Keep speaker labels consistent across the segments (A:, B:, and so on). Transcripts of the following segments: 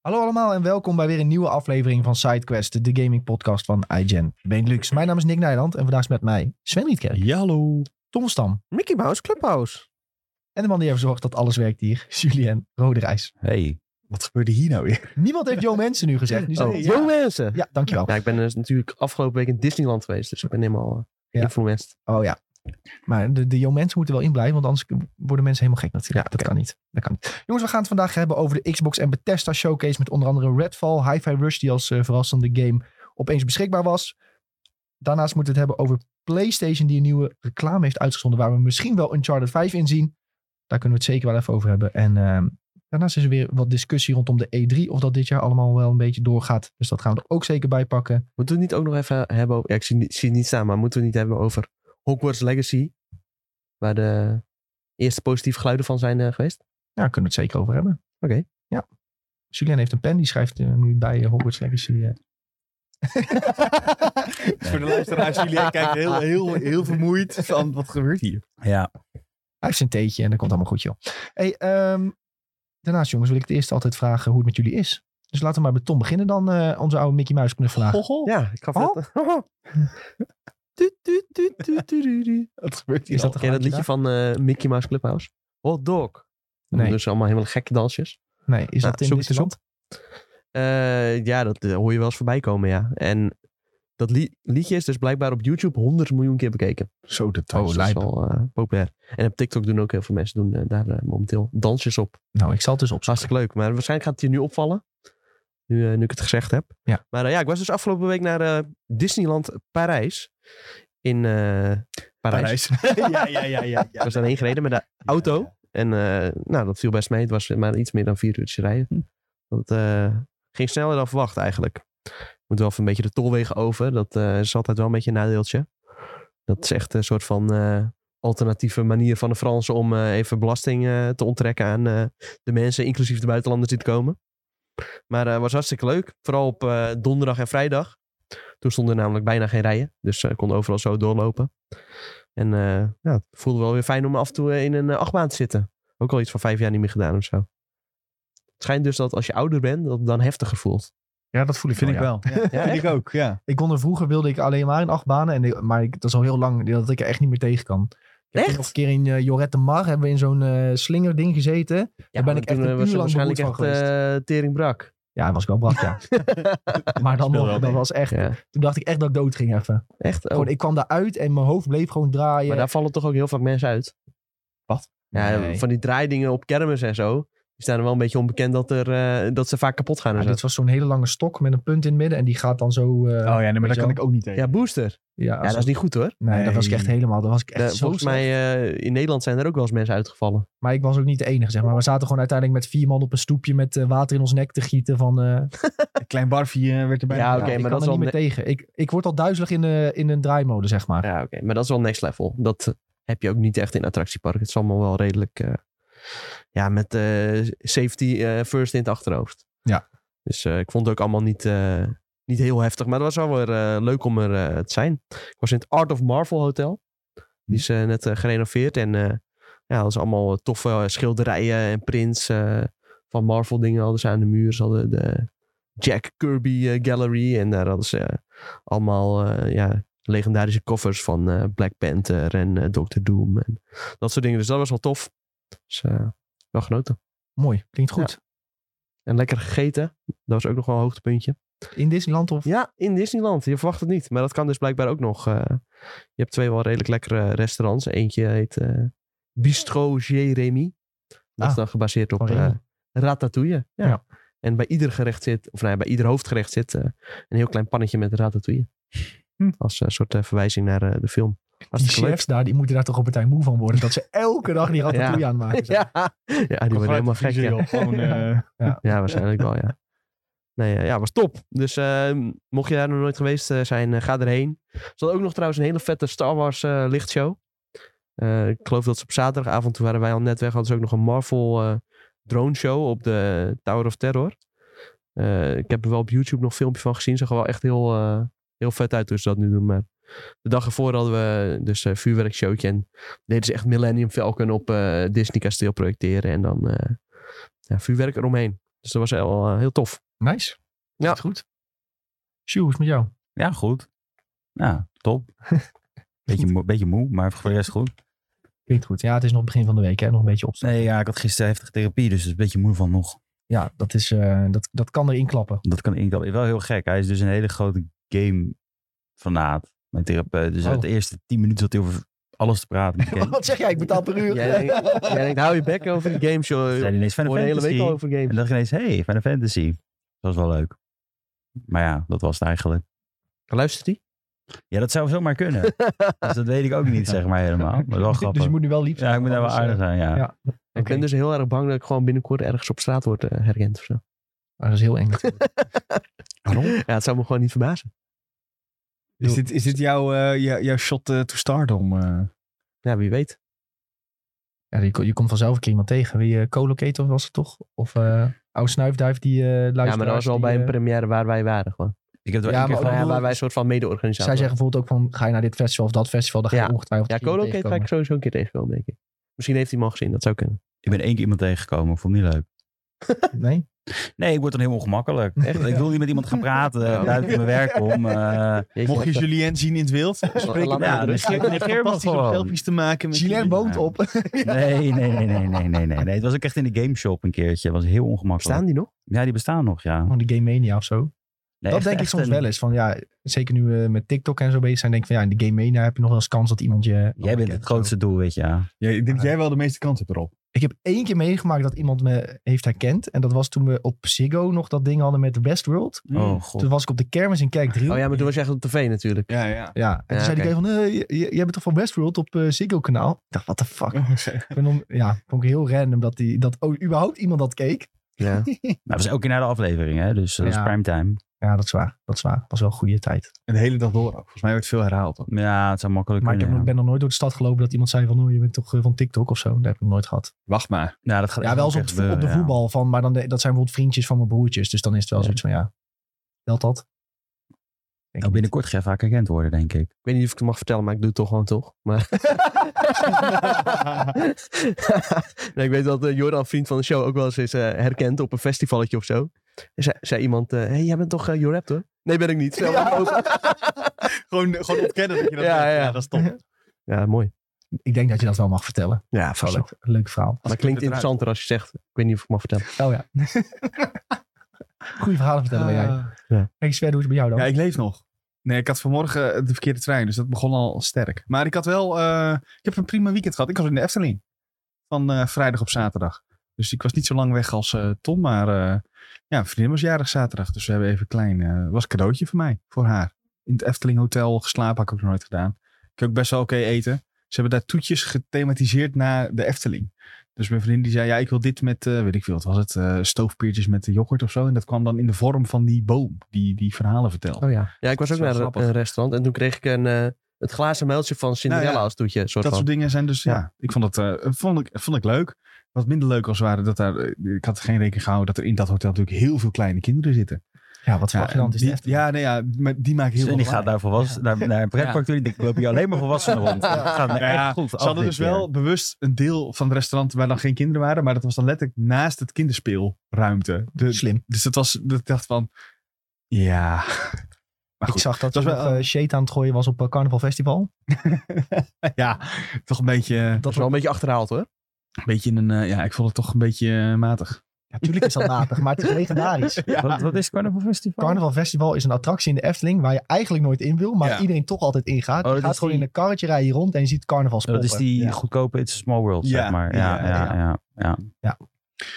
A: Hallo allemaal en welkom bij weer een nieuwe aflevering van SideQuest, de gaming podcast van iGen Benelux. Mijn naam is Nick Nijland en vandaag is met mij Sven Rietkerk,
B: Jallo.
A: Tom Stam
C: Mickey Mouse Clubhouse.
A: en de man die ervoor zorgt dat alles werkt hier, Julien Roderijs.
B: Hey. Wat gebeurde hier nou weer?
A: Niemand heeft Jo Mensen nu gezegd. Nu zijn-
C: Oh,
A: ja.
C: jong mensen.
A: ja, dankjewel.
C: Ja, ik ben dus natuurlijk afgelopen week in Disneyland geweest, dus ik ben helemaal eh,
A: Ja.
C: influenced.
A: Oh ja. Maar de, de jong mensen moeten wel in blijven, want anders worden mensen helemaal gek natuurlijk.
C: Ja,
A: dat, kan niet. dat kan niet. Jongens, we gaan het vandaag hebben over de Xbox en Bethesda Showcase met onder andere Redfall, Hi-Fi Rush, die als eh, verrassende game opeens beschikbaar was. Daarnaast moeten we het hebben over PlayStation, die een nieuwe reclame heeft uitgezonden, waar we misschien wel Uncharted 5 in zien. Daar kunnen we het zeker wel even over hebben. En ehm, daarnaast is er weer wat discussie rondom de E3, of dat dit jaar allemaal wel een beetje doorgaat. Dus dat gaan we er ook zeker bij pakken.
C: Moeten we het niet ook nog even hebben over... Ja, ik zie, niet- zie het niet staan, maar moeten we het niet hebben over Hogwarts Legacy? Waar de eerste positieve geluiden van zijn eh, geweest?
A: Ja, daar kunnen we het zeker over hebben.
C: Oké.
A: Ja. Julien heeft een pen, die schrijft eh, nu bij eh, Hogwarts Legacy. eh.
B: Voor de luisteraars, jullie kijken heel, heel, heel vermoeid van wat gebeurt hier. Ja.
A: Hij heeft zijn theetje en dat komt allemaal goed, joh. Hey, ehm, daarnaast, jongens, wil ik het eerst altijd vragen hoe het met jullie is. Dus laten we maar met Tom beginnen dan, eh, onze oude Mickey Mouse knuffelaar.
C: Ja, ik gaf
B: Oh.
C: net... Du- du- du- du- du- du- du.
B: Wat gebeurt hier
A: Is dat
C: Ken je dat liedje van eh, Mickey Mouse Clubhouse? Hot dog.
A: Nee.
C: Dus allemaal helemaal gekke dansjes.
A: Nee, is
C: Nou,
A: dat in
C: zoek het eens
A: Disneyland?
C: Eh, ja, dat eh, hoor je wel eens voorbij komen, ja. En dat li- liedje is dus blijkbaar op YouTube 100 miljoen keer bekeken.
B: Zo de
A: Oh,
C: Dus dat is wel eh, populair. En op TikTok doen ook heel veel mensen doen, eh, daar eh, momenteel dansjes op.
A: Nou, ik zal het dus
C: Is
A: opzoeken.
C: hartstikke leuk. Maar waarschijnlijk gaat het je nu opvallen. Nu, eh, nu ik het gezegd heb.
A: Ja.
C: Maar eh, ja, ik was dus afgelopen week naar eh, Disneyland Parijs. In eh,
B: Parijs.
C: Parijs.
B: ja, ja, ja, ja.
C: Ik was daarheen gereden met de auto. En eh, nou, dat viel best mee. Het was maar iets meer dan vier uurtjes rijden. Dat eh, ging sneller dan verwacht eigenlijk. Moet wel even een beetje de tolwegen over. Dat eh, is altijd wel een beetje een nadeeltje. Dat is echt een soort van eh, alternatieve manier van de Fransen om eh, even belasting eh, te onttrekken aan eh, de mensen, inclusief de buitenlanders die het komen. Maar het was hartstikke leuk. Vooral op eh, donderdag en vrijdag. Toen stonden er namelijk bijna geen rijen. Dus eh kon overal zo doorlopen. En eh, ja, het voelde wel weer fijn om af en toe eh, in een eh, achtbaan te zitten. Ook al iets van vijf jaar niet meer gedaan of zo. Het schijnt dus dat als je ouder bent, dat het dan heftiger voelt.
A: Ja, dat voel ik
B: Vind ik
A: wel. Oh, ja.
B: wel. Oh, Ja, vind ik ook, ja.
A: Ik kon er vroeger, wilde ik alleen maar in acht banen. En, ik- maar ik, dat is al heel lang dat ik er echt niet meer tegen kan. Ik heb
C: Echt?
A: nog een keer in eh, Jorette Mar hebben we in zo'n eh slingerding gezeten.
C: Ja,
A: ben ik echt een
C: eh,
A: uur lang
C: waarschijnlijk
A: beroerd
C: echt
A: van
C: eh tering brak.
A: Ja, dat was ik wel brak, ja. maar dan
B: Speel
A: nog, dat
B: wel mee.
A: was echt...
C: Ja,
A: Toen dacht ik echt dat ik dood ging even.
C: echt. Oh,
A: Gewoon, ik eh, kwam daaruit en mijn hoofd bleef gewoon draaien.
C: Maar daar vallen toch ook heel vaak mensen uit.
B: Wat?
C: Ja,
A: Nee.
C: Van die draaidingen op kermis en zo. Die staan er wel een beetje onbekend dat, er, eh, dat ze vaak kapot gaan. en
A: Maar
C: zo.
A: dit was zo'n hele lange stok met een punt in het midden. En die gaat dan zo... eh,
B: Oh ja, nee, maar
A: Weet
B: daar
A: je
B: kan
A: wel?
B: ik ook niet tegen.
C: Ja, booster.
A: ja,
C: Ja, dat is niet goed hoor.
A: Nee, dat was ik echt
B: Nee.
A: helemaal... Dat was ik echt
C: Eh,
A: zo
C: volgens
A: slecht.
C: mij eh, in Nederland zijn er ook wel eens mensen uitgevallen.
A: Maar ik was ook niet de enige, zeg maar. We zaten gewoon uiteindelijk met vier man op een stoepje... met eh, water in ons nek te gieten van... eh,
B: Een klein barfje eh, werd erbij.
C: Ja,
B: gedaan.
C: oké.
A: ik
C: maar
A: kan
C: dat
A: er
C: is
A: niet
C: wel
A: meer tegen. Ik, ik word al duizelig in, eh, in een draaimode, zeg maar.
C: Ja, oké. Maar dat is wel next level. Dat eh, heb je ook niet echt in attractieparken. Het is allemaal wel redelijk... eh, ja, met eh, safety eh, first in het achterhoofd.
A: Ja.
C: Dus eh, ik vond het ook allemaal niet, eh, niet heel heftig. Maar het was wel weer eh, leuk om er eh, te zijn. Ik was in het Art of Marvel Hotel. Die is eh, net eh, gerenoveerd. En eh, ja, dat is allemaal toffe eh, schilderijen en prints eh, van Marvel dingen. Hadden ze aan de muur. Ze hadden de Jack Kirby eh, Gallery. En daar hadden ze eh, allemaal eh, ja, legendarische covers van eh, Black Panther en eh, Doctor Doom. En dat soort dingen. Dus dat was wel tof. Dus eh, wel genoten.
A: Mooi, klinkt goed.
C: En lekker gegeten. Dat was ook nog wel een hoogtepuntje.
A: In Disneyland of...
C: Ja, in Disneyland. Je verwacht het niet. Maar dat kan dus blijkbaar ook nog. eh, je hebt twee wel redelijk lekkere restaurants. Eentje heet eh, Bistro Jérémy. Dat
A: Ah,
C: is dan gebaseerd op
A: van Remy.
C: eh, ratatouille. Ja.
A: Ja.
C: En bij ieder gerecht zit, of nou ja, bij ieder hoofdgerecht zit eh, een heel klein pannetje met ratatouille.
B: Hm.
C: Als eh, soort eh, verwijzing naar eh, de film.
A: Die
C: Hartstikke leuk.
A: chefs daar, die moeten daar toch op een tijd moe van worden. Dat ze elke dag die ratatouille aan het maken zijn.
C: Ja, ja die
B: Gewoon
C: worden helemaal gek.
B: uit de
C: Ja.
B: vriezer, joh. Gewoon, eh,
C: Ja, waarschijnlijk wel, ja. Nee, eh, ja, was top. Dus eh, mocht je daar nog nooit geweest eh, zijn, eh, ga erheen. Er zat ook nog trouwens een hele vette Star Wars eh, lichtshow. Eh, ik geloof dat ze op zaterdagavond, toen waren wij al net weg, hadden ze ook nog een Marvel eh, drone show op de Tower of Terror. Eh, ik heb er wel op YouTube nog een filmpje van gezien. Zag er wel echt heel, eh, heel vet uit hoe ze dat nu doen. Maar de dag ervoor hadden we dus een vuurwerkshowtje. En deden ze echt Millennium Falcon op eh, Disney Kasteel projecteren. En dan eh, ja, vuurwerk eromheen. Dus dat was wel eh, heel tof.
A: Nice.
C: Ja.
A: Zit goed. Sjoe, hoe is het met jou?
D: Ja, goed. Ja, top. Beetje, moe- beetje moe, maar voor de rest goed.
A: Klinkt goed. Ja, het is nog begin van de week, hè? Nog een beetje opstaan.
D: Nee, ja, ik had gisteren heftige therapie, dus het is een beetje moe van nog.
A: Ja, dat, is, eh, dat, dat kan erin klappen.
D: Dat kan ik wel heel gek. Hij is dus een hele grote game-fanaat, mijn therapeut. Dus
A: Oh.
D: uit de eerste tien minuten zat hij over alles te praten. met games.
A: Wat zeg jij? Ik betaal per uur.
C: Jij denkt, jij denkt, hou je bek over die games, joh.
D: Zei hij ineens Final
C: Voor de hele
D: Fantasy.
C: week al over
D: En
C: games.
D: dacht ik ineens, hey, Final Fantasy. Dat was wel leuk. Maar ja, dat was het eigenlijk.
C: Luistert die?
D: Ja, dat zou zomaar kunnen. dus dat weet ik ook niet, zeg maar helemaal. Maar wel grappig.
A: Dus je moet nu wel lief zijn.
D: ja, ik moet daar wel
A: anders, eh,
D: aardig zijn, ja.
A: ja.
C: Ik ben
A: Oké.
C: dus heel erg bang dat ik gewoon binnenkort ergens op straat word eh, herkend of zo.
A: maar eh, dat is heel eng.
C: Ja, het zou me gewoon niet verbazen.
B: Is dit, is dit jouw, eh, jou- jouw shot eh, to stardom? eh?
C: Ja, wie weet.
A: Ja, je, ko- je komt vanzelf een keer iemand tegen. Wie eh, co-locator was het toch? Of eh oude snuifduif die eh luistert.
C: Ja, maar dat was wel bij een première waar wij waren gewoon.
D: Ik heb er wel
A: Ja,
D: één
A: maar
C: Nou
D: keer van-
A: eh,
C: ja,
A: Oh, bedoel-
C: waar wij een soort van mede-organisator
A: Zij zeggen
C: waren.
A: bijvoorbeeld ook van, ga je naar dit festival of dat festival, dan ga je
C: Ja.
A: ongetwijfeld
C: Ja,
A: iemand
C: Colocate ga ik
A: tegenkomen.
C: sowieso een keer tegenkomen, denk ik. Misschien heeft hij hem al gezien, dat zou kunnen.
D: Ik ben één keer iemand tegengekomen, ik vond het niet leuk.
A: Nee?
D: Nee, ik word dan heel ongemakkelijk. Echt? Ik wil niet met iemand gaan praten,
C: Ja.
D: buiten mijn werk om. eh,
C: Jeetje,
B: Mocht je
C: dat-
B: Julien zien in het wild, spreek
C: laat
B: hem
C: maar
B: aan.
C: de
B: Het
D: rust.
B: is fantastisch om
D: Gewoon.
B: selfies te maken. met
A: Julien
B: jullie.
A: woont op.
D: nee, nee, nee, nee, nee, nee, nee, nee. Het was ook echt in de game shop een keertje. Het was heel ongemakkelijk.
C: Staan die nog?
D: Ja, die bestaan nog, ja.
A: Van de Game Mania of zo.
D: Nee,
A: Oh. dat
D: echt-
A: denk ik
D: echt
A: soms
D: een-
A: wel eens. Van, ja, zeker nu we met TikTok en zo bezig zijn, denk ik van ja, in de Game Mania heb je nog wel eens kans dat iemand je... Oh
D: Jij bent het grootste doel, weet je. Ja.
B: Ja, ik denk dat jij wel de meeste kans hebt erop.
A: Ik heb één keer meegemaakt dat iemand me heeft herkend. En dat was toen we op Ziggo nog dat ding hadden met Westworld.
D: Oh, god.
A: Toen was ik op de kermis in Kerkdriel.
C: Oh ja, maar toen was je echt op tv natuurlijk.
B: Ja, ja.
A: Ja, en toen
C: Ja,
A: zei
C: oké.
A: ik van, eh, j- j- jij bent toch van Westworld op eh, Ziggo kanaal? Ik dacht, what the fuck? Ik ben om, ja, vond ik heel random dat, die, dat o- überhaupt iemand dat keek.
C: Ja.
D: Nou, dat was elke keer na de aflevering, hè. Dus dat
A: Ja.
D: is primetime.
A: Ja, dat is waar. Dat is waar. Was wel een goede tijd.
B: En de hele dag door ook. Volgens mij wordt veel herhaald. ook.
D: Ja, het zou makkelijk
A: Maar ik heb
D: kunnen.
A: nog, ben nog nooit door de stad gelopen dat iemand zei van, oh, je bent toch eh, van TikTok of zo. Dat heb ik nog nooit gehad.
B: Wacht maar.
D: ja. Ja, dat gaat
A: Ja,
D: echt
A: wel
D: nog
A: eens op,
D: echt
A: de vo- op de
D: gebeuren, ja.
A: voetbal van, maar dan, de- dat zijn bijvoorbeeld vriendjes van mijn broertjes. Dus dan is het wel
D: Ja.
A: zoiets van, ja, telt dat? Denk
D: Nou,
A: ik
D: binnenkort ga je vaak herkend worden, denk ik.
C: Ik weet niet of ik het mag vertellen, maar ik doe het toch gewoon toch. Maar... nee, ik weet dat eh, Joran, vriend van de show, ook wel eens is eh, herkend op een festivalletje of zo. En Zei, zei iemand, eh, hey, jij bent toch uh, Jorep, hoor? Nee, ben ik niet. Stel, ja.
B: Gewoon, gewoon ontkennen dat je dat
C: Ja,
B: doet.
C: ja.
B: dat is top.
C: mooi.
A: niet. Ik denk dat je dat wel mag vertellen.
C: Ja,
A: Wel leuk, leuk verhaal.
C: Maar het klinkt interessanter als je zegt, ik weet niet of ik mag vertellen.
A: Oh ja. Goeie verhalen vertellen ben
D: Eh.
A: jij.
B: Ah.
A: Hey Sven, hoe is het bij jou dan?
B: Ja, ik leef nog. Nee, ik had vanmorgen de verkeerde trein, dus dat begon al sterk. Maar ik had wel, eh, ik heb een prima weekend gehad. Ik was in de Efteling. Van eh, vrijdag op zaterdag. Dus ik was niet zo lang weg als eh, Tom, maar eh, ja, een vriendin was jarig zaterdag. Dus we hebben even een klein, eh, was een cadeautje voor mij, voor haar. In het Efteling Hotel geslapen, had ik ook nog nooit gedaan. Ik heb ook best wel oké eten. Ze hebben daar toetjes gethematiseerd naar de Efteling. Dus mijn vriendin die zei, ja, ik wil dit met, eh, weet ik veel, wat was het? eh stoofpeertjes met de yoghurt of zo. En dat kwam dan in de vorm van die boom, die die verhalen vertelt.
C: Oh ja. Ja, ik was
B: Dat
C: ook
B: is wel
C: naar
B: grappig.
C: een restaurant en toen kreeg ik een, eh, het glazen muiltje van Cinderella
B: Nou ja,
C: als toetje. Soort
B: dat
C: van.
B: soort dingen zijn dus, ja. ik vond het eh, vond ik, vond ik leuk. Wat minder leuk als waren dat daar, eh, ik had geen rekening gehouden dat er in dat hotel natuurlijk heel veel kleine kinderen zitten.
A: Ja, wat fascinant is
B: die,
A: het.
B: ja, nee, ja, maar die maken heel veel
D: En Dus die
B: lawaai.
D: gaat daar volwassen, naar, naar een pretpark toe. Die denkt, ik loop hier alleen maar volwassenen rond. Dat gaat me
B: Ja,
D: echt goed
B: Ze hadden dus wel bewust een deel van het restaurant waar dan geen kinderen waren, maar dat was dan letterlijk naast het kinderspeelruimte. De-
A: Slim.
B: dus dat was, dat ik dacht van, ja. Maar
A: Ik
B: goed,
A: zag dat
B: Dat
A: ze
B: is
A: nog
B: wel- ehm,
A: eh, shade aan het gooien was op eh, Carnaval Festival.
B: ja, toch een beetje,
C: Dat is wel een beetje achterhaald hoor.
B: een beetje een, eh, ja, ik vond het toch een beetje eh, matig.
A: Natuurlijk is dat matig, maar het is legendarisch.
D: Wat, wat is Carnival Festival?
A: Carnaval Festival is een attractie in de Efteling waar je eigenlijk nooit in wil, maar
B: Ja.
A: iedereen toch altijd ingaat.
D: Oh,
A: je
D: dat
A: gaat
D: is
A: gewoon
D: die- Oh,
A: in een karretje rijden je rond en je ziet carnavals
D: Dat is die
B: Ja.
D: goedkope It's a Small World,
B: Ja,
D: zeg maar. Ja,
B: ja,
D: ja, ja.
B: ja.
D: ja.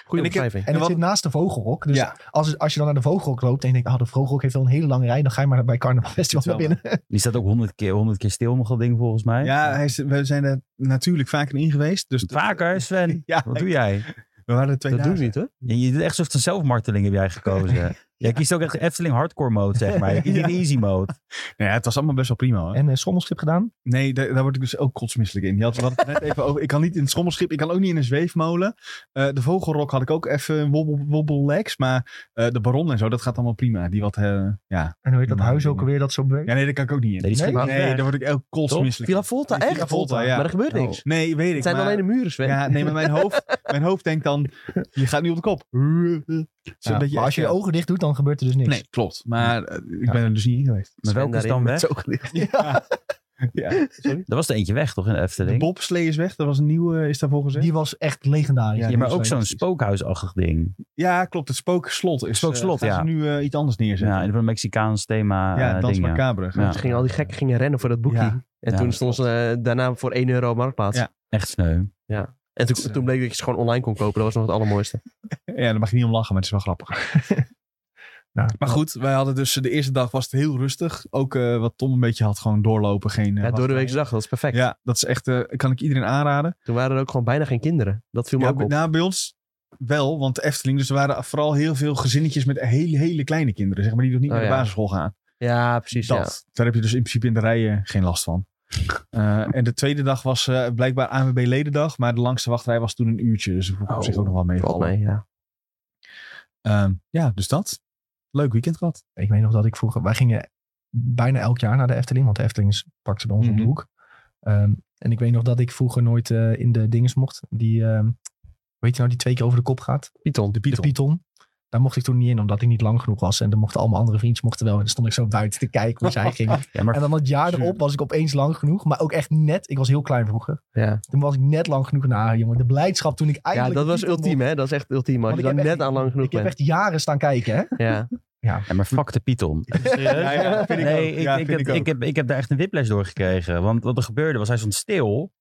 C: Goede
B: En ik heb-
C: omschrijving.
A: En het
B: wat-
A: zit naast de vogelhok. Dus
B: Ja.
A: als, als je dan naar de vogelhok loopt en je denkt, ah, de vogelhok heeft wel een hele lange rij, dan ga je maar bij Carnaval Festival naar
B: wel
A: binnen.
D: Die staat ook honderd keer, honderd keer stil nog dat ding volgens mij.
B: Ja, hij is- we zijn er natuurlijk vaker in geweest. Dus
D: Vaker, Sven.
B: Ja,
D: Wat doe jij?
B: we waren er twee
C: Dat doe ik
B: dagen.
C: niet hoor.
D: Je, je doet echt alsof het een zelfmarteling heb jij gekozen. Jij kiest ook echt Efteling hardcore mode, zeg maar. Je kiest niet de easy mode.
B: Nou ja, het was allemaal best wel prima hoor.
A: En uh, schommelschip gedaan.
B: Nee, daar, daar word ik dus ook kotsmisselijk in. Je had we hadden het net even over. Ik kan niet in het schommelschip, ik kan ook niet in een zweefmolen. Eh, de vogelrok had ik ook even wobbel, wobbel legs. Maar eh, de baron en zo, dat gaat allemaal prima. Die wat, eh, ja.
A: En hoe heet dat
B: Maar-
A: huis ook alweer dat zo beweegt?
B: ja, nee, daar kan ik ook niet in.
D: Nee, die schiet
A: Nee?
D: niet weg.
B: Nee, daar word ik ook
D: Toch?
B: kotsmisselijk
C: Villa Volta,
B: Villa
C: echt?
B: Volta, ja.
C: Maar er gebeurt niks.
B: in. Nee, weet ik.
C: Het zijn
B: maar-
C: alleen de muren, Sven.
B: Ja, nee, maar mijn hoofd, mijn hoofd denkt dan, je gaat nu op de kop. Zodat
A: Ja,
B: je
A: maar als
B: echt,
A: je je
B: eh,
A: ogen dicht doet, dan gebeurt er dus niks.
B: Nee, klopt. Maar eh, ik
A: Ja.
B: ben er dus niet in geweest.
D: Maar welke is dan weg?
C: Zo gelicht.
B: Ja. ja. Sorry?
D: Er was er eentje weg, toch, in de Efteling?
B: De bobslee is weg. Dat was een nieuwe, is daarvoor gezegd.
A: Die was echt legendarisch.
B: Ja,
D: ja, maar
B: die
D: ook
B: is
D: zo'n
B: fantastisch.
D: spookhuisachtig ding.
B: Ja, klopt. Het spookslot is
D: Spookslot,
B: eh, gaan
D: ja.
B: ze nu eh, iets anders neerzetten.
D: Ja, in een Mexicaans thema
B: Ja,
D: ja,
B: Dans
D: ding. ja.
B: Macabre.
D: Ja.
C: Ze gingen al die gekken gingen rennen voor dat boekje.
B: Ja.
C: En
D: Ja,
C: toen
D: dat
C: stond ze eh, daarna voor 1 euro op marktplaats.
B: Ja.
D: Echt sneu.
C: En toen, toen bleek dat je ze gewoon online kon kopen. Dat was nog het allermooiste.
B: Ja, daar mag je niet om lachen, maar het is wel grappig.
A: Nou,
B: Maar goed, wij hadden dus de eerste dag was het heel rustig. Ook eh, wat Tom een beetje had, gewoon doorlopen. Geen, eh,
C: Ja, door de
B: wachtrij.
C: weekse dag, dat is perfect.
B: Ja, dat is echt, eh, kan ik iedereen aanraden.
C: Toen waren er ook gewoon bijna geen kinderen. Dat viel me
B: Ja,
C: ook op.
B: nou, bij ons wel, want de Efteling. Dus er waren vooral heel veel gezinnetjes met hele, hele kleine kinderen. Zeg maar, die nog niet
C: Oh,
B: naar de
C: ja.
B: basisschool gaan.
C: Ja, precies.
B: dat,
C: ja.
B: Daar heb je dus in principe in de rijen geen last van. Eh, en de tweede dag was eh, blijkbaar ANWB ledendag. Maar de langste wachtrij was toen een uurtje. Dus dat hoef ik op
C: Oh,
B: zich ook nog wel mee.
C: Valt mee, ja.
B: Ehm, ja, dus dat. Leuk weekend gehad.
A: Ik weet nog dat ik vroeger... Wij gingen bijna elk jaar naar de Efteling. Want de Efteling is- pakte bij ons om
B: Mhm.
A: de hoek. Ehm, en ik weet nog dat ik vroeger nooit eh, in de dinges mocht. Die, ehm weet je nou, die twee keer over de kop gaat.
C: Python. De
A: De Python. Daar mocht ik toen niet in, omdat ik niet lang genoeg was. En dan mochten allemaal andere vriendjes mochten wel. En dan stond ik zo buiten te kijken hoe zij gingen.
D: Ja, maar
A: En dan het jaar
B: Zuur.
A: erop was ik opeens lang genoeg. Maar ook echt net. Ik was heel klein vroeger.
C: Ja.
A: Toen was ik net lang genoeg. Nou jongen, de blijdschap toen ik
C: ja,
A: eindelijk...
C: dat
A: de
C: was
A: titel mocht.
C: ultiem, hè? Dat is echt ultiem. Als
A: Want
C: je
A: ik
C: dan
A: heb echt-
C: net aan lang genoeg
A: Ik heb
C: bent.
A: echt jaren staan kijken, hè?
C: Ja.
D: Ja, maar fuck de Python.
B: Ja, ja, vind ik
D: nee,
B: ook.
D: ik,
B: Ja,
D: ik,
B: vind
D: heb,
B: ik ook.
D: ik, heb, ik heb daar echt een whiplash door gekregen. Want wat er gebeurde was, hij stond stil.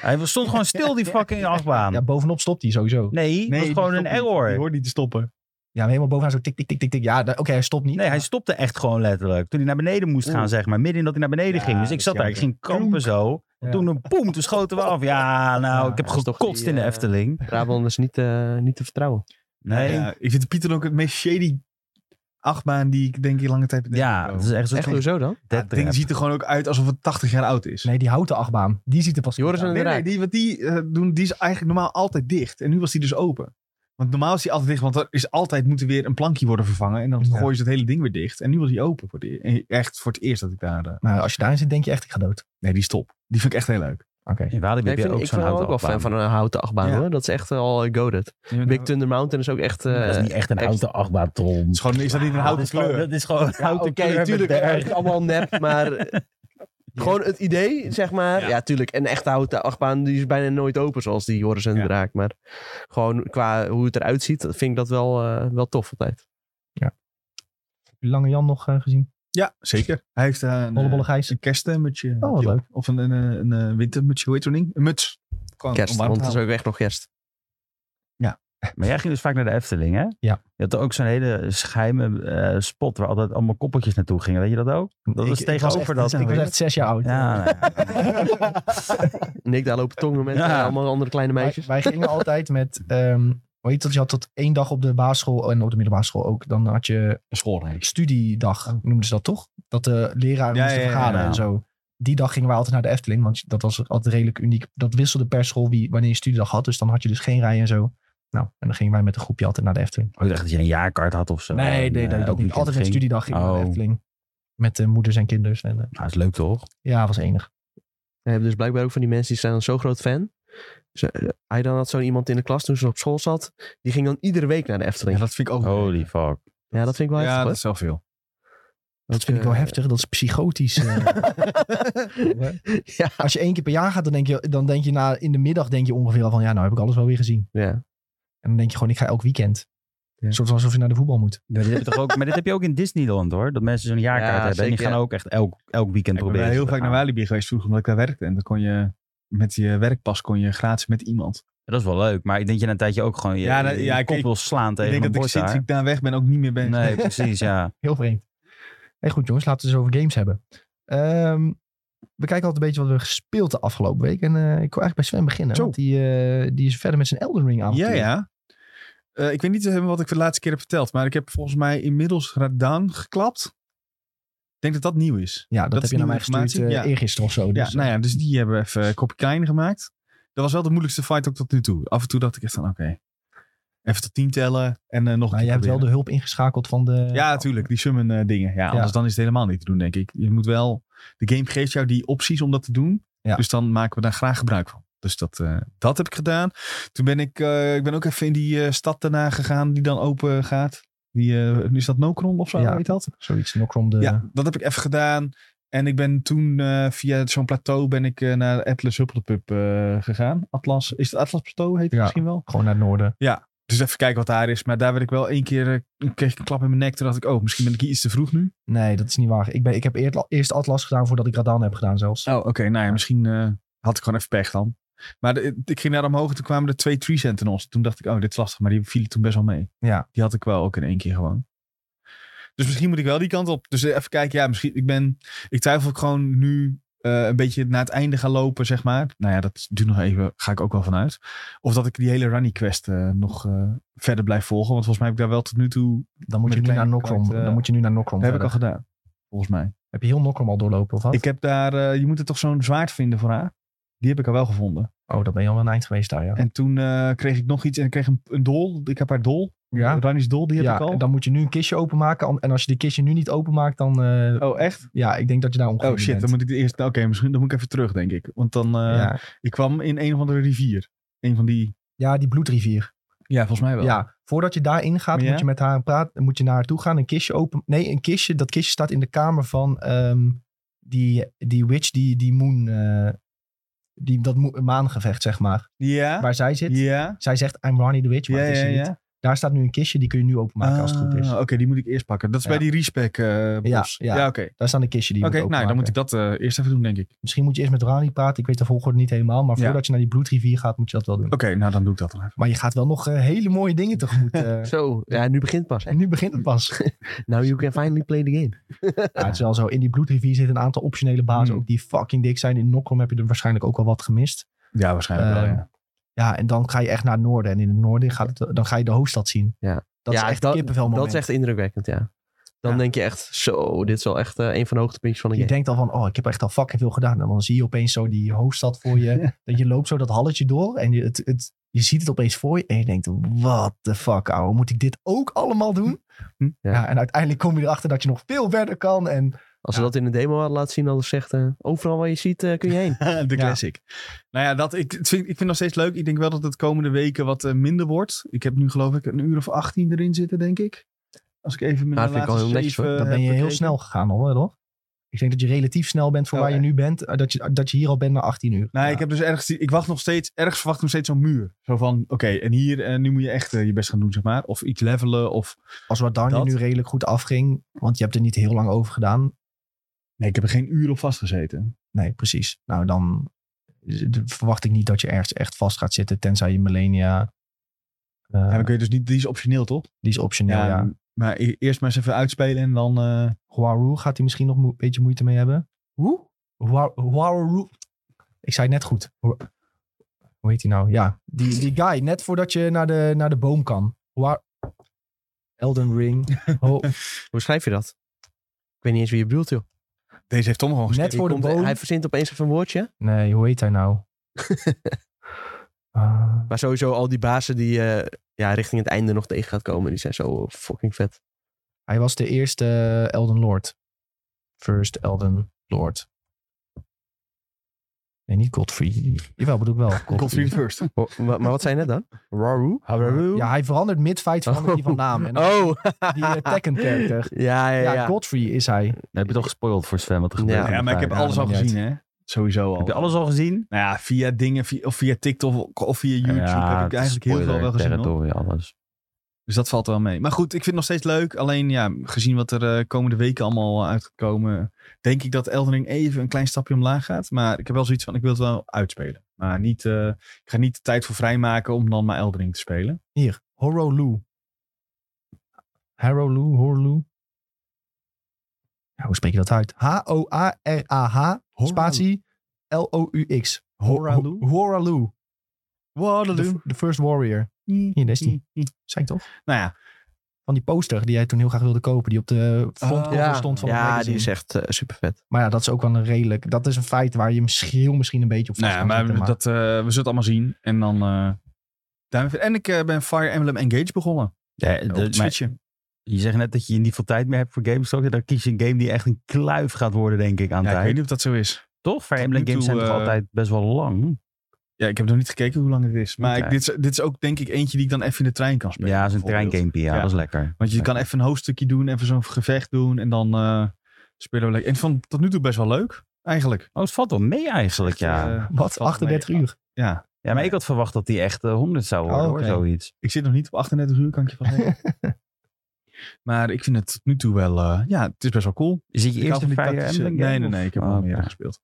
D: Hij was- stond gewoon stil, die fucking achtbaan.
A: Ja, bovenop stopt hij sowieso.
D: Nee, het
B: Nee,
D: was
B: die
D: gewoon een
B: stopt niet.
D: error.
B: Je hoort niet te stoppen.
A: Ja, maar helemaal bovenaan zo tik, tik, tik, tik, tik. Ja, da- oké, hij stopt niet.
D: Nee, hij stopte echt gewoon letterlijk. Toen hij naar beneden moest gaan,
B: Oeh.
D: zeg maar. Midden in dat hij naar beneden
B: Ja,
D: ging. Dus
B: dat
D: ik
B: is
D: zat daar, ik
B: jammer.
D: ging krampen zo.
A: Ja.
D: Toen een boem, toen schoten we af. Ja, nou,
A: Ja,
D: ik heb
C: dat is toch
D: gekotst
C: die,
D: in de
C: eh,
D: Efteling.
C: Rabon is niet, eh, niet te vertrouwen.
D: Nee. Ja,
B: Ja, ik vind de Python ook het meest shady achtbaan die ik denk in lange tijd bedenkt heb.
D: dat is echt zo'n
C: Echt,
D: soort
C: hoezo dan?
B: Ja,
D: dead
B: het ding
D: trap.
B: ziet er gewoon ook uit alsof het 80 jaar oud is.
A: Nee, die houten achtbaan. Die ziet er pas
C: Joris
A: goed
C: en-
A: uit.
B: Nee, nee, die, want die, eh, doen, die is eigenlijk normaal altijd dicht. En nu was die dus open. Want normaal is die altijd dicht, want er is altijd moet er weer een plankje worden vervangen. En dan
A: Ja.
B: gooien ze het hele ding weer dicht. En nu was die open. Voor de, en echt voor het eerst dat ik daar... eh,
A: Maar als je daarin zit, denk je echt, ik ga dood.
B: nee, die stop. Die vind ik echt heel leuk.
A: Oké.
D: In Walibi
C: Ja,
D: heb
C: ik
D: je
C: vind,
D: ook
C: ik
D: zo'n
C: ben
D: houten
C: ook wel fan
D: achtbaan.
C: van een houten achtbaan,
B: Ja.
C: hoor. Dat is echt eh, al goaded. Big Thunder Mountain is ook echt... eh,
D: Dat is niet echt een
C: echt-
D: houten achtbaan, Tom.
B: is, gewoon, is dat niet een
D: Ja,
B: houten
D: dat is gewoon-
B: kleur?
D: Dat is gewoon een houten
C: Oké,
D: kleur met
C: tuurlijk.
D: berg.
C: Het is allemaal nep, maar... eh, Gewoon het idee, zeg maar. Ja,
B: Ja.
C: tuurlijk. Een echte houten achtbaan die is bijna nooit open, zoals die Joris en de
B: Ja.
C: Draak. Maar gewoon qua hoe het eruit ziet, vind ik dat wel, eh, wel tof
B: Oh,
C: altijd.
A: Heb je Lange Jan nog eh, gezien?
B: Ja, zeker. Hij heeft eh, een,
A: Hollebolle
B: eh,
A: Gijs.
B: een kerstmutje.
A: Oh, wat leuk.
B: Of een, een, eh, een, eh, wintermutsje, hoe heet zo'n ding? Een muts. Gewoon
C: Kerst,
B: om warm te
C: want het is ook echt nog kerst.
D: Maar jij ging dus vaak naar de Efteling, hè?
A: Ja.
D: Je had ook zo'n hele geheime eh, spot waar altijd allemaal koppeltjes naartoe gingen. Weet je dat ook? Dat
A: Ik-
D: was
A: ik
D: tegenover
A: echt-
D: dat.
A: Ik was echt zes jaar oud.
D: Ja,
C: Nick daar lopen tongen met
D: Ja.
C: eh, allemaal andere kleine
A: Wij,
C: meisjes.
A: wij gingen altijd met... ehm hoe heet dat? Je had tot één dag op de basisschool en op de middelbare school ook. Dan had je
B: School, nee.
A: studiedag, noemden ze dat toch? Dat de leraren
B: Ja,
A: moesten
B: ja, ja,
A: vergaderen
D: ja.
A: en zo. Die dag gingen we altijd naar de Efteling, want dat was altijd redelijk uniek. Dat wisselde per school wie, wanneer je studiedag had, dus dan had je dus geen rij en zo. Nou, en dan gingen wij met een groepje altijd naar de Efteling.
D: ik dacht dat je een jaarkaart had of zo.
A: nee,
D: En,
A: nee,
D: eh,
A: dat,
D: ook
A: dat niet. Altijd met
D: ging.
A: studiedag gingen we naar
D: Oh.
A: de Efteling. Met de moeders en kinders. En, eh,
D: Nou, dat is leuk toch?
A: ja, was enig.
C: We hebben dus blijkbaar ook van die mensen die zijn dan zo groot fan. Ze- eh, Hij dan had zo'n iemand in de klas toen ze op school zat. Die ging dan iedere week naar de
B: Ja,
C: Efteling.
B: dat vind ik
A: Oh,
B: ook.
D: Holy fuck.
C: Ja, dat vind ik wel
B: ja,
C: heftig
B: dat
C: hoor.
B: is wel veel.
A: Dat vind ik wel
C: eh,
A: heftig. Dat is psychotisch. eh.
C: ja,
A: als je één keer per jaar gaat, dan denk je, dan denk je na, in de middag denk je ongeveer al van ja, nou heb ik alles wel weer gezien.
C: ja.
A: En dan denk je gewoon, ik ga elk weekend.
C: Ja.
A: Soort van alsof je naar de voetbal moet.
D: Maar dit, heb je toch ook, maar dit heb je ook in Disneyland hoor. Dat mensen zo'n jaarkaart
C: Ja,
D: hebben. en die
C: zeker,
D: gaan ook echt elk, elk weekend
B: Ik ben
D: proberen.
B: wel heel
D: te
B: vaak
D: gaan.
B: naar Walibi geweest vroeger, omdat ik daar werkte. En dan kon je met je werkpas kon je gratis met iemand.
D: Dat is wel leuk. Maar ik denk je na een tijdje ook gewoon je,
B: Ja, nou,
D: je
B: ja, ik-
D: kop
B: ik-
D: wil slaan tegen
B: ik denk
D: een
B: dat ik
D: bord
B: sinds
D: daar.
B: ik daar weg ben ook niet meer ben.
D: Nee, precies ja.
A: Heel vreemd. Hey, goed jongens, laten we het eens over games hebben. Ehm, we kijken altijd een beetje wat we gespeeld de afgelopen week. En eh, ik wil eigenlijk bij Sven beginnen.
B: Zo.
A: Want die, eh, die is verder met zijn Elden Ring aan.
B: Ja, ja. Eh, ik weet niet helemaal wat ik voor de laatste keer heb verteld. Maar ik heb volgens mij inmiddels Radan geklapt. Ik denk dat dat nieuw is.
A: ja dat,
B: Dat
A: heb
B: is
A: je naar mij
B: nieuwe
A: gestuurd eh
B: informatie, ja.
A: eergisteren of zo. Dus,
B: ja, nou ja, dus die hebben even een kopje kleiner gemaakt. Dat was wel de moeilijkste fight ook tot nu toe. Af en toe dacht ik echt van, oké. even tot tien tellen en eh, nog een
A: maar je
B: keer
A: hebt wel
B: proberen.
A: de hulp ingeschakeld van de...
B: Ja, natuurlijk. Die summon eh, dingen. Ja, anders dan is het helemaal niet te doen, denk ik. Je moet wel... De game geeft jou die opties om dat te doen.
A: Ja.
B: Dus dan maken we daar graag gebruik van. Dus dat, eh, dat heb ik gedaan. Toen ben ik, eh, ik ben ook even in die eh, stad daarna gegaan die dan open gaat. Die, eh, is dat Nokron of zo,
A: Ja.
B: heet dat?
A: Zoiets, Nokrom de...
B: Ja, dat heb ik even gedaan. En ik ben toen eh, via zo'n plateau ben ik eh, naar Atlas Huppelpub eh gegaan. Atlas, is het Atlas Plateau heet het
A: Ja.
B: misschien wel?
A: Gewoon naar het noorden.
B: Dus even kijken wat daar is. Maar daar werd ik wel één keer, eh, kreeg ik een klap in mijn nek. Toen dacht ik, oh, misschien ben ik hier iets te vroeg nu.
A: Nee, dat is niet waar. Ik, ben, ik heb eer- eerst Atlas gedaan voordat ik Radan heb gedaan zelfs.
B: Oh, oké. nou ja, misschien eh, had ik gewoon even pech dan. Maar de- ik ging naar omhoog en toen kwamen er twee tree centen ons. Toen dacht ik, oh, dit is lastig. Maar die vielen toen best wel mee.
A: Ja.
B: Die had ik wel ook in één keer gewoon. Dus misschien moet ik wel die kant op. Dus eh, even kijken. Ja, misschien. Ik ben. Ik twijfel ook gewoon nu eh, een beetje naar het einde gaan lopen, zeg maar. Nou ja, dat duurt nog even. Ga ik ook wel vanuit. Of dat ik die hele Runny Quest eh, nog eh, verder blijf volgen. Want volgens mij heb ik daar wel tot nu toe.
A: Dan moet,
B: Met
A: je nu
B: een
A: naar
B: kleine
A: Nokrom,
B: kwart, eh,
A: dan moet je nu naar Nokrom
B: Dat heb ik al
A: verder.
B: gedaan. Volgens mij.
A: Heb je heel Nokrom al doorlopen of wat?
B: Ik heb daar. eh, je moet er toch zo'n zwaard vinden voor haar. Die heb ik al wel gevonden.
A: Oh, dan ben je al wel een eind geweest daar, ja.
B: En toen eh, kreeg ik nog iets en ik kreeg een, een dol. Ik heb haar dol.
A: ja?
B: Rannies dol, die heb
A: ja,
B: ik al.
A: dan moet je nu een kistje openmaken. an- En als je die kistje nu niet openmaakt, dan... eh,
B: Oh, echt?
A: Ja, ik denk dat je daar ongeveer
B: Oh shit, dan
A: bent.
B: moet ik de eerste. Oké, misschien dan moet ik even terug, denk ik. Want dan. eh,
A: ja.
B: Ik kwam in een of andere rivier. Een van die.
A: ja, die bloedrivier.
B: Ja, volgens mij wel.
A: Ja, voordat je daarin gaat,
B: Ja?
A: moet je met haar praten. Moet je naar haar toe gaan, een kistje open... Nee, een kistje. Dat kistje staat in de kamer van ehm, die, die witch, die, die moon... eh, die, dat mo- maangevecht, zeg maar.
B: Ja.
A: Waar zij zit.
B: Ja.
A: Zij zegt, I'm Ronnie the Witch, maar
B: Ja,
A: het is
B: ja,
A: ze dus niet.
B: ja.
A: Daar staat nu een kistje, die kun je nu openmaken als het goed is.
B: Ah, Oké, die moet ik eerst pakken. Dat is
A: Ja.
B: bij die respec eh bos.
A: Ja, ja.
B: oké.
A: Daar staan de kistje die je
B: Oké,
A: moet
B: nou, dan moet
A: openmaken.
B: ik dat eh, eerst even doen, denk ik.
A: Misschien moet je eerst met Rani praten. Ik weet de volgorde niet helemaal. Maar
B: Ja.
A: voordat je naar die bloedrivier gaat, moet je dat wel doen.
B: Oké, nou, dan doe ik dat dan even.
A: Maar je gaat wel nog eh, hele mooie dingen tegemoet. eh.
C: Zo, ja, nu begint pas.
A: en nu begint het pas.
C: Now you can finally play the game.
A: Ja, het is wel zo. In die bloedrivier zitten een aantal optionele bazen.
B: Mm.
A: Ook die fucking dik zijn. In Nokrom heb je er waarschijnlijk ook al wat gemist.
B: Ja, waarschijnlijk wel.
A: Ehm,
B: Ja.
A: Ja, en dan ga je echt naar het noorden. En in het noorden gaat het, dan ga je de hoofdstad zien.
C: Ja.
A: Dat
C: ja,
A: is echt
C: dat,
A: kippenvel
C: Dat is echt indrukwekkend, ja. Dan
A: Ja.
C: denk je echt, zo, dit is wel echt eh, een van de hoogtepuntjes van de
A: Je
C: game.
A: denkt al van, oh, ik heb echt al fucking veel gedaan. En dan zie je opeens zo die hoofdstad voor je. dat je loopt zo dat halletje door. En je, het, het, je ziet het opeens voor je. En je denkt, what the fuck, ouwe. Moet ik dit ook allemaal doen?
B: Hm. Eh,
A: Ja.
C: Ja.
A: en uiteindelijk kom je erachter dat je nog veel verder kan. En
C: Als ze dat in een demo hadden laten zien, hadden ze gezegd, eh, overal waar je ziet, eh, kun je heen.
A: Ja.
B: de classic. Nou ja, dat, ik, het vind, ik vind het nog steeds leuk. Ik denk wel dat het komende weken wat eh, minder wordt. Ik heb nu geloof ik een uur of 18 erin zitten, denk ik. Als ik even mijn
C: Nou, dat vind ik
B: laatste
C: wel heel netjes,
B: zeven eh,
A: dan
B: heb
A: ben je heel
B: bekeken.
A: snel gegaan al, hè, toch? Ik denk dat je relatief snel bent voor
B: Oh,
A: waar je
B: echt?
A: nu bent. eh, Dat je, dat je hier al bent na 18 uur.
B: Nou,
A: Ja.
B: ik heb dus ergens, die- ik wacht nog steeds, ergens verwacht ik nog steeds zo'n muur. Zo van, oké, en hier, en nu moet je echt eh, je best gaan doen, zeg maar. Of iets levelen, of...
A: Als wat dan
B: dat.
A: nu redelijk goed afging. Want je hebt er niet heel lang over gedaan.
B: Nee, ik heb er geen uur op vastgezeten.
A: Nee, precies. Nou, dan eh, verwacht ik niet dat je ergens echt vast gaat zitten. Tenzij je Millennia... eh,
B: Ja, maar ik weet dus niet, die is optioneel, toch?
A: Die is optioneel, ja.
B: Maar e- eerst maar eens even uitspelen en dan... eh,
A: Huaru gaat hij misschien nog mo- een beetje moeite mee hebben.
B: Hoe?
A: Hua- Huaru. Ik zei het net goed. Hua- Hoe heet hij nou? Ja, die, die guy. Net voordat je naar de, naar de boom kan. Hua- Elden Ring. Ho-
C: Hoe schrijf je dat? Ik weet niet eens wie je bedoelt, joh.
B: Deze heeft Tom gewoon
A: net
B: geschreven.
A: voor de
C: Komt-
A: boom.
C: hij verzint opeens even een woordje.
A: Nee, hoe heet hij nou? Ah,
C: Maar sowieso al die bazen die eh, ja, richting het einde nog tegen gaat komen, die zijn zo fucking vet.
A: hij was de eerste eh, Elden Lord. First Elden Lord. Nee, niet Godfrey. Jawel, bedoel ik wel. Godfrey.
B: Godfrey first.
C: Ho- wa- maar, wat zei je net dan? Raru?
A: Ja, hij verandert mid-fight verandert hij van naam. En dan
C: Oh,
A: die eh, Tekken-character.
C: ja, ja,
A: Ja,
C: ja.
A: Godfrey is hij.
D: heb je toch gespoild voor Sven wat er
C: Ja.
D: gebeurt?
B: Ja, maar ik heb
A: Ja,
B: alles
A: dat
B: al
A: maakt niet
B: gezien, hè. Sowieso al.
D: Heb je alles al gezien?
B: Nou ja, via dingen, via, of via TikTok of via YouTube heb ik eigenlijk heel veel wel gezien. hoor.
D: Territorie, alles.
B: Dus dat valt wel mee. Maar goed, ik vind het nog steeds leuk. Alleen ja, gezien wat er eh, komende weken allemaal eh, uit gaat komen, denk ik dat Elden Ring even een klein stapje omlaag gaat. Maar ik heb wel zoiets van, ik wil het wel uitspelen. Maar niet, eh, ik ga niet de tijd voor vrijmaken om dan maar Elden Ring te spelen.
A: Hier, Horolu. Horolu, Horolu. Ja, hoe spreek je dat uit? H-O-A-R-A-H, spatie L-O-U-X.
B: Horolu?
A: Ho- Horolu. The,
B: Waterloo.
A: f- the First Warrior. Hier, deze is die. Zijn toch?
B: Nou ja,
A: Van die poster die jij toen heel graag wilde kopen. Die op de frontcover
B: Oh, ja.
A: stond van het
C: Ja,
A: magazine.
C: die is echt eh, super vet.
A: Maar ja, dat is ook wel een redelijk... Dat is een feit waar je misschien, heel misschien een beetje op vast
B: nou ja,
A: kan
B: maar
A: zetten, maar-
B: dat, eh, we zullen het allemaal zien. En dan... eh, daarmee verder. en ik eh, ben Fire Emblem Engage begonnen.
D: Ja,
B: Op
D: de-
B: het
D: maar
B: Switchje.
D: je zegt net dat je niet veel tijd meer hebt voor games. toch? Dan kies je een game die echt een kluif gaat worden, denk ik, aan
B: Ja, ik
D: tijd.
B: weet niet of dat zo is.
D: Toch? Fire
B: Tot
D: Emblem
B: nu
D: games
B: toe,
D: zijn toch
B: eh,
D: altijd best wel lang?
B: Ja, ik heb nog niet gekeken hoe lang het is. Maar
D: Oké.
B: ik, dit, is, dit is ook denk ik eentje die ik dan even in de trein kan spelen.
D: Ja, dat is een
B: bijvoorbeeld.
D: treingamepje. Ja,
B: Ja.
D: dat is lekker.
B: Want je kan even een hoofdstukje doen, even zo'n gevecht doen. En dan eh, spelen we lekker. En van tot nu toe best wel leuk, eigenlijk.
D: Oh, het valt wel mee eigenlijk, ja.
B: Eh,
A: Wat?
B: valt
A: 38
B: mee.
A: uur.
B: Ja.
D: Ja, maar ik had verwacht dat die echt eh, 100 zou worden,
A: Oh,
D: hoor,
A: oké.
D: zoiets.
B: Ik zit nog niet op 38 uur, kan ik je van zeggen. maar ik vind het tot nu toe wel... eh, ja, het is best wel cool.
D: Is het je
B: Ik hou
D: eerste
B: van die
D: Fire
B: tactische-
D: Emblem game,
B: Nee, nee,
D: of-
B: nee. Ik heb
D: Oh,
B: al
D: oké.
B: meer gespeeld.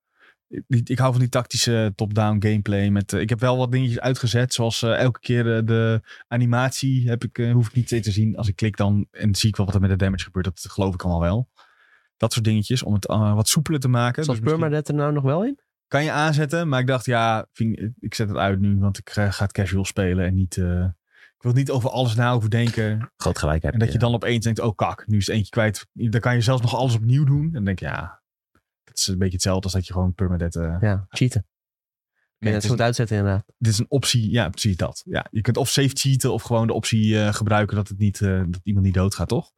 B: Ik, ik- ik hou van die tactische top-down gameplay. Met, eh, ik heb wel wat dingetjes uitgezet. Zoals eh, elke keer eh, de animatie heb ik, eh, hoef ik niet steeds te zien. Als ik klik dan en zie ik wel wat er met de damage gebeurt. Dat geloof ik allemaal wel. Dat soort dingetjes om het eh, wat soepeler te maken.
C: Zat
B: Dus misschien
C: Permadeath er nou nog wel in?
B: kan je aanzetten. Maar ik dacht, ja, vind ik- ik zet het uit nu. Want ik eh, ga het casual spelen en niet... eh, ik wil niet over alles na overdenken.
D: Groot gelijk heb
B: En dat je dan opeens denkt, oh kak, nu is het eentje kwijt. Dan kan je zelfs nog alles opnieuw doen. En dan denk je, ja, dat is een beetje hetzelfde als dat je gewoon permanent... eh,
C: Ja, cheaten.
B: nee,
C: Ja,
B: het
C: dat is
B: is-
C: goed uitzetten inderdaad.
B: dit is een optie, ja, precies dat. Ja, je kunt of safe cheaten of gewoon de optie eh, gebruiken dat, het niet, eh, dat iemand niet doodgaat, toch?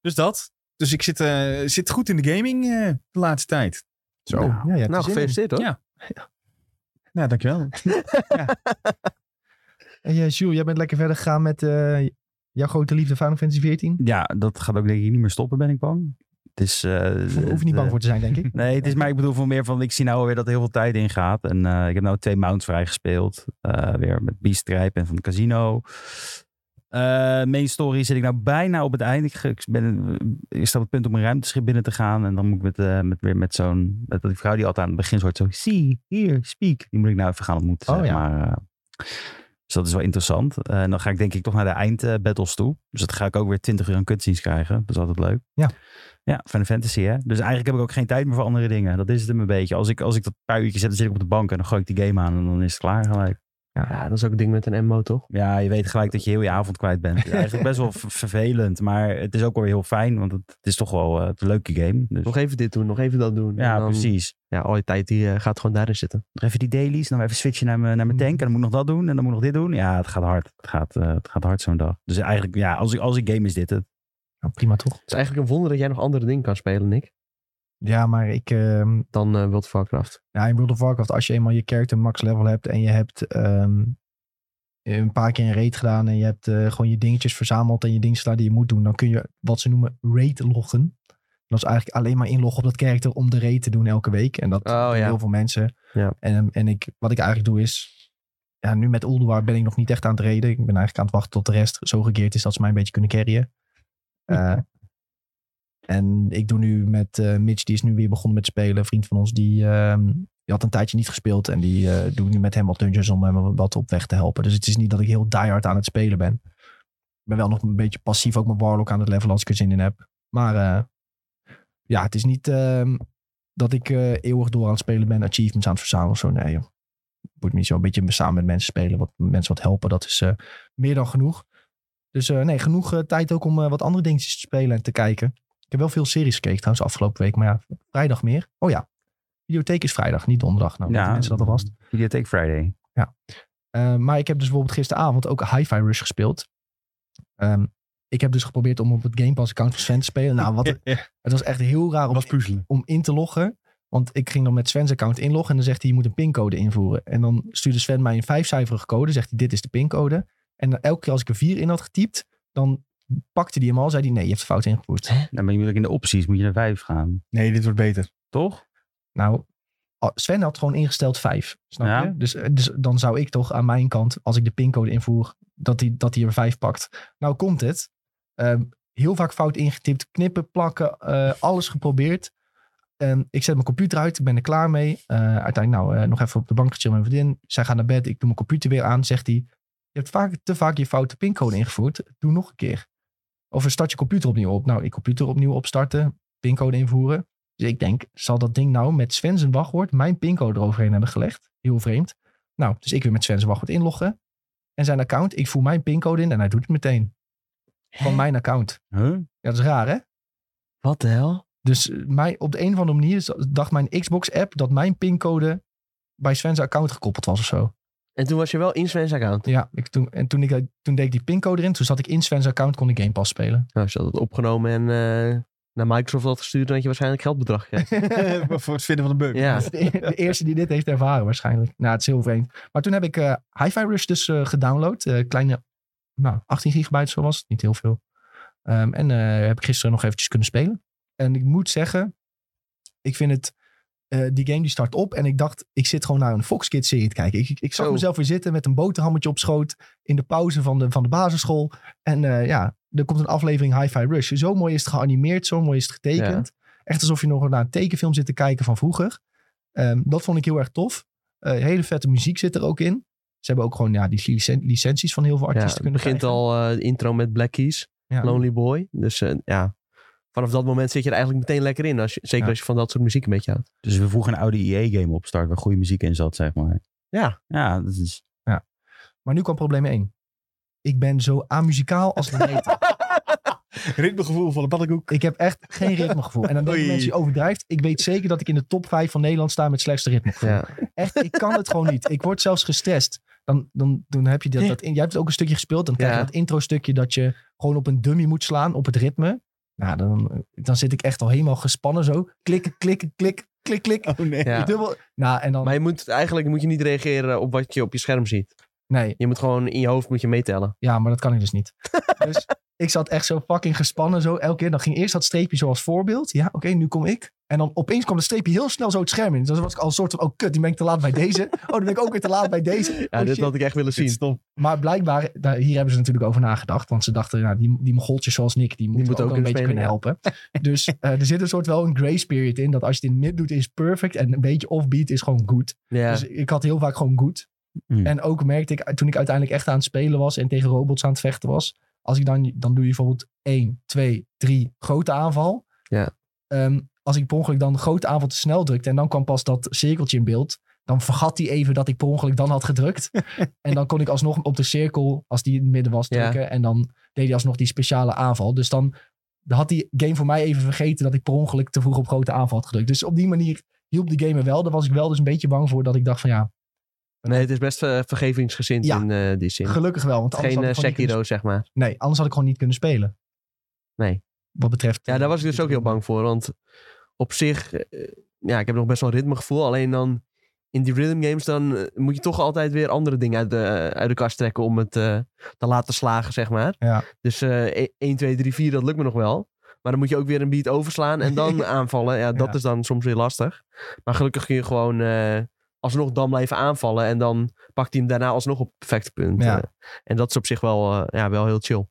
B: Dus dat. Dus ik zit, eh, zit goed in de gaming eh, de laatste tijd.
A: Zo. Ja, ja,
C: Nou,
A: gefeest.
C: gefeliciteerd hoor.
B: Ja. Nou, dankjewel.
A: En eh, Jules, jij bent lekker verder gegaan met eh, jouw grote liefde Final Fantasy 14.
D: Ja, dat gaat ook denk ik niet meer stoppen, ben ik bang. Het is... eh,
A: Daar hoef je niet
D: de-
A: bang voor te zijn, denk ik.
D: Nee, het is maar ik bedoel van meer van ik zie nou alweer dat er heel veel tijd in gaat. En eh, ik heb nou twee mounts vrijgespeeld. Eh weer met Beastripe en van het casino. Eh, main story zit ik nou bijna op het eind. Ik, ge- ik ben ik sta op het punt om een ruimteschip binnen te gaan. En dan moet ik met, eh, met, weer met zo'n... Met die vrouw die altijd aan het begin soort zo... See, here, speak. Die moet ik nou even gaan ontmoeten,
A: Oh,
D: zeg
A: ja.
D: maar. eh. dus dat is wel interessant. Eh, en dan ga ik denk ik toch naar de eindbattles toe. Dus dat ga ik ook weer 20 uur aan cutscenes krijgen. Dat is altijd leuk. Ja, Final Fantasy, hè. Dus eigenlijk heb ik ook geen tijd meer voor andere dingen. Dat is het hem een beetje. Als ik, als ik dat paar uurtjes heb, dan zit ik op de bank en dan gooi ik die game aan en dan is het klaar gelijk.
C: Ja, dat is ook een ding met een MMO toch?
D: Ja, je weet gelijk dat je heel je avond kwijt bent. Ja, Eigenlijk best wel ver- vervelend, maar het is ook wel weer heel fijn, want het, het is toch wel eh, het een leuke game. Dus,
C: Nog even dit doen, nog even dat doen.
D: ja,
C: En dan-
D: precies.
C: Ja, al je tijd die eh, gaat gewoon daarin zitten.
D: Nog even die dailies, dan weer even switchen naar mijn, naar
A: Hmm.
D: mijn tank en dan moet ik nog dat doen en dan moet ik nog dit doen. Ja, het gaat hard. Het gaat, eh, het gaat hard zo'n dag. Dus eigenlijk, ja, als ik, als ik game is dit het.
A: Nou, prima toch?
C: Het is eigenlijk een wonder dat jij nog andere dingen kan spelen, Nick,
A: Ja, maar ik, ehm,
C: dan eh World of Warcraft.
A: Ja, in World of Warcraft, als je eenmaal je character max level hebt en je hebt ehm, een paar keer een raid gedaan en je hebt eh, gewoon je dingetjes verzameld en je dingen gedaan die je moet doen, dan kun je wat ze noemen raid loggen. En dat is eigenlijk alleen maar inloggen op dat character om de raid te doen elke week. En dat
C: Oh,
A: doen
C: ja.
A: heel veel mensen.
C: Ja.
A: En, ehm, en ik, wat ik eigenlijk doe is, ja, nu met Ulduar ben ik nog niet echt aan het reden. Ik ben eigenlijk aan het wachten tot de rest zo gekeerd is dat ze mij een beetje kunnen carryen. Eh, en ik doe nu met eh, Mitch, die is nu weer begonnen met spelen. Een vriend van ons, die, ehm, die had een tijdje niet gespeeld. En die eh doe ik nu met hem wat dungeons om hem wat op weg te helpen. Dus het is niet dat ik heel diehard aan het spelen ben. Ik ben wel nog een beetje passief ook mijn Warlock aan het levelen als ik er zin in heb. Maar eh, ja, het is niet ehm, dat ik eh, eeuwig door aan het spelen ben. Achievements aan het verzamelen of zo. Nee joh. Moet niet zo een beetje samen met mensen spelen. Wat, mensen wat helpen, dat is eh, meer dan genoeg. Dus eh, nee, genoeg eh, tijd ook om eh, wat andere dingetjes te spelen en te kijken. Ik heb wel veel series gekeken trouwens afgelopen week. Maar ja, vrijdag meer. Oh ja, videotheek is vrijdag, niet donderdag. Nou, weten mensen dat alvast.
D: Videotheek Friday.
A: Eh, maar ik heb dus bijvoorbeeld gisteravond ook Hi-Fi Rush gespeeld. Ehm, ik heb dus geprobeerd om op het Game Pass account van Sven te spelen. Nou, wat, het was echt heel raar om,
B: was puzzelen.
A: om in te loggen. Want ik ging dan met Sven's account inloggen en dan zegt hij, je moet een pincode invoeren. En dan stuurde Sven mij een vijfcijferige code, zegt hij, dit is de pincode. En dan elke keer als ik er vier in had getypt, dan pakte hij hem al, zei hij, nee, je hebt fout ingevoerd.
D: Nou, maar je moet ook in de opties, moet je naar vijf gaan.
B: Nee, dit wordt beter.
D: Toch?
A: Nou, a- Sven had gewoon ingesteld 5. Snap
D: Ja.
A: je? Dus, eh, dus dan zou ik toch aan mijn kant, als ik de pincode invoer, dat hij dat die er 5 pakt. Nou komt het. Ehm, heel vaak fout ingetipt, knippen, plakken, eh, alles geprobeerd. Ehm, ik zet mijn computer uit, ik ben er klaar mee. Eh, uiteindelijk nou, eh, nog even op de bank gechillen met mijn vriendin. Zij gaat naar bed, ik doe mijn computer weer aan. Zegt hij, je hebt vaak, te vaak je foute pincode ingevoerd. Doe nog een keer. Of start je computer opnieuw op. Nou, ik computer opnieuw opstarten, pincode invoeren. Dus ik denk, zal dat ding nou met Sven zijn wachtwoord mijn pincode eroverheen hebben gelegd? Heel vreemd. Nou, dus ik weer met Sven zijn wachtwoord inloggen. En zijn account, ik voer mijn pincode in en hij doet het meteen. Van mijn account.
D: Huh?
A: Ja, dat is raar hè?
C: Wat de hel?
A: Dus eh, mij, op de een of andere manier z- dacht mijn Xbox-app dat mijn pincode bij Sven's account gekoppeld was of zo.
C: En toen was je wel in Sven's account.
A: Ja, ik, toen, en toen, ik, toen deed ik die pincode erin. Toen zat ik in Sven's account, kon ik Game Pass spelen.
C: Nou, ze had het opgenomen en eh, naar Microsoft had gestuurd, dan had je waarschijnlijk geldbedrag krijgt.
B: voor het vinden van de bug.
C: ja.
A: Dat is e-, de, de eerste die dit heeft ervaren waarschijnlijk. Nou, het is heel vreemd. Maar toen heb ik eh Hi-Fi Rush dus eh, gedownload. Eh, kleine, nou, 18 gigabyte zo was het. Niet heel veel. Ehm, en eh, heb ik gisteren nog eventjes kunnen spelen. En ik moet zeggen, ik vind het... eh, die game die start op en ik dacht, ik zit gewoon naar een Fox Kids serie te kijken. Ik, ik, ik zag
C: Zo.
A: mezelf weer zitten met een boterhammetje op schoot in de pauze van de, van de basisschool. En eh, ja, er komt een aflevering Hi-Fi Rush. Zo mooi is het geanimeerd, zo mooi is het getekend. Echt alsof je nog naar een tekenfilm zit te kijken van vroeger. Ehm, dat vond ik heel erg tof. Eh, hele vette muziek zit er ook in. Ze hebben ook gewoon ja, die licen- licenties van heel veel
C: Ja,
A: artiesten
C: het
A: kunnen
C: begint al eh, de intro met Black Keys,
A: krijgen. Ja.
C: Lonely Boy. Dus eh, ja, vanaf dat moment zit je er eigenlijk meteen lekker in. Als je, zeker
A: Ja.
C: als je van dat soort muziek een beetje houdt.
D: Dus we voegen een oude EA-game op start waar goede muziek in zat, zeg maar.
C: Ja.
D: Ja, dat is...
A: Maar nu kwam probleem 1. Ik ben zo amuzikaal als een meter.
B: Ritmegevoel van de paddenkoek.
A: ik heb echt geen ritmegevoel. En dan denken
B: Oei.
A: mensen, je overdrijft. Ik weet zeker dat ik in de top 5 van Nederland sta met slechtste ritmegevoel.
C: ja.
A: Echt, ik kan het gewoon niet. Ik word zelfs gestrest. Dan, dan, dan heb je dat, dat in. Jij hebt ook een stukje gespeeld. Dan krijg je
C: Ja.
A: dat intro-stukje dat je gewoon op een dummy moet slaan op het ritme. Nou, dan, dan zit ik echt al helemaal gespannen zo. Klikken, klikken, klik, klik, klik.
B: Oh nee.
C: Ja.
A: Dubbel. Nou, en dan.
C: Maar je moet, eigenlijk moet je niet reageren op wat je op je scherm ziet.
A: Nee,
C: Je moet gewoon in je hoofd moet je meetellen.
A: ja, maar dat kan ik dus niet. dus ik zat echt zo fucking gespannen. Zo elke keer. Dan ging eerst dat streepje zo als voorbeeld. Ja, oké, nu kom ik. En dan opeens kwam dat streepje heel snel zo het scherm in. Dus dan was ik al een soort van: oh kut, die ben ik te laat bij deze. Oh, dan ben ik ook weer te laat bij deze. Oh,
C: Ja, dit
A: shit.
C: had ik echt willen zien.
B: Stom.
A: Maar blijkbaar, daar, hier hebben ze natuurlijk over nagedacht. Want ze dachten, nou, die, die mogoltjes zoals Nick, die moeten ook,
C: moet ook
A: wel een
C: kunnen
A: beetje kunnen
C: spelen,
A: helpen. Dus eh, er zit een soort wel een grace period in. Dat als je dit mid doet, is perfect. En een beetje offbeat is gewoon goed.
C: Ja.
A: Dus ik had heel vaak gewoon goed.
D: Mm.
A: En ook merkte ik, toen ik uiteindelijk echt aan het spelen was en tegen robots aan het vechten was. Als ik dan, dan doe je bijvoorbeeld 1, 2, 3, grote aanval.
C: Ja.
A: Ehm, als ik per ongeluk dan grote aanval te snel drukte en dan kwam pas dat cirkeltje in beeld. Dan vergat hij even dat ik per ongeluk dan had gedrukt. en dan kon ik alsnog op de cirkel, als die in het midden was,
C: Ja.
A: drukken. En dan deed hij alsnog die speciale aanval. Dus dan had die game voor mij even vergeten dat ik per ongeluk te vroeg op grote aanval had gedrukt. Dus op die manier hielp de game me wel. Daar was ik wel dus een beetje bang voor dat ik dacht van ja,
C: Nee, het is best eh, vergevingsgezind
A: Ja.
C: in eh, die zin.
A: Gelukkig wel, want anders
C: Geen
A: had
C: eh,
A: ik gewoon niet
C: Sekiro, zeg maar.
A: kunnen- Nee, anders had ik gewoon niet kunnen spelen.
C: Nee.
A: Wat betreft...
C: Ja, daar was ik dus
A: dit
C: ook heel
A: ritme.
C: bang voor. Want op zich, eh, ja, ik heb nog best wel een ritmegevoel. Alleen dan in die rhythm games, dan eh, moet je toch altijd weer andere dingen uit de, uit de kast trekken om het eh, te laten slagen, zeg maar.
A: Ja.
C: Dus eh 1, 2, 3, 4, dat lukt me nog wel. Maar dan moet je ook weer een beat overslaan en dan aanvallen. Ja, dat
A: Ja.
C: is dan soms weer lastig. Maar gelukkig kun je gewoon eh, alsnog dan blijven aanvallen. En dan pakt hij hem daarna alsnog op het perfecte punt.
A: Ja.
C: Eh, en dat is op zich wel, eh, ja, wel heel chill.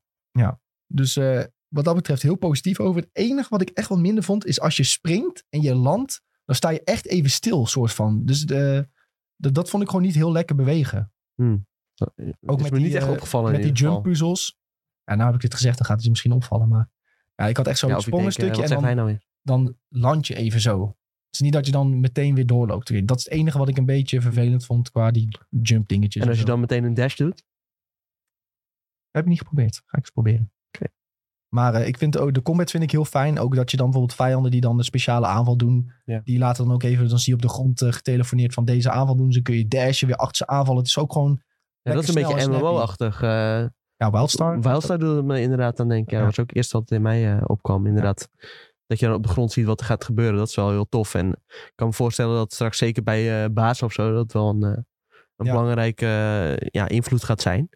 A: Dus eh, wat dat betreft heel positief over. Het enige wat ik echt wat minder vond, is als je springt en je landt, dan sta je echt even stil, soort van. Dus de, de- dat vond ik gewoon niet heel lekker bewegen.
C: Ook is
A: met die,
C: me niet echt
A: eh,
C: opgevallen
A: Met
C: Oh, in
A: die
C: ieder geval.
A: jump-puzzels. Ja, nou heb ik dit gezegd, dan gaat het je misschien opvallen, maar... Ja, ik had echt zo'n
C: Ja, of je denkt, eh,
A: sprongenstukje en
C: Wat zegt
A: dan
C: hij nou weer?
A: dan land je even zo. Het is niet dat je dan meteen weer doorloopt. Dat is het enige wat ik een beetje vervelend vond qua die jump dingetjes.
C: En als je
A: zo.
C: dan meteen een dash doet?
A: Heb ik niet geprobeerd. Ga ik eens proberen.
C: Oké.
A: Maar eh, ik vind ook, de combat vind ik heel fijn. Ook dat je dan bijvoorbeeld vijanden die dan een speciale aanval doen.
C: Ja.
A: Die laten dan ook even, dan zie je op de grond eh, getelefoneerd van deze aanval doen. Ze kun je dashen, weer achter ze aanvallen. Het is ook gewoon,
C: Ja, dat is een
A: Lekker
C: beetje
A: snel en
C: MMO-achtig. eh
A: ja, Wildstar.
C: Wildstar doet me eh, inderdaad aan denken. Ja,
A: Ja.
C: Dat was ook eerst wat in mij eh, opkwam. Inderdaad, dat je dan op de grond ziet wat er gaat gebeuren. Dat is wel heel tof. En ik kan me voorstellen dat straks zeker bij eh baas of zo... dat wel een, eh, een
A: Ja.
C: belangrijke eh, ja, invloed gaat zijn.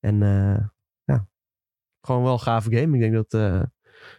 C: En eh, ja, gewoon wel een gave game. Ik denk dat... eh,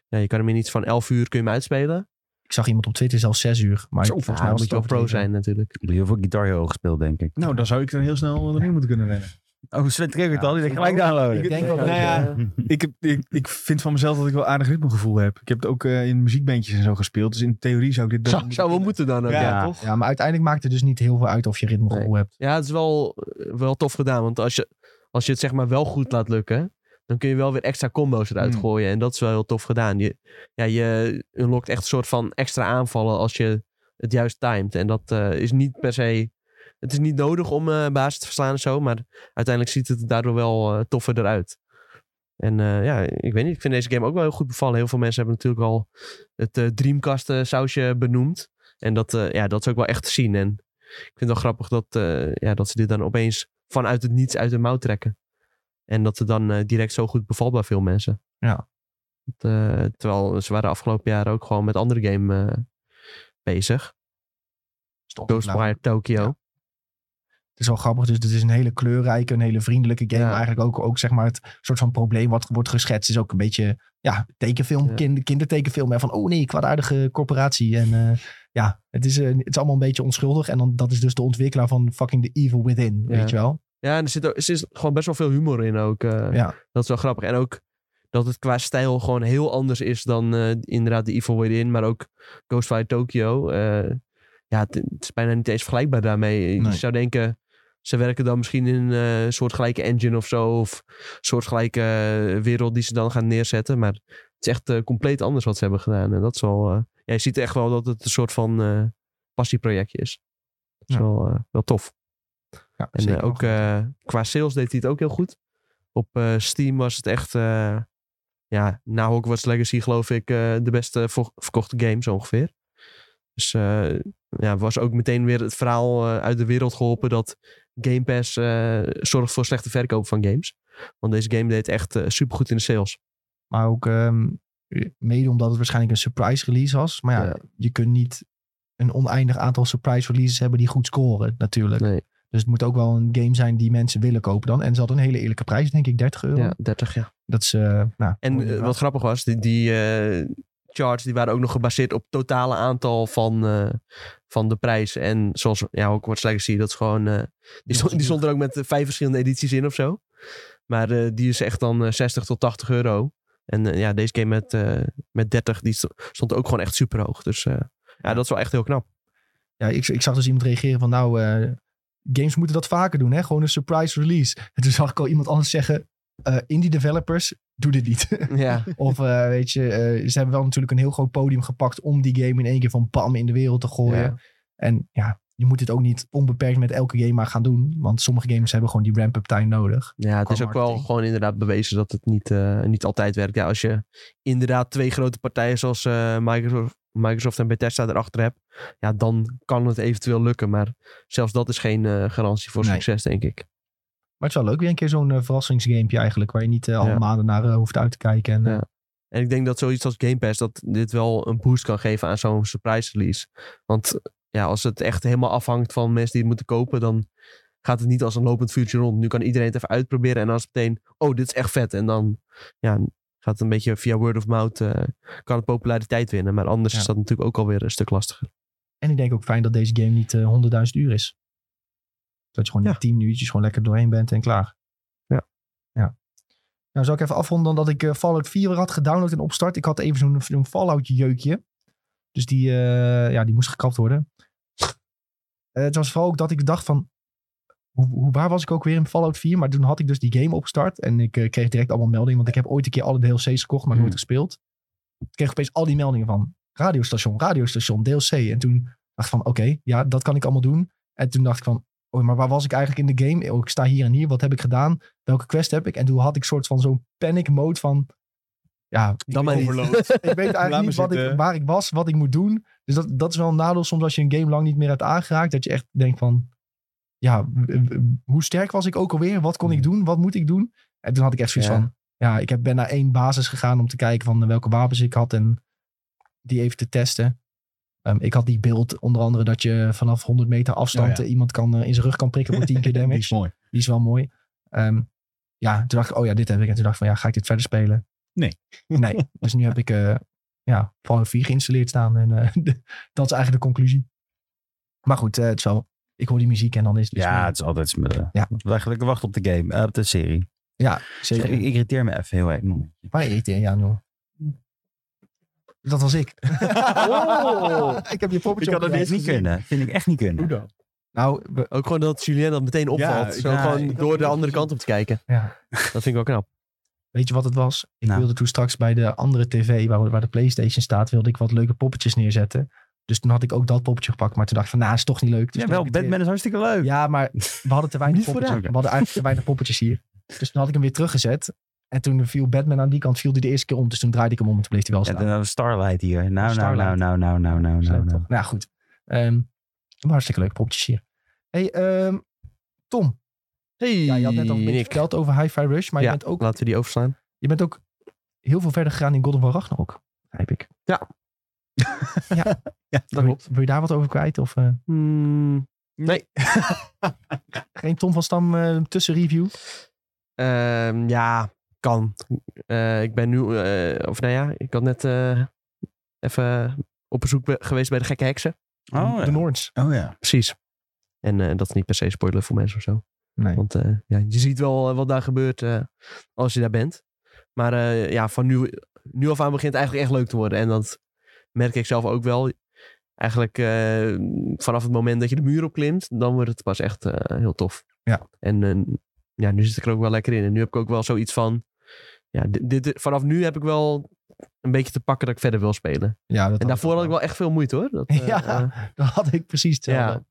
C: ja, je kan hem in iets van 11 uur kun je hem uitspelen.
A: Ik zag iemand op Twitter zelfs 6 uur. Maar
B: Zo,
A: volgens
C: Ja,
A: mij
C: dan
A: was
C: moet
A: het
C: je wel pro
A: overdreven.
C: zijn natuurlijk.
D: Ik heb heel veel Guitar Hero gespeeld, denk ik.
B: Nou, dan zou ik er heel snel doorheen moeten kunnen rennen.
D: Oh, Sven triggert
A: Ja,
D: al. Die denkt
A: ik
D: gelijk
A: ook.
D: downloaden.
A: Ik denk wel
B: Nou
A: dat
B: ja.
A: je-
C: eh,
B: Ik, heb, ik, ik vind van mezelf dat ik wel aardig ritmegevoel heb. Ik heb het ook eh, in muziekbandjes en zo gespeeld. Dus in theorie zou ik dit best
C: zou, zou wel moeten dan ook,
B: Ja,
C: ja.
D: Ja.
B: toch?
A: Ja, maar uiteindelijk maakt het dus niet heel veel uit of je ritmegevoel hebt.
C: Ja, het is wel, eh, wel tof gedaan. Want als je, als je het zeg maar wel goed laat lukken, dan kun je wel weer extra combo's eruit
B: Mm.
C: gooien. En dat is wel heel tof gedaan. Je, ja, je unlockt echt een soort van extra aanvallen als je het juist timed. En dat eh, is niet per se. Het is niet nodig om eh baas te verslaan en zo. Maar uiteindelijk ziet het daardoor wel eh, toffer eruit. En eh, ja, ik weet niet. Ik vind deze game ook wel heel goed bevallen. Heel veel mensen hebben natuurlijk al het eh, Dreamcast eh, sausje benoemd. En dat, eh, ja, dat is ook wel echt te zien. En ik vind het wel grappig dat, eh, ja, dat ze dit dan opeens vanuit het niets uit de mouw trekken. En dat het dan eh, direct zo goed bevalt bij veel mensen. Dat, eh, terwijl ze waren afgelopen jaar ook gewoon met andere game eh, bezig.
A: Stop. Nou,
C: Ghostwire Tokyo.
A: Ja. het is wel grappig. Dus het is een hele kleurrijke, een hele vriendelijke game.
C: Ja.
A: Maar eigenlijk ook, ook zeg maar het soort van probleem wat wordt geschetst. Is ook een beetje ja, tekenfilm,
C: Ja.
A: kinder, kindertekenfilm. En van oh nee, kwaadaardige corporatie. En eh, ja, het is, eh, het is allemaal een beetje onschuldig. En dan, dat is dus de ontwikkelaar van fucking The Evil Within.
C: Ja.
A: Weet je wel?
C: Ja, en er zit, ook, er zit gewoon best wel veel humor in ook. eh.
A: Ja.
C: Dat is wel grappig. En ook dat het qua stijl gewoon heel anders is dan eh, inderdaad de Evil Within, maar ook Ghostfire Tokyo. Eh, ja, het, het is bijna niet eens vergelijkbaar daarmee. Je
A: Nee.
C: zou denken, ze werken dan misschien in een eh, soortgelijke engine of zo, of soortgelijke eh, wereld die ze dan gaan neerzetten. Maar het is echt eh, compleet anders wat ze hebben gedaan. En dat is wel, eh, ja, je ziet echt wel dat het een soort van eh, passieprojectje is. Dat is
A: Ja.
C: wel, eh, wel tof.
A: Ja,
C: En
A: zeker
C: eh,
A: wel
C: ook
A: goed.
C: eh, qua sales deed hij het ook heel goed. Op eh, Steam was het echt, eh, ja, na Hogwarts Legacy geloof ik, eh, de beste vo- verkochte game zo ongeveer. Dus eh, ja, was ook meteen weer het verhaal eh, uit de wereld geholpen dat Game Pass eh, zorgt voor slechte verkoop van games. Want deze game deed echt super supergoed in de sales.
A: Maar ook ehm, mede omdat het waarschijnlijk een surprise release was. Maar ja,
C: Ja.
A: je kunt niet een oneindig aantal surprise releases hebben die goed scoren natuurlijk.
C: Nee.
A: Dus het moet ook wel een game zijn die mensen willen kopen dan. En ze hadden een hele eerlijke prijs, denk ik, 30 euro.
C: Ja, 30 ja.
A: Dat is, eh, nou,
C: En eh, wat grappig was, die, die eh, charts die waren ook nog gebaseerd op totale aantal van, eh, van de prijs. En zoals ja, Hogwarts Legacy, dat is gewoon... eh, die, stond, die stond er ook met eh, vijf verschillende edities in of zo. Maar eh, die is echt dan eh, 60 tot 80 euro. En eh, ja, deze game met, eh, met 30, die sto- stond ook gewoon echt super hoog. Dus eh, ja, dat is wel echt heel knap.
A: Ja, ik, ik zag dus iemand reageren van nou, eh, games moeten dat vaker doen hè. Gewoon een surprise release. En toen zag ik al iemand anders zeggen, eh, indie developers, doe dit niet.
C: Ja,
A: Of eh, weet je, eh, ze hebben wel natuurlijk een heel groot podium gepakt om die game in één keer van bam in de wereld te gooien.
C: Ja.
A: En ja, je moet dit ook niet onbeperkt met elke game maar gaan doen. Want sommige games hebben gewoon die ramp-up time nodig.
C: ja het
A: Qua
C: is ook wel
A: marketing.
C: gewoon inderdaad bewezen dat het niet, eh, niet altijd werkt. Ja, als je inderdaad twee grote partijen zoals eh, Microsoft, Microsoft en Bethesda erachter hebt, ja, dan kan het eventueel lukken. Maar zelfs dat is geen eh, garantie voor
A: Nee.
C: succes, denk ik.
A: Maar het is wel leuk, weer een keer zo'n eh, verrassingsgamepje eigenlijk. Waar je niet eh, al
C: Ja.
A: maanden naar eh, hoeft uit te kijken. En, eh,
C: Ja. En ik denk dat zoiets als Game Pass dat dit wel een boost kan geven aan zo'n surprise release. Want ja, als het echt helemaal afhangt van mensen die het moeten kopen, dan gaat het niet als een lopend vuurtje rond. Nu kan iedereen het even uitproberen en dan is het meteen, oh, dit is echt vet. En dan ja, gaat het een beetje via word of mouth, eh, kan het populariteit winnen. Maar anders
A: Ja.
C: is dat natuurlijk ook alweer een stuk lastiger.
A: en ik denk ook fijn dat deze game niet eh, 100.000 uur is. Dat je gewoon
C: Ja.
A: in 10 minuutjes gewoon lekker doorheen bent en klaar.
C: Ja.
A: ja. Nou, zal ik even afronden dan dat ik eh, Fallout 4 had gedownload en opstart. Ik had even zo'n zo'n Fallout jeukje. Dus die, eh, ja, die moest gekapt worden. Eh, het was vooral ook dat ik dacht van... Hoe, hoe, waar was ik ook weer in Fallout 4? Maar toen had ik dus die game opgestart. En ik eh, kreeg direct allemaal meldingen. Want ik heb ooit een keer alle DLC's gekocht, maar nooit
C: Hmm.
A: gespeeld. Ik kreeg opeens al die meldingen van... Radiostation, radiostation, DLC. En toen dacht ik van, oké, ja, dat kan ik allemaal doen. En toen dacht ik van, oh, maar waar was ik eigenlijk in de game? Oh, ik sta hier en hier. Wat heb ik gedaan? Welke quest heb ik? En toen had ik soort van zo'n panic mode van... Ja,
C: Dan maar niet.
A: ik weet
B: Laat
A: eigenlijk
B: me
A: niet wat ik,
B: zitten.
A: waar ik was, wat ik moet doen. Dus dat, dat is wel een nadeel soms als je een game lang niet meer hebt aangeraakt. Dat je echt denkt van, ja, w- w- hoe sterk was ik ook alweer? Wat kon ik
B: Hmm.
A: doen? Wat moet ik doen? En toen had ik echt zoiets
C: Ja.
A: van, ja, ik heb, ben naar één basis gegaan om te kijken van eh, welke wapens ik had en die even te testen. Ehm, ik had die beeld onder andere dat je vanaf 100 meter afstand
B: Oh ja.
A: eh, iemand kan, eh, in zijn rug kan prikken voor 10 keer damage.
B: Die is mooi.
A: Die is wel mooi. Ehm, ja, toen dacht ik, oh ja, dit heb ik. En toen dacht ik van, ja, ga ik dit verder spelen?
B: Nee.
A: Nee. Dus nu heb ik eh ja, Fallout 4 geïnstalleerd staan. En eh, dat is eigenlijk de conclusie. Maar goed, eh, het is wel... Ik hoor die muziek en dan is het dus weer
D: Ja,
A: smullen.
D: het is altijd smullen.
A: Ja.
D: Eigenlijk wacht op de game, eh, op de serie.
A: Ja,
D: Ik
A: zeker.
D: irriteer me even heel erg.
A: Waar irriteer je aan, joh? Dat was ik.
C: Oh.
A: ik heb je poppetje
D: kan dat
A: opgelegd.
D: niet kunnen. Vind ik echt niet kunnen.
B: dan?
A: Nou, we-
C: Ook gewoon dat Julien dat meteen opvalt.
B: Ja,
C: Zo
D: ja, ik
C: gewoon
B: had
C: door
B: het
C: de
B: niet
C: andere
B: gezien.
C: kant op te kijken.
A: ja.
C: Dat vind ik wel knap.
A: Weet je wat het was? Ik
D: Nou.
A: wilde toen straks bij de andere tv, waar, waar de Playstation staat, wilde ik wat leuke poppetjes neerzetten. Dus toen had ik ook dat poppetje gepakt. Maar toen dacht ik van, nou, is toch niet leuk. Dus
D: Ja,
A: toen
D: wel,
A: heb ik het
D: Batman is hartstikke leuk.
A: weer- Ja, maar we hadden te weinig
D: Niet voor
A: poppetjes.
D: de-
A: We hadden eigenlijk te weinig poppetjes hier. Dus toen had ik hem weer teruggezet. En toen viel Batman aan die kant, viel die de eerste keer om. Dus toen draaide ik hem om en toen bleef hij wel
D: Ja,
A: staan.
D: dan Starlight hier. Nou, nou, nou,
A: Starlight.
D: nou, nou, nou, nou, nou, nou.
A: Nou ja, goed. Ehm, maar hartstikke leuk poppetjes hier. hey, ehm, Tom.
C: Hey,
A: Ja, je had net al een beetje
C: Nick.
A: verteld over Hi-Fi Rush. Maar
C: Ja,
A: je, bent ook,
C: Laten we die overslaan.
A: je bent ook heel veel verder gegaan in God of War Ragnarok, begrijp ik.
C: Dat
A: Wil-
C: klopt.
A: Wil je daar wat over kwijt? Of eh,
C: Hmm, nee.
A: geen Tom van Stam eh tussenreview?
C: Ehm, ja, kan. Eh, ik ben nu, eh, of nou ja, ik had net eh, even op bezoek be- geweest bij de gekke heksen.
D: Oh,
A: De
D: ja.
A: Noords.
B: Oh ja.
C: Precies. En eh, dat is niet per se spoiler voor mensen of zo.
A: Nee.
C: Want eh, ja, je ziet wel eh, wat daar gebeurt eh, als je daar bent. Maar eh, ja, van nu, nu af aan begint het eigenlijk echt leuk te worden. En dat merk ik zelf ook wel. Eigenlijk eh, vanaf het moment dat je de muur opklimt, dan wordt het pas echt eh, heel tof.
A: Ja.
C: En eh, ja, nu zit ik er ook wel lekker in. En nu heb ik ook wel zoiets van, ja, dit, dit- vanaf nu heb ik wel een beetje te pakken dat ik verder wil spelen.
A: Ja, dat
C: En daarvoor had ik wel echt veel moeite hoor. Dat, eh,
A: Ja.
C: eh,
A: Dat had ik precies hetzelfde.
C: Ja.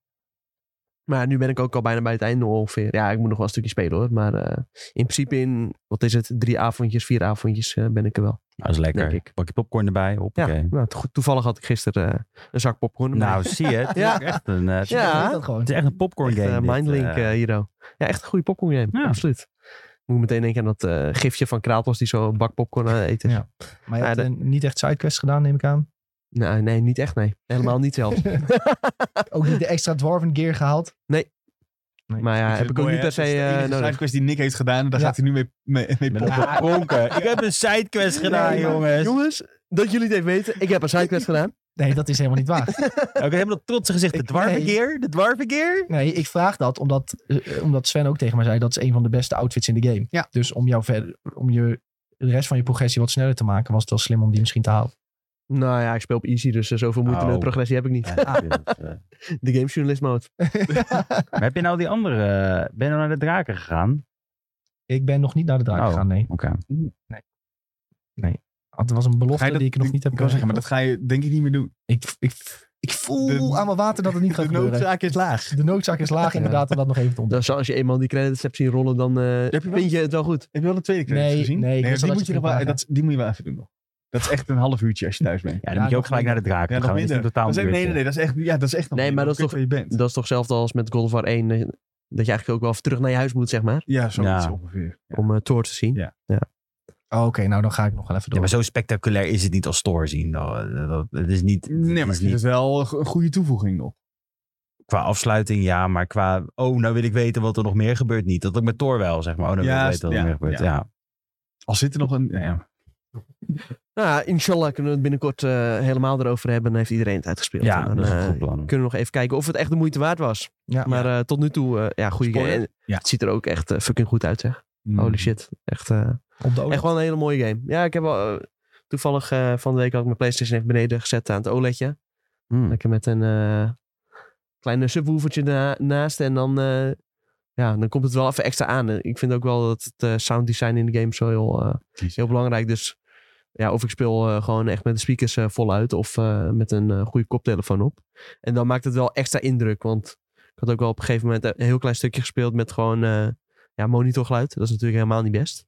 C: maar nu ben ik ook al bijna bij het einde ongeveer. Ja, ik moet nog wel een stukje spelen hoor. Maar eh, in principe in, wat is het, drie avondjes, vier avondjes eh, ben ik er wel.
D: Dat is lekker.
C: Denk ik.
D: Pak je popcorn erbij. Hoppakee.
C: Ja, nou, to- toevallig had ik gisteren eh, een zak popcorn. erbij.
D: Nou, zie je. Het is
C: Ja.
D: ook echt een, eh, het, is
C: Ja.
D: echt-
A: Ik weet Dat gewoon.
D: het is echt een popcorn
C: echt,
D: game.
C: eh,
D: dit,
C: Mindlink
D: eh.
C: eh, Hero. Ja, echt een goede popcorn game.
D: Ja.
C: Absoluut. Moet meteen denken aan dat eh, gifje van Kratos die zo een bak popcorn aan het eten is.
A: Ja. Maar je
C: Ja,
A: hebt
C: dat-
A: eh, niet echt sidequests gedaan, neem ik aan.
C: Nou, nee, niet echt nee. Helemaal niet zelfs.
A: Ook niet de extra dwarven gear gehaald.
C: Nee.
A: Nee.
C: Maar ja,
B: Dat
C: heb
B: is
C: ik ook
B: mooi,
C: niet
B: hè?
C: per se
B: Dat
D: Dus
B: is de
C: eh,
B: enige
C: nodig.
B: sidequest die Nick heeft gedaan. En daar
A: Ja.
B: gaat hij nu mee, mee, mee
D: Met
B: poppen.
D: een bonken. Ik heb een sidequest gedaan,
A: Nee, maar-
D: jongens.
C: Jongens, dat jullie het even weten. Ik heb een sidequest gedaan.
A: Nee, dat is helemaal niet waar.
D: Oké, helemaal dat trotse gezicht. De
A: Ik-
D: dwarfbegeer. De dwarfbegeer.
A: Nee, ik vraag dat omdat, eh, omdat Sven ook tegen mij zei... dat is een van de beste outfits in de game.
B: Ja.
A: Dus om, jou verder, om je, de rest van je progressie wat sneller te maken... was het wel slim om die misschien te halen.
C: Nou ja, ik speel op easy, dus eh, zoveel moeite
D: Oh.
C: met progressie heb ik niet.
D: eh,
C: De gamejournalist mode.
D: Maar heb je nou die andere... eh, ben je nou naar de draken gegaan?
A: Ik ben nog niet naar de draak
D: Oh.
A: gegaan, nee.
D: Oké.
A: Het was een
B: Ga
A: belofte
B: je dat-
A: die ik nog niet heb
B: Ik wil zeggen,
A: eh,
B: maar dat ga je denk ik niet meer doen.
A: ik, ik, ik voel
B: De-
A: aan mijn water dat het niet gaat
B: de
A: gebeuren.
B: noodzaak is laag.
A: De noodzaak is laag inderdaad om dat nog even te ontdekken.
C: Dan zal, als je eenmaal die credits hebt zien rollen, dan eh
B: Heb je wel-
C: vind je het wel goed.
B: Heb je wel een tweede credits
A: Nee,
B: gezien?
A: nee, ik wist
B: die,
A: wel
B: moet
A: dat
B: je
A: je
B: nog
A: ging
B: wel,
A: vragen.
B: dat, die moet je wel even doen nog. Dat is echt een half uurtje als je thuis bent.
D: Ja, dan
A: Ja,
D: moet je ook
A: nog
D: gelijk naar de draken
B: Ja, nog
D: gaan. want
B: minder.
D: Dat is een totaal
B: Dat is echt- nee, nee, nee. Dat is echt, ja, dat is echt nog
C: Nee,
B: minder.
C: maar dat is
B: Ik weet waar je bent.
C: Dat is toch hetzelfde als met God of War 1. eh, dat je eigenlijk ook wel even terug naar je huis moet, zeg maar.
B: Ja, zoiets
D: Ja.
B: ongeveer. Ja.
C: Om eh Thor te zien.
B: Ja.
A: Oh, Oké, nou dan ga ik nog wel even
D: Ja,
A: door.
D: maar zo spectaculair is het niet als Thor zien. Nou, eh, dat- Het is niet... het
B: Nee, maar
D: is
B: ik vind
D: niet
B: het wel een go- een goede toevoeging nog.
D: qua afsluiting ja, maar qua oh, nou wil ik weten wat er nog meer gebeurt niet. Dat ook met Thor wel, zeg maar. Oh, nou wil
B: Ja,
D: ik weten wat
B: ja,
D: er meer gebeurt.
B: ja.
D: Ja.
B: Al zit er nog een... nou ja.
C: Nou, ja, inshallah kunnen we het binnenkort eh, helemaal erover hebben. Dan heeft iedereen het uitgespeeld.
D: Ja,
C: En dan,
D: dat is
C: eh,
D: een goed plan.
C: kunnen we nog even kijken of het echt de moeite waard was.
A: Ja.
C: Maar eh, tot nu toe, eh, ja, goede game.
B: Spoiler.
C: En
B: Ja.
C: Het ziet er ook echt eh, fucking goed uit, zeg.
B: Mm.
C: Holy shit. Echt, eh,
A: Op de
C: echt wel een hele mooie game. Ja, ik heb wel... eh, toevallig eh, van de week had ik mijn Playstation even beneden gezet aan het OLEDje.
D: Hmm.
C: Lekker met een eh kleine subwoofertje naast. En dan, eh, ja, dan komt het wel even extra aan. En Ik vind ook wel dat het eh, sounddesign in de game zo heel, eh, heel belangrijk is. Ja, of ik speel eh, gewoon echt met de speakers eh, voluit of eh, met een eh, goede koptelefoon op. En dan maakt het wel extra indruk. Want ik had ook wel op een gegeven moment een heel klein stukje gespeeld met gewoon eh, ja, monitorgeluid. Dat is natuurlijk helemaal niet best.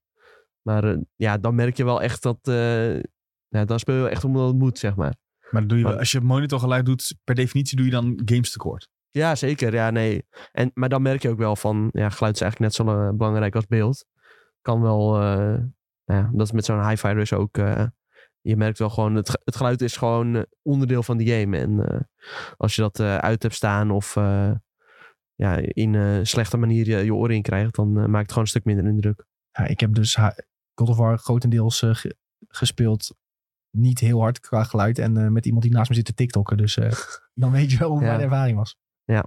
C: Maar eh, ja, dan merk je wel echt dat... eh, ja, dan speel je echt omdat het moet, zeg maar.
B: Maar dat doe je wel-
C: Maar-
B: als je monitorgeluid doet, per definitie doe je dan games tekort.
C: Ja, zeker. Ja, nee. En, maar dan merk je ook wel van, ja, geluid is eigenlijk net zo eh, belangrijk als beeld. Kan wel, eh, nou ja, dat is met zo'n hi-fi dus ook. eh, je merkt wel gewoon, het, ge- het geluid is gewoon eh, onderdeel van de game. En eh, als je dat eh, uit hebt staan of eh, ja, in eh, een slechte manier je, je oren in krijgt, dan eh, maakt het gewoon een stuk minder indruk.
A: Ja, ik heb dus ha- God of War grotendeels eh, ge- gespeeld. Niet heel hard qua geluid. En eh, met iemand die naast me zit te tiktokken. Dus eh, dan weet je wel hoe
C: Ja.
A: mijn ervaring was.
C: Ja.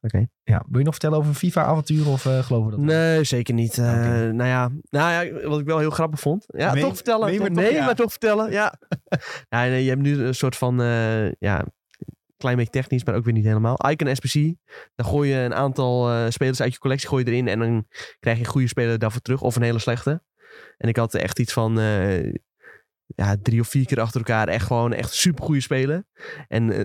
C: Oké.
A: Ja, wil je nog vertellen over FIFA-avonturen of eh, geloven we dat?
C: Nee, zeker niet. Eh,
A: Oké.
C: nou, ja, nou ja, wat ik wel heel grappig vond. Ja,
B: Nee,
C: toch vertellen.
B: nee,
C: toch-
B: maar toch, ja.
C: maar toch vertellen. Ja. ja, nee, je hebt nu een soort van, eh, ja, klein beetje technisch, maar ook weer niet helemaal. Icon SPC, daar gooi je een aantal eh, spelers uit je collectie gooi je erin en dan krijg je een goede speler daarvoor terug of een hele slechte. En ik had echt iets van eh, ja, drie of vier keer achter elkaar echt gewoon echt supergoeie spelen. En eh,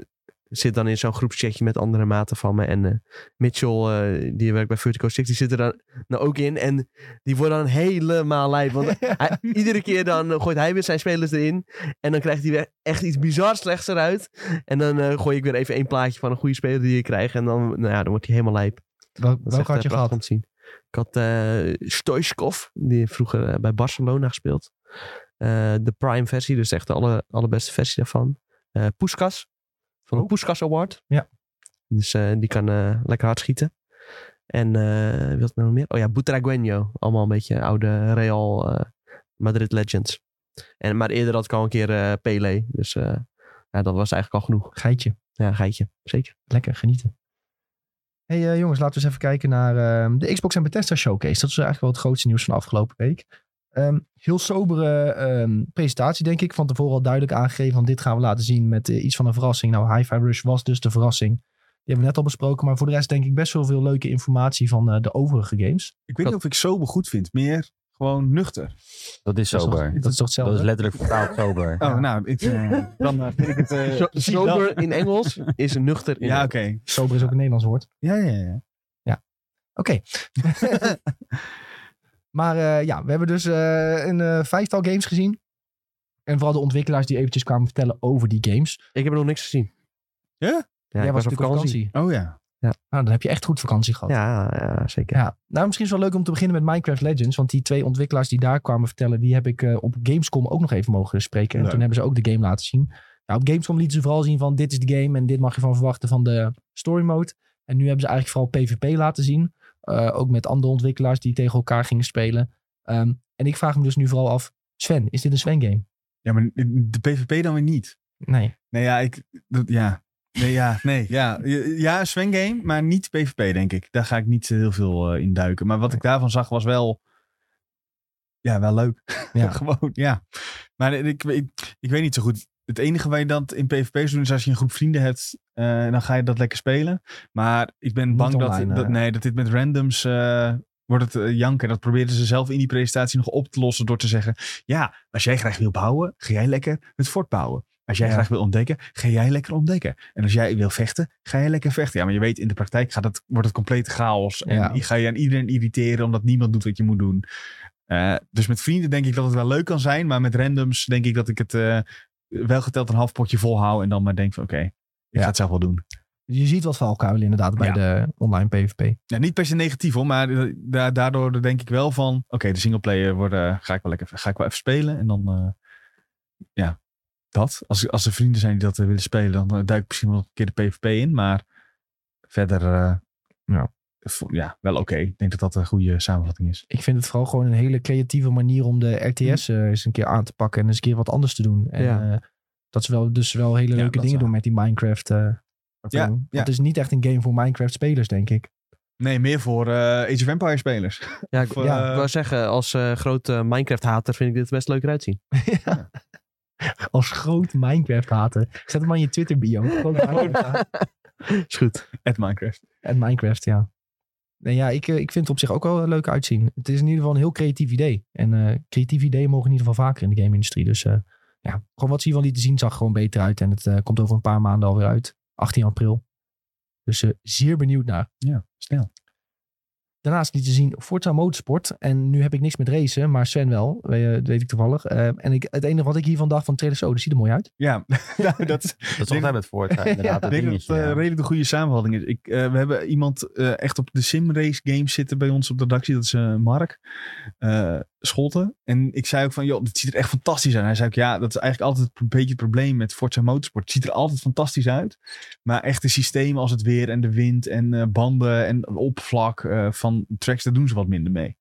C: zit dan in zo'n groepschatje met andere maten van me. En eh, Mitchell, eh, die werkt bij Vertigo Six, die zit er dan nou ook in. En die wordt dan helemaal lijp. Want hij- iedere keer dan eh, gooit hij weer zijn spelers erin. En dan krijgt hij weer echt iets bizar slechts eruit. En dan eh, gooi ik weer even één plaatje van een goede speler die je krijgt. En dan, nou ja, dan wordt hij helemaal lijp.
A: Wel-
C: Dat is
A: welke
C: echt,
A: had
C: eh,
A: je
C: prachtig
A: gehad?
C: om te zien. Ik had eh Stoichkov, die heeft vroeger eh, bij Barcelona gespeeld. Eh, de prime versie, dus echt de alle, allerbeste versie daarvan. Eh Puskas, van de Puskas Award.
A: Oh. Ja.
C: Dus eh, die kan eh, lekker hard schieten. En eh wie had ik nou nog meer? Oh ja, Butragueño. Allemaal een beetje oude Real eh, Madrid legends. En, maar eerder had ik al een keer eh Pele. Dus eh, ja, dat was eigenlijk al genoeg.
A: Geitje.
C: Ja, geitje. Zeker.
A: Lekker genieten. hey, eh, jongens, laten we eens even kijken naar ehm, de Xbox en Bethesda Showcase. Dat is eigenlijk wel het grootste nieuws van de afgelopen week. Ehm, heel sobere ehm, presentatie, denk ik. Van tevoren al duidelijk aangegeven, want dit gaan we laten zien met eh, iets van een verrassing. Nou, Hi-Fi Rush was dus de verrassing. Die hebben we net al besproken. Maar voor de rest denk ik best wel veel leuke informatie van eh, de overige games.
B: Ik weet niet of ik sober goed vind. Meer gewoon nuchter.
D: Dat is sober.
A: Dat is toch hetzelfde?
D: Dat is letterlijk vertaald sober.
B: Oh, nou, ik, eh, dan eh, vind ik het... eh,
C: Zo- sober in Engels is een nuchter in
B: ja,
C: Engels.
B: oké.
A: Sober is ook een Nederlands woord.
B: Ja, ja, ja.
A: Oké. maar eh, ja, we hebben dus eh, een eh, vijftal games gezien. En vooral de ontwikkelaars die eventjes kwamen vertellen over die games.
C: Ik heb er nog niks gezien.
B: Ja?
C: Ja, ik
A: Jij
C: was op
A: natuurlijk op
C: vakantie.
B: Oh ja.
A: Nou, dan heb je echt goed vakantie gehad.
C: Ja, ja, zeker.
A: Ja. Nou, misschien is het wel leuk om te beginnen met Minecraft Legends. Want die twee ontwikkelaars die daar kwamen vertellen, die heb ik eh, op Gamescom ook nog even mogen spreken. En
B: Leuk.
A: toen hebben ze ook de game laten zien. Nou, op Gamescom lieten ze vooral zien van dit is de game en dit mag je van verwachten van de story mode. En nu hebben ze eigenlijk vooral PvP laten zien. Eh, ook met andere ontwikkelaars die tegen elkaar gingen spelen. Ehm, en ik vraag me dus nu vooral af, Sven, is dit een Sven game?
B: Ja, maar de PvP dan weer niet.
A: Nee.
B: Nee, ja, ik... dat- ja. Nee, ja, nee, ja. Ja, Sven game, maar niet PvP, denk ik. Daar ga ik niet eh, heel veel eh, in duiken. Maar wat ik daarvan zag was wel... Ja, wel leuk.
A: Ja.
B: Gewoon, ja. Maar ik, ik, ik weet niet zo goed. Het enige waar je dan in PvP's doen is als je een groep vrienden hebt, eh, dan ga je dat lekker spelen. Maar ik ben
A: Niet
B: bang
A: online,
B: dat, dat,
A: eh.
B: nee, dat dit met randoms eh, wordt het eh, janken. Dat probeerden ze zelf in die presentatie nog op te lossen door te zeggen: Ja, als jij graag wil bouwen, ga jij lekker het fort bouwen. Als jij
A: Ja.
B: graag wil ontdekken, ga jij lekker ontdekken. En als jij wil vechten, ga jij lekker vechten. Ja, maar je weet, in de praktijk gaat het, wordt het complete chaos. En
A: Ja.
B: ga je aan iedereen irriteren omdat niemand doet wat je moet doen. Eh, dus met vrienden denk ik dat het wel leuk kan zijn. Maar met randoms denk ik dat ik het eh, wel geteld een half potje volhoud. En dan maar denk van oké, ik ga het zelf wel doen.
A: Je ziet wat valkuilen inderdaad bij
B: Ja.
A: de online PvP.
B: Ja, niet per se negatief hoor. Maar eh, da- daardoor denk ik wel van oké, de singleplayer worden, ga, ik wel lekker, ga ik wel even spelen. En dan eh, ja, dat. Als, als er vrienden zijn die dat eh, willen spelen. Dan eh, duik ik misschien wel een keer de PvP in. Maar verder eh,
A: Ja.
B: vo- ja, wel oké. Ik denk dat dat een goede samenvatting is.
A: ik vind het vooral gewoon een hele creatieve manier om de RTS
B: Mm.
A: eh, eens een keer aan te pakken en eens een keer wat anders te doen. En,
C: Ja.
A: eh, dat ze wel, dus wel hele
B: Ja,
A: leuke
B: dat
A: dingen
B: wel.
A: doen met die Minecraft. eh, vertoning. Want
B: ja.
A: Het is niet echt een game voor Minecraft spelers, denk ik.
B: Nee, meer voor eh, Age of Empire spelers.
C: Ja, ik,
B: Voor,
A: ja,
B: eh,
C: ik wou zeggen, als eh, grote Minecraft-hater vind ik dit best leuk eruit zien.
A: Als groot Minecraft hater. Zet hem maar in je Twitter bio. Groot Minecraft hater.
C: Is goed.
B: At Minecraft.
A: en Minecraft, ja. Nee, ja, ik, eh, ik vind het op zich ook wel leuk uitzien. Het is in ieder geval een heel creatief idee. En eh creatieve ideeën mogen in ieder geval vaker in de game-industrie. Dus eh, ja, gewoon wat ze hiervan lieten zien zag gewoon beter uit. En het eh, komt over een paar maanden alweer uit. 18 april. Dus eh, zeer benieuwd naar.
B: Ja, snel.
A: Daarnaast lieten ze zien Forza Motorsport. En nu heb ik niks met racen, maar Sven wel. eh, Dat weet ik toevallig. Eh, en ik, het enige wat ik hiervan dacht van trailers, oh, dat ziet er mooi uit.
B: Ja, nou, dat is
D: Dat is altijd met Forza
A: Ja,
D: inderdaad.
B: ik
D: dat
B: denk dat het
D: dingetje,
B: eh,
D: ja.
B: redelijk de goede samenvatting is. Ik, eh, we hebben iemand eh, echt op de simrace games zitten bij ons op de redactie. Dat is eh, Mark eh Scholten. En ik zei ook van, joh, dit ziet er echt fantastisch uit. Hij zei ook, ja, dat is eigenlijk altijd een beetje het probleem met Forza Motorsport. Het ziet er altijd fantastisch uit. Maar echt de systemen als het weer en de wind en eh, banden en oppervlak eh, van tracks, daar doen ze wat minder mee.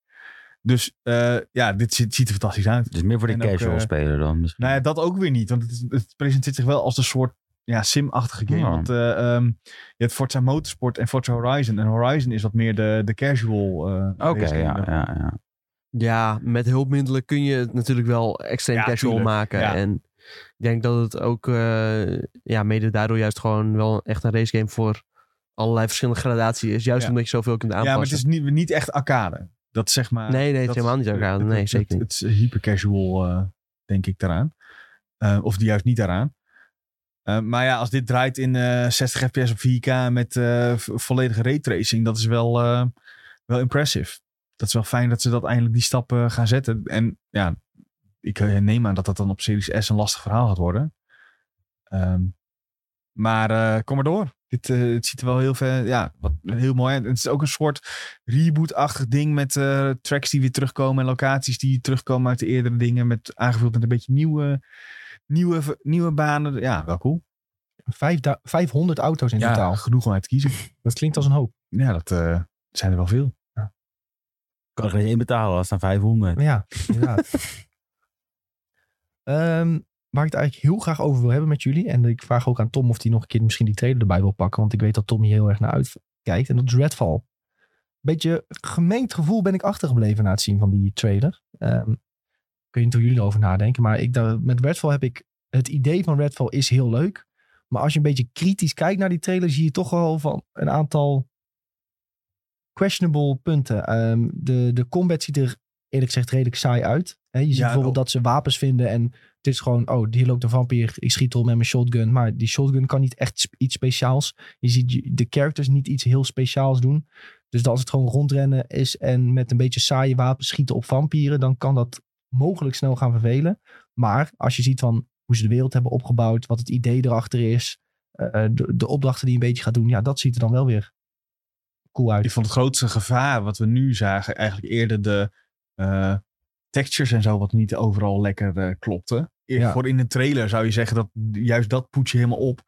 B: Dus eh, ja, dit ziet, ziet er fantastisch uit.
D: Dus meer voor de
B: En ook,
D: casual
B: eh,
D: speler dan misschien.
B: Nou ja, dat ook weer niet. Want het, is- het presenteert zich wel als een soort ja, sim-achtige game.
D: Ja.
B: Want eh, ehm, je hebt Forza Motorsport en Forza Horizon. En Horizon is wat meer de, de casual. eh,
D: Oké,
B: race game
D: ja,
B: dan.
D: ja, ja.
C: Ja, met hulpmiddelen kun je het natuurlijk wel extreem
B: Ja,
C: casual
B: tuurlijk.
C: maken.
B: Ja.
C: En ik denk dat het ook eh, ja, mede daardoor juist gewoon wel echt een racegame voor allerlei verschillende gradaties is. Juist
B: Ja.
C: omdat je zoveel kunt
B: Ja,
C: aanpassen.
B: maar het is niet, niet echt arcade. Dat zeg maar.
C: nee, nee, het
B: dat
C: is helemaal niet
B: het-
C: elkaar.
B: het-
C: Nee,
B: het-
C: zeker niet.
B: Het, het is hyper-casual, eh, denk ik, daaraan. Eh, of die juist niet daaraan. Eh, maar ja, als dit draait in eh, 60 fps op 4K met eh, v- volledige raytracing, dat is wel, eh, wel impressive. Dat is wel fijn dat ze dat eindelijk die stappen eh, gaan zetten. En ja, ik eh, neem aan dat dat dan op Series S een lastig verhaal gaat worden. Ehm, maar eh, kom maar door. Dit, eh, het ziet er wel heel, ver, ja, wat, heel mooi uit. Het is ook een soort reboot-achtig ding met eh, tracks die weer terugkomen en locaties die terugkomen uit de eerdere dingen. Met, aangevuld met een beetje nieuwe, nieuwe, nieuwe banen. Ja, wel cool.
A: Vijfda- 500 auto's in totaal.
B: genoeg om uit te kiezen.
A: Dat klinkt als een hoop.
B: Ja, dat eh, zijn er wel veel.
D: Kan er geen in betalen als het aan 500.
A: Ja, inderdaad. Ehm, waar ik het eigenlijk heel graag over wil hebben met jullie. En ik vraag ook aan Tom of hij nog een keer misschien die trailer erbij wil pakken. Want ik weet dat Tom hier heel erg naar uitkijkt. En dat is Redfall. Beetje gemengd gevoel ben ik achtergebleven na het zien van die trailer. Ehm, ik weet niet hoe jullie erover nadenken. Maar ik, dacht- met Redfall heb ik... Het idee van Redfall is heel leuk. Maar als je een beetje kritisch kijkt naar die trailer... zie je toch wel van een aantal questionable punten. Ehm, de, de combat ziet er eerlijk gezegd redelijk saai uit. Hè, je ziet
B: Ja,
A: bijvoorbeeld
B: oh.
A: dat ze wapens vinden en het is gewoon, oh, hier loopt een vampier, ik schiet om met mijn shotgun. Maar die shotgun kan niet echt sp- iets speciaals. Je ziet je- de characters niet iets heel speciaals doen. Dus dan als het gewoon rondrennen is en met een beetje saaie wapens schieten op vampieren, dan kan dat mogelijk snel gaan vervelen. Maar als je ziet van hoe ze de wereld hebben opgebouwd, wat het idee erachter is, eh, de, de opdrachten die je een beetje gaat doen, ja, dat ziet er dan wel weer cool uit.
B: Ik vond het grootste gevaar wat we nu zagen, eigenlijk eerder de eh, textures en zo, wat niet overal lekker eh, klopte. Eer-
A: Ja.
B: Voor in de trailer zou je zeggen dat juist dat poets je helemaal op.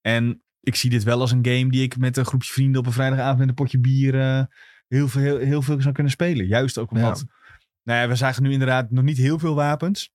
B: En ik zie dit wel als een game die ik met een groepje vrienden op een vrijdagavond met een potje bier eh, heel, veel, heel, heel veel zou kunnen spelen. Juist ook omdat. Nou ja, we zagen nu inderdaad nog niet heel veel wapens.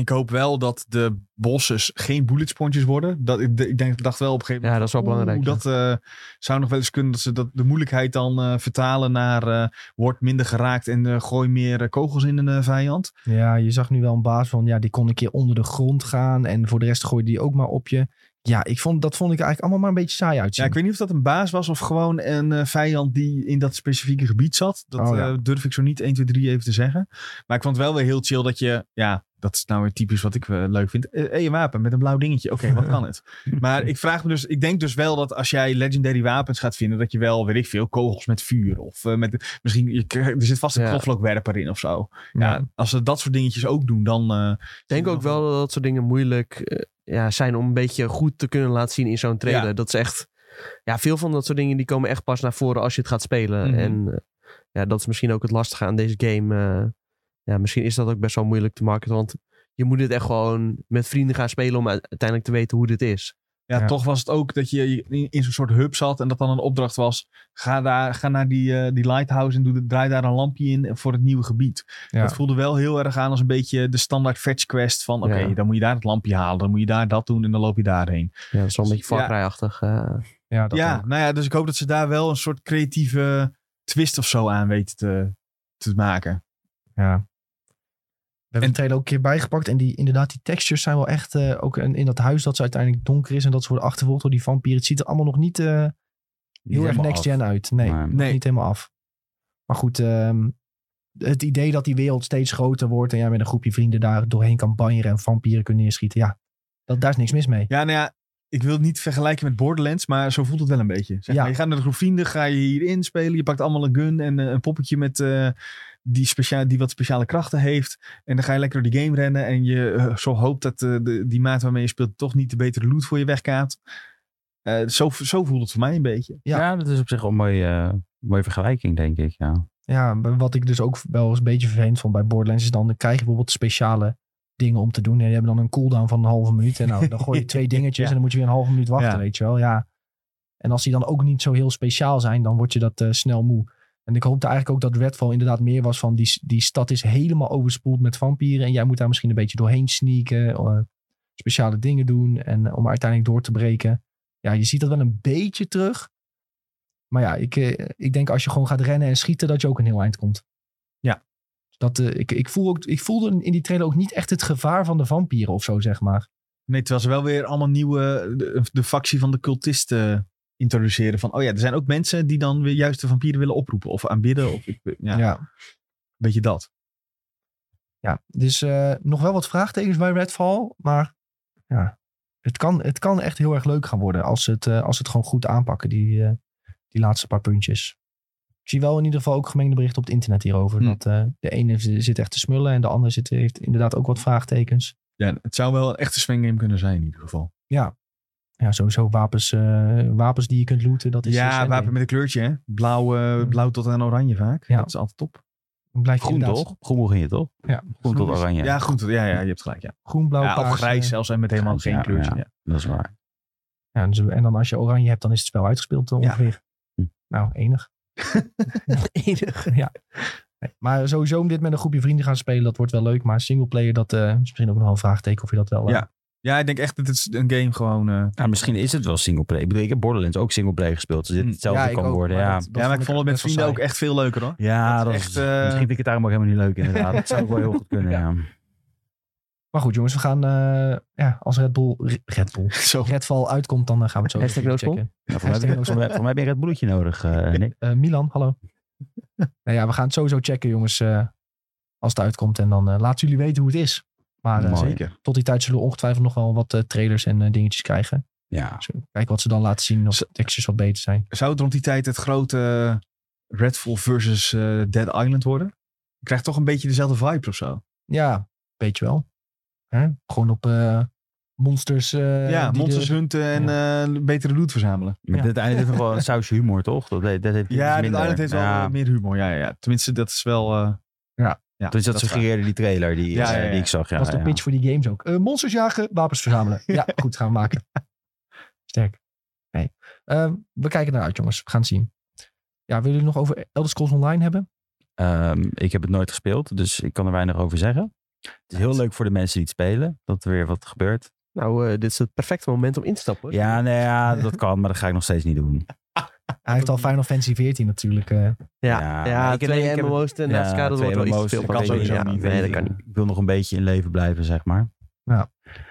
B: Ik hoop wel dat de bosses geen bullet sponges worden. Dat, ik, ik denk, dacht wel op een gegeven
C: Ja, dat is wel belangrijk.
B: Oeh,
C: ja.
B: dat eh, zou nog wel eens kunnen dat ze dat de moeilijkheid dan eh, vertalen naar eh wordt minder geraakt en eh, gooi meer eh, kogels in een eh, vijand.
A: Ja, je zag nu wel een baas van, ja, die kon een keer onder de grond gaan. En voor de rest gooide die ook maar op je. Ja, ik vond, dat vond ik eigenlijk allemaal maar een beetje saai
B: Ja,
A: uitzien.
B: ik weet niet of dat een baas was of gewoon een eh, vijand die in dat specifieke gebied zat. Dat
A: Oh, ja.
B: eh, durf ik zo niet 1, 2, 3 even te zeggen. Maar ik vond het wel weer heel chill dat je, ja, dat is nou weer typisch wat ik eh, leuk vind. Eh, eh, je wapen met een blauw dingetje. Oké, wat kan het? Maar ik vraag me dus, ik denk dus wel dat als jij legendary wapens gaat vinden, dat je wel, weet ik veel, kogels met vuur of eh, met, misschien, je, krijgt- er zit vast een
C: Ja.
B: knoflookwerper in of zo.
A: Ja.
B: Ja, als ze dat soort dingetjes ook doen, dan. eh,
C: Ik denk ook wel dat dat soort dingen moeilijk eh, ja, zijn om een beetje goed te kunnen laten zien in zo'n trailer.
B: Ja.
C: Dat is echt... Ja, veel van dat soort dingen die komen echt pas naar voren als je het gaat spelen.
B: Mhm.
C: En eh, ja, dat is misschien ook het lastige aan deze game. eh. ja, misschien is dat ook best wel moeilijk te marketen. Want je moet dit echt gewoon met vrienden gaan spelen om u- uiteindelijk te weten hoe dit is.
B: ja,
A: Ja.
B: toch was het ook dat je in, in zo'n soort hub zat en dat dan een opdracht was. Ga, daar, ga naar die, eh, die lighthouse en doe, de- draai daar een lampje in voor het nieuwe gebied.
A: Ja.
B: Dat voelde wel heel erg aan als een beetje de standaard fetch quest van oké,
C: Ja.
B: dan moet je daar het lampje halen, dan moet je daar dat doen en dan loop je daarheen.
C: Ja, dat is wel een beetje
B: Ja.
C: Far Cry-achtig. eh.
A: Ja, dat
B: ja,
A: ook.
B: nou ja, dus ik hoop dat ze daar wel een soort creatieve twist of zo aan weten te, te maken.
A: Ja. We hebben
B: En-
A: de trailer ook een keer bijgepakt. En die, inderdaad, die textures zijn wel echt... eh, ook in, in dat huis dat ze uiteindelijk donker is. En dat ze worden achtervolgd door die vampieren. Het ziet er allemaal nog niet eh, heel erg next gen uit. Nee,
D: Maar-
A: nog
B: Nee.
A: niet helemaal af. Maar goed, ehm, het idee dat die wereld steeds groter wordt... en jij met een groepje vrienden daar doorheen kan banjeren... en vampieren kunnen neerschieten. Ja, dat, daar is niks mis mee.
B: Ja, nou ja, ik wil het niet vergelijken met Borderlands, maar zo voelt het wel een beetje. Zeg
A: Ja.
B: maar, je gaat naar de groep vrienden, ga je hierin spelen. Je pakt allemaal een gun en eh, een poppetje met, eh, die, specia- die wat speciale krachten heeft. En dan ga je lekker door die game rennen. En je eh, zo hoopt dat eh, de, die maat waarmee je speelt toch niet de betere loot voor je wegkaapt. Eh, zo, zo voelt het voor mij een beetje.
A: Ja.
D: Ja. dat is op zich wel een mooie, eh, mooie vergelijking, denk ik. Ja.
A: Ja, maar wat ik dus ook wel eens een beetje vervelend vond bij Borderlands... is dan dan krijg je bijvoorbeeld speciale dingen om te doen. En die hebben dan een cooldown van een halve minuut. En nou, dan gooi je twee dingetjes
B: Ja.
A: en dan moet je weer een halve minuut wachten,
B: Ja.
A: weet je wel. Ja. En als die dan ook niet zo heel speciaal zijn, dan word je dat eh, snel moe. En ik hoopte eigenlijk ook dat Redfall inderdaad meer was van... Die, die stad is helemaal overspoeld met vampieren... en jij moet daar misschien een beetje doorheen sneaken... eh, speciale dingen doen en eh, om uiteindelijk door te breken. Ja, je ziet dat wel een beetje terug... Maar ja, ik, eh, ik denk als je gewoon gaat rennen en schieten, dat je ook een heel eind komt.
B: Ja.
A: Dat, eh, ik, ik, voel ook, ik voelde in die trailer ook niet echt het gevaar van de vampieren of zo, zeg maar.
B: Nee, terwijl ze wel weer allemaal nieuwe, de, de factie van de cultisten introduceren. Van, oh ja, er zijn ook mensen die dan weer juist de vampieren willen oproepen of aanbidden. Of, ik- ja,
A: Ja. ja.
B: Weet je dat?
A: Dus eh, nog wel wat vraagtekens bij Redfall. Maar ja, het kan, het kan echt heel erg leuk gaan worden als ze het, eh, als ze het gewoon goed aanpakken, die, eh, die laatste paar puntjes. Ik zie wel in ieder geval ook gemengde berichten op het internet hierover.
B: Hm.
A: Dat eh, de ene zi- zit echt te smullen en de andere zit, heeft inderdaad ook wat vraagtekens.
B: Ja, het zou wel een echte swinggame kunnen zijn in ieder geval.
A: ja, sowieso wapens, eh, wapens die je kunt looten. Dat is dus, eh,
B: ja,
A: Sandgame.
B: wapen met een kleurtje, hè? Blauw, eh,
A: Hmm.
B: blauw tot aan oranje vaak.
A: Ja.
B: Dat is altijd top.
A: Dan blijf je
D: Groen
A: inderdaad-
D: toch? Groen begin je toch?
A: Ja.
D: Groen tot oranje.
B: Ja, goed. Ja, ja, je hebt gelijk. Ja.
A: Groen, blauw,
B: Ja, of
A: paars,
B: grijs
A: eh,
B: zelfs en met helemaal
D: Grijs,
B: geen
D: ja,
B: kleurtje.
D: ja.
B: Ja.
D: Dat is waar.
A: Ja, en zo- en dan als je oranje hebt, dan is het spel uitgespeeld eh,
B: Ja.
A: ongeveer.
D: Hm.
A: Nou, enig.
C: Enig.
A: Nee, Maar sowieso om dit met een groepje vrienden gaan spelen, dat wordt wel leuk. Maar singleplayer, dat eh, is misschien ook nog wel een vraagteken of je dat wel... eh,
B: Ja. Ja, ik denk echt dat het is een game gewoon... eh,
D: Ja, misschien is het wel singleplayer. Ik bedoel, ik heb Borderlands ook singleplayer gespeeld. Dus dit
B: Hm.
D: hetzelfde
A: ja, ik
D: kan
A: ook,
D: worden.
A: maar
D: Ja,
A: dat- dat
B: ja, maar ik vond het met
A: best wel
B: vrienden ook
A: saai.
B: echt veel leuker, hoor.
D: ja dat,
B: dat is
D: is
B: echt, eh,
D: Misschien vind ik het daarom ook helemaal niet leuk inderdaad. dat zou ook wel heel goed kunnen, ja.
A: Maar goed jongens, we gaan... eh, ja, als Red Bull... Re- Red Bull.
B: Zo.
A: Redfall uitkomt, dan eh, gaan we het zo
C: Hashtag
A: even
C: Red Bull.
A: checken.
D: Nou, voor, mij, heb je- voor, mij, voor mij heb je een Red Bulletje nodig, eh, Nick.
A: Eh, Milan, hallo. nou ja, we gaan het sowieso checken jongens. eh, als het uitkomt. En dan eh laten jullie weten hoe het is. Maar eh,
D: Mooi.
B: Zeker.
A: tot die tijd zullen we ongetwijfeld nog wel wat eh, trailers en eh, dingetjes krijgen.
D: Ja.
A: Dus kijken wat ze dan laten zien. Of
B: Zo-
A: de tekstjes wat beter zijn.
B: Zou het rond die tijd het grote eh, Redfall versus eh, Dead Island worden? Je krijgt toch een beetje dezelfde vibes of zo.
A: Ja, weet je wel. Hè? Gewoon op eh, monsters. eh,
B: ja,
A: die
B: monsters
A: de-
B: hunten en eh, betere loot verzamelen.
D: Maar
A: Ja.
D: dit einde heeft nog wel een sausje humor, toch? Dat, dat, dat heeft iets
B: Ja, Dead
D: minder.
B: Island heeft wel
D: Ja.
B: eh, meer humor. Ja, ja, ja. Tenminste, dat is wel... eh,
A: Ja.
B: ja
D: Dus dat,
B: is waar.
D: suggereerde die trailer die,
B: Ja,
D: eh,
B: ja, ja.
D: die ik zag. Ja,
A: was de
D: ja.
A: pitch voor die games ook. Eh, monsters jagen, wapens verzamelen. ja, goed gaan we maken. Sterk. Nee. Eh, we kijken naar uit, jongens. We gaan het zien. Ja, willen jullie nog over Elder Scrolls Online hebben?
D: Ehm, ik heb het nooit gespeeld, dus ik kan er weinig over zeggen. Het is heel leuk voor de mensen die het spelen, dat er weer wat gebeurt.
C: Nou, eh, dit is het perfecte moment om in te stappen. hoor.
D: Ja, nee, ja, dat kan, maar dat ga ik nog steeds niet doen.
A: Hij heeft al Final Fantasy 14 natuurlijk. eh.
C: Ja,
D: Ja,
C: ja,
D: maar ik- nee, ik
C: twee
D: heb het-
C: MMO's naast elkaar, dat wordt
D: twee
C: wel iets te
D: MMO's,
C: veel.
B: dat kan
C: van
B: sowieso
C: ja,
B: niet.
C: Nee, dat kan niet.
D: Ik wil nog een beetje in leven blijven, zeg maar.
A: Ja.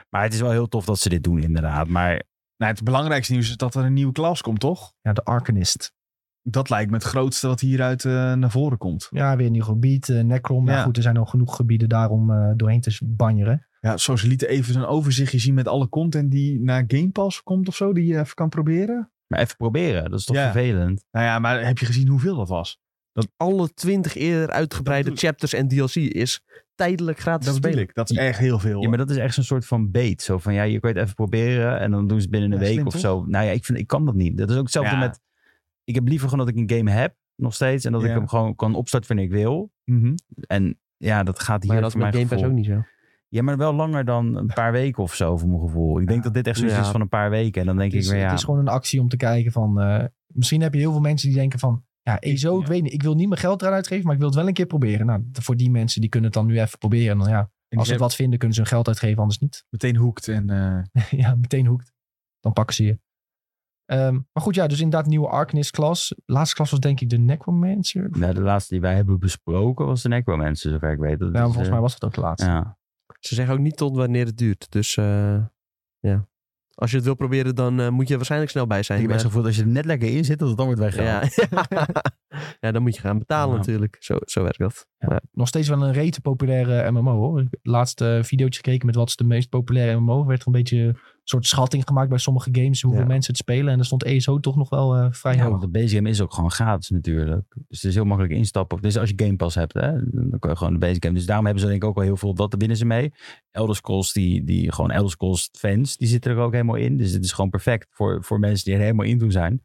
D: Maar het is wel heel tof dat ze dit doen, inderdaad. Maar
B: Nou, het belangrijkste nieuws is dat er een nieuwe klas komt, toch?
A: ja, de Arcanist.
B: Dat lijkt me het grootste wat hieruit eh, naar voren komt.
A: Ja, weer een nieuw gebied. eh, Necrom. Nou
B: Ja.
A: goed, er zijn al genoeg gebieden daarom eh, doorheen te banjeren.
B: Ja, zo ze lieten even een overzichtje zien met alle content die naar Game Pass komt of zo, die je even kan proberen.
D: Maar even proberen, dat is toch
B: Ja.
D: vervelend?
B: Nou ja, maar heb je gezien hoeveel dat was?
C: Alle twintig eerder uitgebreide
B: Dat bedoel
C: chapters en DLC is tijdelijk gratis
B: Dat
C: te
B: bedoel
C: spelen.
B: ik. Dat is echt heel veel.
D: Ja, maar dat is echt zo'n soort van bait. Zo van, ja, je kan het even proberen en dan doen ze het binnen een
B: Ja,
D: week
B: slim,
D: of
B: toch?
D: zo. Nou ja, ik, vind, ik kan dat niet. Dat is ook hetzelfde
B: Ja.
D: met... Ik heb liever gewoon dat ik een game heb, nog steeds. En dat ik
B: Ja.
D: hem gewoon kan opstarten wanneer ik wil.
B: Mhm.
D: En ja, dat gaat hier
C: Maar dat is
D: voor mijn
C: met Game Pass
D: gevoel.
C: ook niet zo.
D: Ja, maar wel langer dan een paar weken of zo, voor mijn gevoel. Ik denk dat dit echt zoiets
C: Ja.
D: is van een paar weken. En dan denk
A: Het is,
D: ik weer, ja,
A: het is gewoon een actie om te kijken van... eh, misschien heb je heel veel mensen die denken van... Ja, ik, zo, ik
B: ja.
A: weet niet. Ik wil niet mijn geld eraan uitgeven, maar ik wil het wel een keer proberen. Nou, voor die mensen, die kunnen het dan nu even proberen. En dan ja,
B: En
A: als
B: als
A: ze het wat vinden, kunnen ze hun geld uitgeven, anders niet.
B: meteen hoekt en eh,
A: ja, meteen hoekt. Dan pakken ze je. Ehm, maar goed, ja, dus inderdaad nieuwe Arcanist-klas. Laatste klas was denk ik de Necromancer.
D: nou, de laatste die wij hebben besproken was de Necromancer, zover ik weet. Dat
A: Nou,
D: is,
A: volgens
D: eh,
A: mij was dat ook de laatste.
D: Ja.
C: Ze zeggen ook niet tot wanneer het duurt. Dus eh, ja. Als je het wil proberen, dan eh, moet je er waarschijnlijk snel bij
D: Ik
C: zijn.
D: heb echt
C: maar-
D: het gevoel dat als je er net lekker in zit, dat het dan wordt weggehaald.
C: ja. ja, dan moet je gaan betalen
D: Ja.
C: natuurlijk. Zo, zo werkt dat.
A: Nog steeds wel een rete populaire MMO hoor. Laatste eh, video's videootje gekeken met wat is de meest populaire MMO. Werd er een beetje een soort schatting gemaakt bij sommige games. Hoeveel
C: Ja.
A: mensen het spelen. En er stond ESO toch nog wel eh, vrij
D: Ja,
A: hoog.
D: want de BCM is ook gewoon gratis natuurlijk. Dus het is heel makkelijk instappen. Dus als je Game Pass hebt, hè, dan kan je gewoon de Basecamp. Dus daarom hebben ze denk ik ook al heel veel. Dat winnen ze mee. Elder Scrolls, die, die gewoon Elder Scrolls fans, die zitten er ook helemaal in. Dus het is gewoon perfect voor, voor mensen die er helemaal in toe zijn.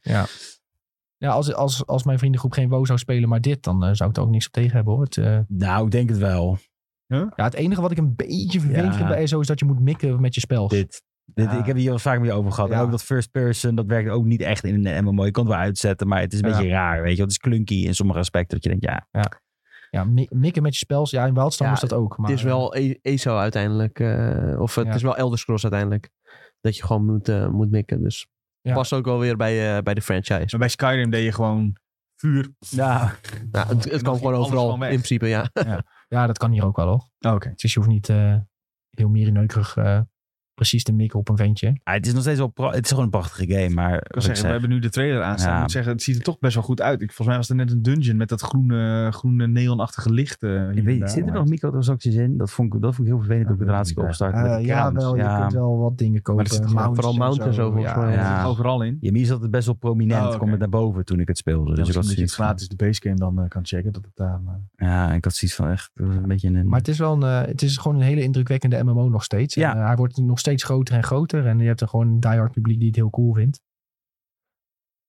A: Ja, als, als, als mijn vriendengroep geen WoW zou spelen, maar dit, dan eh, zou ik er ook niks op tegen hebben hoor. Het, eh,
D: Nou, ik denk het wel.
A: ja, het enige wat ik een beetje vervelend
D: Ja.
A: vind bij ESO is dat je moet mikken met je spels.
D: Dit. dit
B: Ja.
D: Ik heb het hier wel vaak mee over gehad. En
A: Ja.
D: ook dat first person, dat werkt ook niet echt in een MMO. Je kan het wel uitzetten, maar het is een
A: Ja.
D: beetje raar. Weet je, wel. het is clunky in sommige aspecten. Dat je denkt, ja,
A: Ja, mi- mikken met je spels. Ja, in Wildstorm
C: Ja,
A: is dat ook. Maar,
C: het is wel E- ESO uiteindelijk. eh, of het
A: Ja.
C: is wel Elder Scrolls uiteindelijk. Dat je gewoon moet, eh, moet mikken. Dus
A: Ja.
C: past ook wel weer bij, eh, bij de franchise.
B: maar bij Skyrim deed je gewoon vuur.
D: nou,
C: Nou, het,
B: dan
C: het kan
B: ging
C: gewoon
B: alles
C: overal
B: gewoon weg. Oh,
C: in principe, ja.
A: Ja, dat kan hier ook wel hoor.
B: Oké.
A: Dus je hoeft niet eh, heel mierenneukerig eh precies te mikken op een ventje.
D: ah, het is nog steeds wel... pra- Het is gewoon een prachtige game, maar...
B: Ik kan zeggen, we hebben nu de trailer aanstaan.
D: Ja.
B: Ik moet zeggen, het ziet er toch best wel goed uit. Ik, volgens mij was er net een dungeon met dat groene, groene neonachtige licht. eh, hier
D: Ik
B: en
D: weet,
B: daar.
D: zitten er nog microtransacties in? Dat vond ik, dat vond ik heel vervelend toen ik de laatste keer opstartte. met
A: Eh,
D: de
A: ja,
D: crowns.
A: wel. Je
D: Ja.
A: kunt wel wat dingen kopen.
B: er zitten
A: mounts
C: vooral
A: en
C: mounts en zo, volgens mij.
B: Ja,
D: Ja.
B: dat zit er overal in.
D: Ja, hier zat het best wel prominent.
A: Ah,
B: Oh, oké.
D: Kom het naar boven toen ik het speelde.
B: Dus
D: dus ik had
B: als je het
D: zoiets van,
B: gratis de basecamp dan eh, kan checken. Dat het daar, eh,
D: ja, ik had zoiets van echt dat was een beetje een...
A: Maar het is wel een, eh, het is gewoon een hele indrukwekkende MMO nog steeds.
D: Ja.
A: En, eh, hij wordt nog steeds groter en groter. En je hebt er gewoon een diehard publiek die het heel cool vindt.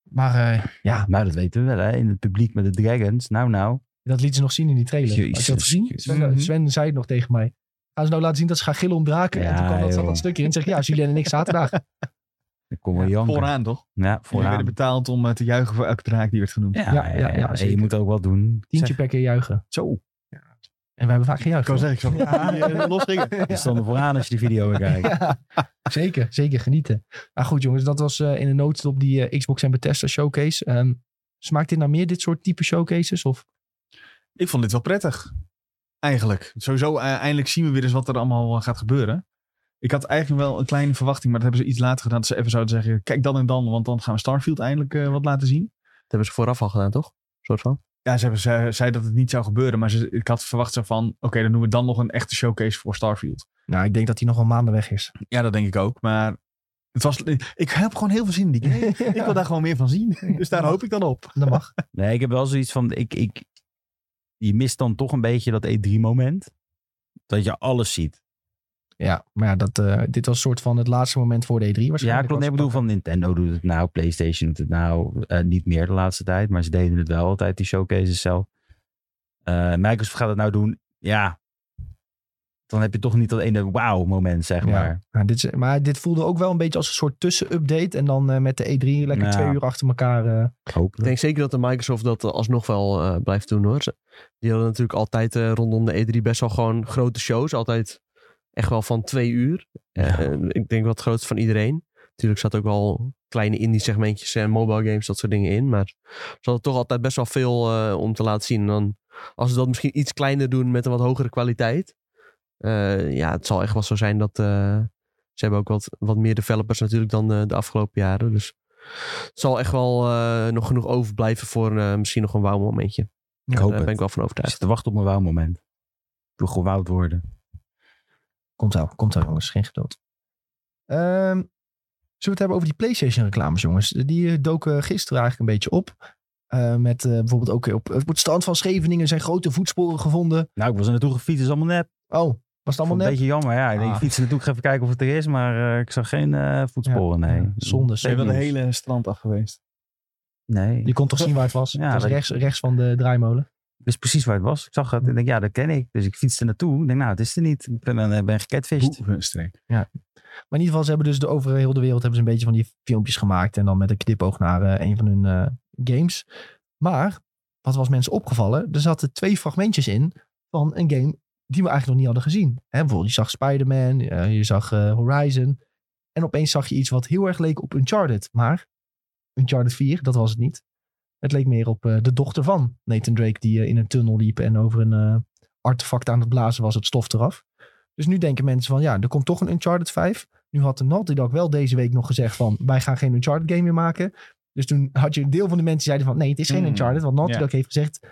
A: Maar eh,
D: Ja, maar dat weten we wel, hè? In het publiek met de Dragons. Nou, nou.
A: dat liet ze nog zien in die trailer. Had je dat
D: Jezus,
A: gezien?
D: jezus.
A: Sven,
C: Mhm.
A: Sven zei het nog tegen mij. Gaan ze nou laten zien dat ze gaan gillen om draken? en toen
D: Ja,
A: kwam dat, zat
D: joh.
A: dat stukje in. Zeg ik, ja, Julien en ik zaterdag.
D: Dan komen we janken.
B: Vooraan toch?
D: Ja,
B: Jullie
D: vooraan.
B: werden betaald om eh, te juichen voor elke draak die werd genoemd.
D: Ja,
A: Ja,
D: ja,
A: ja,
D: ja,
A: ja,
D: En je
A: zeker.
D: moet ook wat doen.
A: Tientje per keer juichen.
B: Zo. Ik
A: En wij hebben vaak gejuicht.
B: kan
A: hoor.
B: zeggen, ik zal ja. losgingen.
D: Je stond er vooraan als je die video weer kijkt.
A: Ja, zeker, zeker genieten. Nou goed jongens, dat was eh, in een notendop die eh, Xbox en Bethesda showcase. Ehm, smaakt dit naar meer dit soort type showcases? Of
B: Ik vond dit wel prettig. Eigenlijk. Sowieso, eh, eindelijk zien we weer eens wat er allemaal eh, gaat gebeuren. Ik had eigenlijk wel een kleine verwachting, maar dat hebben ze iets later gedaan. Dat ze even zouden zeggen, kijk dan en dan, want dan gaan we Starfield eindelijk eh, wat laten zien.
C: hebben ze vooraf al gedaan, toch? Een soort van.
B: Ja, ze hebben ze, zei dat het niet zou gebeuren, maar ze, ik had verwacht zo van, oké, dan doen we dan nog een echte showcase voor Starfield.
A: Nou, ik denk dat die nog wel maanden weg is.
B: Ja, dat denk ik ook, maar het was, ik heb gewoon heel veel zin in die game. Ik wil daar gewoon meer van zien, dus daar hoop ik dan op.
A: Dat mag.
D: Nee, ik heb wel zoiets van, ik, ik, je mist dan toch een beetje dat E3-moment. Dat je alles ziet.
A: Ja, maar ja, dat, eh, dit was soort van het laatste moment voor de E3 waarschijnlijk.
D: Ja, klopt.
A: wat
D: Nee,
A: ze
D: ik bedoel
A: pakken.
D: van Nintendo doet het nou, PlayStation doet het nou. eh, niet meer de laatste tijd, maar ze deden het wel altijd, die showcases zelf. Eh, Microsoft gaat het nou doen, ja. Dan heb je toch niet dat ene wauw-moment, zeg
A: Ja.
D: maar.
A: Nou, dit, is- maar dit voelde ook wel een beetje als een soort tussenupdate. En dan eh, met de E3 lekker
D: Ja.
A: twee uur achter elkaar. eh,
D: Hopelijk.
C: Ik denk zeker dat de Microsoft dat eh, alsnog wel eh, blijft doen hoor. Ze- Die hadden natuurlijk altijd eh, rondom de E3 best wel gewoon grote shows. Altijd echt wel van twee uur.
D: Ja.
C: Eh, eh, ik denk wel het grootste van iedereen. Natuurlijk zat ook wel kleine indie segmentjes en mobile games, dat soort dingen in. Maar ze hadden toch altijd best wel veel eh, om te laten zien. En dan, als ze dat misschien iets kleiner doen met een wat hogere kwaliteit. eh, ja, het zal echt wel zo zijn dat eh, ze hebben ook wat, wat meer developers natuurlijk dan eh, de afgelopen jaren. Dus het zal echt wel eh, nog genoeg overblijven voor eh, misschien nog een wauw momentje.
D: ik hoop
C: Daar ben ik
D: het.
C: wel van
D: Ik
C: overtuigd.
D: zit te wachten op mijn wauw-moment. Ik wil gewauwd worden.
A: Komt wel, komt wel jongens, geen geduld. Ehm, zullen we het hebben over die PlayStation reclames jongens? Die eh, doken gisteren eigenlijk een beetje op. Eh, met eh, bijvoorbeeld ook op, op het strand van Scheveningen zijn grote voetsporen gevonden.
D: Nou, ik was er naartoe gefietst, is allemaal nep.
A: Oh, was het allemaal
D: Vond
A: net?
D: Een beetje jammer, ja. Ik denk,
A: Ah.
D: ik fiets er naartoe, ik ga even kijken of het er is, maar eh, ik zag geen eh, voetsporen, nee.
A: Ja, zonde, zonde.
D: Fake
B: Ik ben de
D: nieuws.
B: hele strand af geweest.
D: Nee.
A: Je kon toch zien waar het was?
D: Ja,
A: het was
D: dat-
A: rechts, rechts van de draaimolen.
D: Ik wist precies waar het was. Ik zag het. Ik denk, ja, dat ken ik. Dus ik fietste naartoe. Ik denk, nou, het is er niet. Ik ben, eh, ben gecatfished.
B: Boevenstreek.
A: Maar in ieder geval, ze hebben dus de over heel de wereld hebben ze een beetje van die filmpjes gemaakt. En dan met een knipoog naar eh, een van hun eh, games. Maar, wat was mensen opgevallen? Er zaten twee fragmentjes in van een game die we eigenlijk nog niet hadden gezien. Hè, bijvoorbeeld, je zag Spider-Man, eh, je zag eh, Horizon. En opeens zag je iets wat heel erg leek op Uncharted. Maar Uncharted 4, dat was het niet. Het leek meer op eh, de dochter van Nathan Drake, die eh, in een tunnel liep en over een eh, artefact aan het blazen was, het stof eraf. Dus nu denken mensen van, ja, er komt toch een Uncharted 5. Nu had de Naughty Dog wel deze week nog gezegd van, wij gaan geen Uncharted game meer maken. Dus toen had je een deel van de mensen die zeiden van, nee, het is geen
B: Mm,
A: Uncharted. Want Naughty
B: ja.
A: Dog heeft gezegd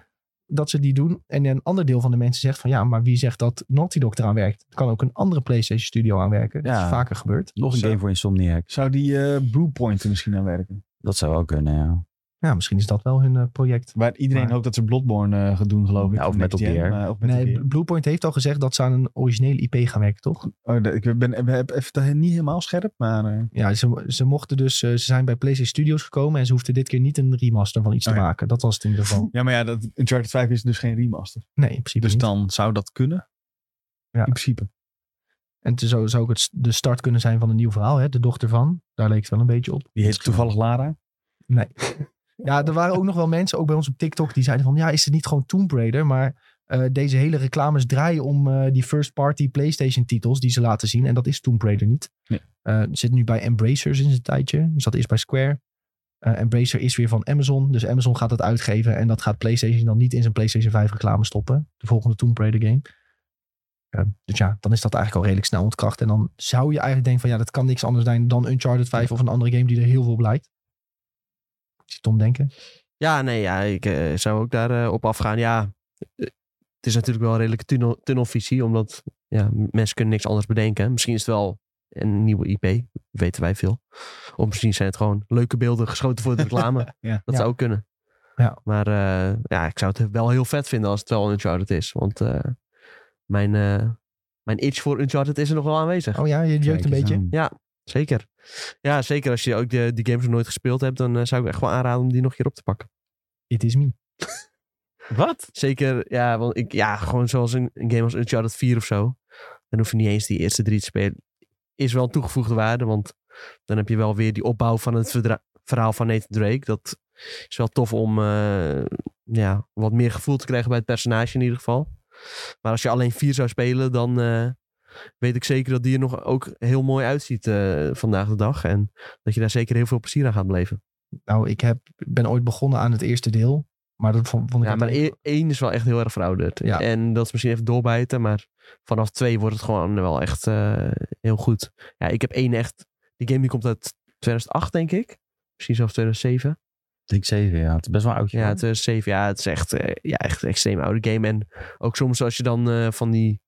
A: dat ze die doen. En een ander deel van de mensen zegt van, ja, maar wie zegt dat Naughty Dog eraan werkt? Het kan ook een andere PlayStation Studio aanwerken. Dat
D: Ja.
A: is vaker gebeurd.
D: Nog een
B: Zo.
D: game voor Insomniac.
B: Zou die eh Brewpoint er misschien aan werken?
D: Dat zou ook kunnen, ja.
A: Ja, misschien is dat wel hun eh, project.
B: Waar iedereen
A: Maar-
B: hoopt dat ze Bloodborne eh, gaan doen, geloof ik.
D: Ja, of
B: Next
D: Metal
B: Gen,
D: Gear.
B: maar- of Metal
A: Nee,
B: Gear.
A: Bl- Bluepoint heeft al gezegd dat ze aan een originele IP gaan werken, toch?
B: Oh, dat- ik ben, ik heb even dat niet helemaal scherp, maar... eh,
A: Ja, ze, ze mochten dus, eh, ze zijn bij PlayStation Studios gekomen en ze hoefden dit keer niet een remaster van iets
B: Oh
A: te
B: ja.
A: maken. Dat was het in ieder geval.
B: Ja, maar ja, dat, Uncharted 5 is dus geen remaster.
A: Nee, in principe
B: Dus
A: niet.
B: dan zou dat kunnen.
A: Ja.
B: In principe.
A: En het zou, zou ook het, s- de start kunnen zijn van een nieuw verhaal, hè? De dochter van. Daar leek het wel een beetje op.
B: Die heet toevallig Lara.
A: Nee. ja, er waren ook nog wel mensen, ook bij ons op TikTok, die zeiden van... Ja, is het niet gewoon Tomb Raider? Maar eh, deze hele reclames draaien om eh, die first-party PlayStation-titels die ze laten zien. En dat is Tomb Raider niet.
B: Nee.
A: Eh, zit nu bij Embracer sinds een tijdje. Dus dat is bij Square. Eh, Embracer is weer van Amazon. Dus Amazon gaat het uitgeven. En dat gaat PlayStation dan niet in zijn PlayStation 5 reclame stoppen. De volgende Tomb Raider game. Eh, dus ja, dan is dat eigenlijk al redelijk snel ontkracht. En dan zou je eigenlijk denken van... Ja, dat kan niks anders zijn dan Uncharted 5 of een andere game die er heel veel op lijkt. Ik zie Tom denken.
C: Ja, nee, ja, ik eh, zou ook daarop op afgaan. Ja, eh, het is natuurlijk wel een redelijke tunnel, tunnelvisie, omdat ja, m- mensen kunnen niks anders bedenken. Misschien is het wel een nieuwe IP, weten wij veel. Of misschien zijn het gewoon leuke beelden geschoten voor de reclame.
B: Ja.
C: Dat
A: Ja.
C: zou ook kunnen.
A: Ja.
C: Maar eh, ja, ik zou het wel heel vet vinden als het wel een Uncharted is. Want eh, mijn eh, mijn itch voor Uncharted is er nog wel aanwezig.
A: Oh ja, je jeukt een beetje.
C: Zeker. Ja, zeker. Als je ook de, die games nog nooit gespeeld hebt, dan eh, zou ik echt wel aanraden om die nog een keer op te pakken.
A: It is me.
D: Wat?
C: Zeker, ja, want ik, ja, gewoon zoals een, een game als Uncharted 4 of zo. Dan hoef je niet eens die eerste drie te spelen. Is wel een toegevoegde waarde, want dan heb je wel weer die opbouw van het verdra- verhaal van Nathan Drake. Dat is wel tof om eh, ja, wat meer gevoel te krijgen bij het personage in ieder geval. Maar als je alleen 4 zou spelen, dan eh, weet ik zeker dat die er nog ook heel mooi uitziet eh, vandaag de dag. En dat je daar zeker heel veel plezier aan gaat beleven.
A: Nou, ik heb, ben ooit begonnen aan het eerste deel. Maar dat vond, vond ik...
C: Ja, maar
A: altijd-
C: e- één is wel echt heel erg verouderd.
A: Ja.
C: En dat is misschien even doorbijten, maar vanaf twee wordt het gewoon wel echt eh, heel goed. Ja, ik heb één echt... Die game die komt uit 2008, denk ik. Misschien zelfs 2007.
D: Ik denk 7, ja. Het is best wel oud.
C: Ja, 2007. Ja, het is echt, eh, ja, echt een extreem oude game. En ook soms als je dan eh, van die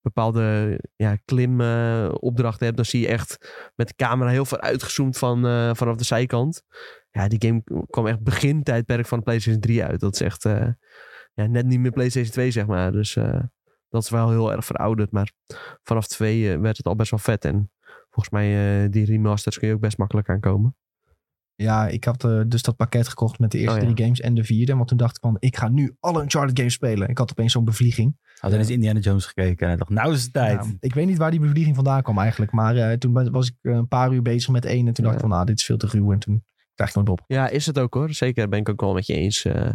C: bepaalde ja, klimopdrachten hebt, dan zie je echt met de camera heel ver uitgezoomd van, eh, vanaf de zijkant. Ja, die game kwam echt begin tijdperk van de PlayStation 3 uit. Dat is echt eh, ja, net niet meer PlayStation 2, zeg maar. Dus eh, dat is wel heel erg verouderd. Maar vanaf 2 eh, werd het al best wel vet. En volgens mij, eh, die remasters kun je ook best makkelijk aankomen.
A: Ja, ik had eh, dus dat pakket gekocht met de eerste
C: Oh, ja.
A: drie games en de vierde. Want toen dacht ik van, ik ga nu alle Uncharted games spelen. Ik had opeens zo'n bevlieging.
D: Had eens Indiana Jones gekeken en hij dacht, nou is het tijd.
A: Nou, ik weet niet waar die bevlieging vandaan kwam eigenlijk. Maar eh, toen ben- was ik eh, een paar uur bezig met één. En toen dacht ik van, nou, dit is veel te ruw. En toen krijg ik nooit meer op.
C: Ja, is het ook hoor. Zeker, ben ik ook wel met je eens. Eh,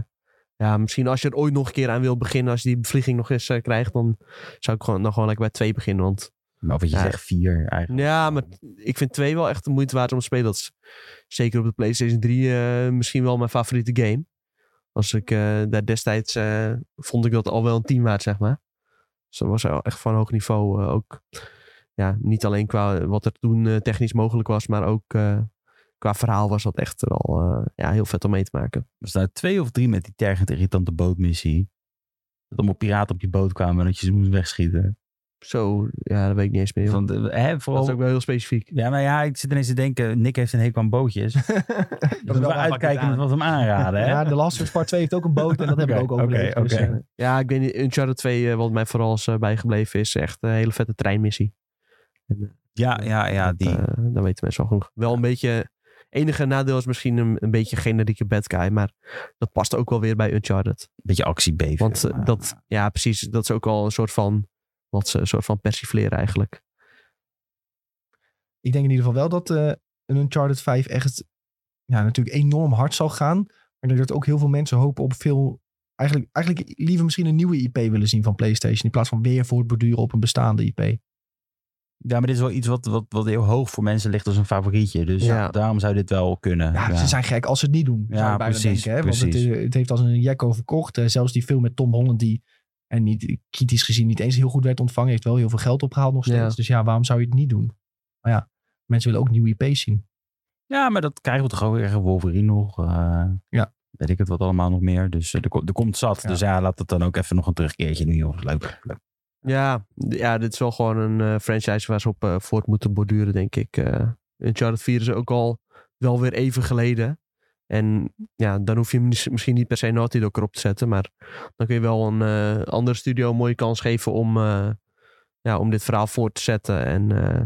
C: ja, misschien als je er ooit nog een keer aan wil beginnen, als je die bevlieging nog eens eh, krijgt, dan zou ik gewoon, dan gewoon lekker bij twee beginnen. Want
D: Maar wat je
C: Ja.
D: zegt, 4 eigenlijk.
C: ja, maar ik vind twee wel echt de moeite waard om te spelen. Dat is zeker op de PlayStation 3 eh, misschien wel mijn favoriete game. Als ik eh, daar destijds eh, vond ik dat al wel een 10 waard, zeg maar. Dus dat was wel echt van hoog niveau. eh, ook ja, niet alleen qua wat er toen eh, technisch mogelijk was, maar ook eh, qua verhaal was dat echt wel eh, ja, heel vet om mee te maken.
D: Was daar twee of drie met die tergend irritante bootmissie? Dat allemaal piraten op je boot kwamen en dat je ze moest wegschieten.
C: Zo, ja, dat weet ik niet eens meer. joh.
D: Van, de- hè,
C: dat
D: vooral...
C: is ook wel heel specifiek.
D: Ja, maar ja, ik zit ineens te denken, Nick heeft een hekel aan bootjes. Dus
A: Dat
D: moeten we uitkijken met wat we hem aanraden, hè?
A: Ja, de Last of Us Part 2 heeft ook een boot en dat hebben we
D: Oké,
A: ook overleefd.
D: oké,
A: dus,
D: oké.
A: eh,
C: Ja, ik weet niet, Uncharted 2, eh, wat mij vooral is eh, bijgebleven, is echt een hele vette treinmissie.
D: Ja, ja, ja,
C: Dat,
D: die.
C: eh, daar weten mensen al genoeg. Wel een beetje, enige nadeel is misschien een, een beetje generieke bad guy, maar dat past ook wel weer bij Uncharted.
D: beetje actiebeven.
C: Want eh,
D: Maar-
C: dat, ja precies, dat is ook al een soort van, wat ze, een soort van persifleren eigenlijk.
A: ik denk in ieder geval wel dat eh, een Uncharted 5 echt ja, natuurlijk enorm hard zal gaan. Maar ik denk dat ook heel veel mensen hopen op veel... Eigenlijk, eigenlijk liever misschien een nieuwe IP willen zien van PlayStation. In plaats van weer voortborduren op een bestaande IP.
D: Ja, maar dit is wel iets wat, wat, wat heel hoog voor mensen ligt als een favorietje. Dus
C: Ja.
D: daarom zou dit wel kunnen.
A: Ja, ze zijn gek als ze het niet doen.
D: Ja,
A: zou ik bijna
D: precies,
A: Denken, hè? Want het,
D: precies.
A: eh, het heeft als een jacko verkocht. Eh, zelfs die film met Tom Holland die... En niet, kritisch gezien niet eens heel goed werd ontvangen. Heeft wel heel veel geld opgehaald nog steeds.
C: Ja.
A: Dus ja, waarom zou je het niet doen? Maar ja, mensen willen ook nieuwe IP's zien.
D: Ja, maar dat krijgen we toch ook weer. Wolverine nog. eh,
A: Ja.
D: Weet ik het wat allemaal nog meer. Dus eh, er, ko- er komt zat.
A: Ja.
D: Dus ja, laat het dan ook even nog een terugkeertje doen, joh. Leuk. leuk.
C: Ja, d- ja, dit is wel gewoon een eh, franchise waar ze op eh, voort moeten borduren, denk ik. Eh Uncharted 4 is ook al wel weer even geleden. En ja, dan hoef je hem mis- misschien niet per se Naughty Dog erop te zetten. Maar dan kun je wel een eh, andere studio een mooie kans geven om, eh, ja, om dit verhaal voor te zetten. En eh,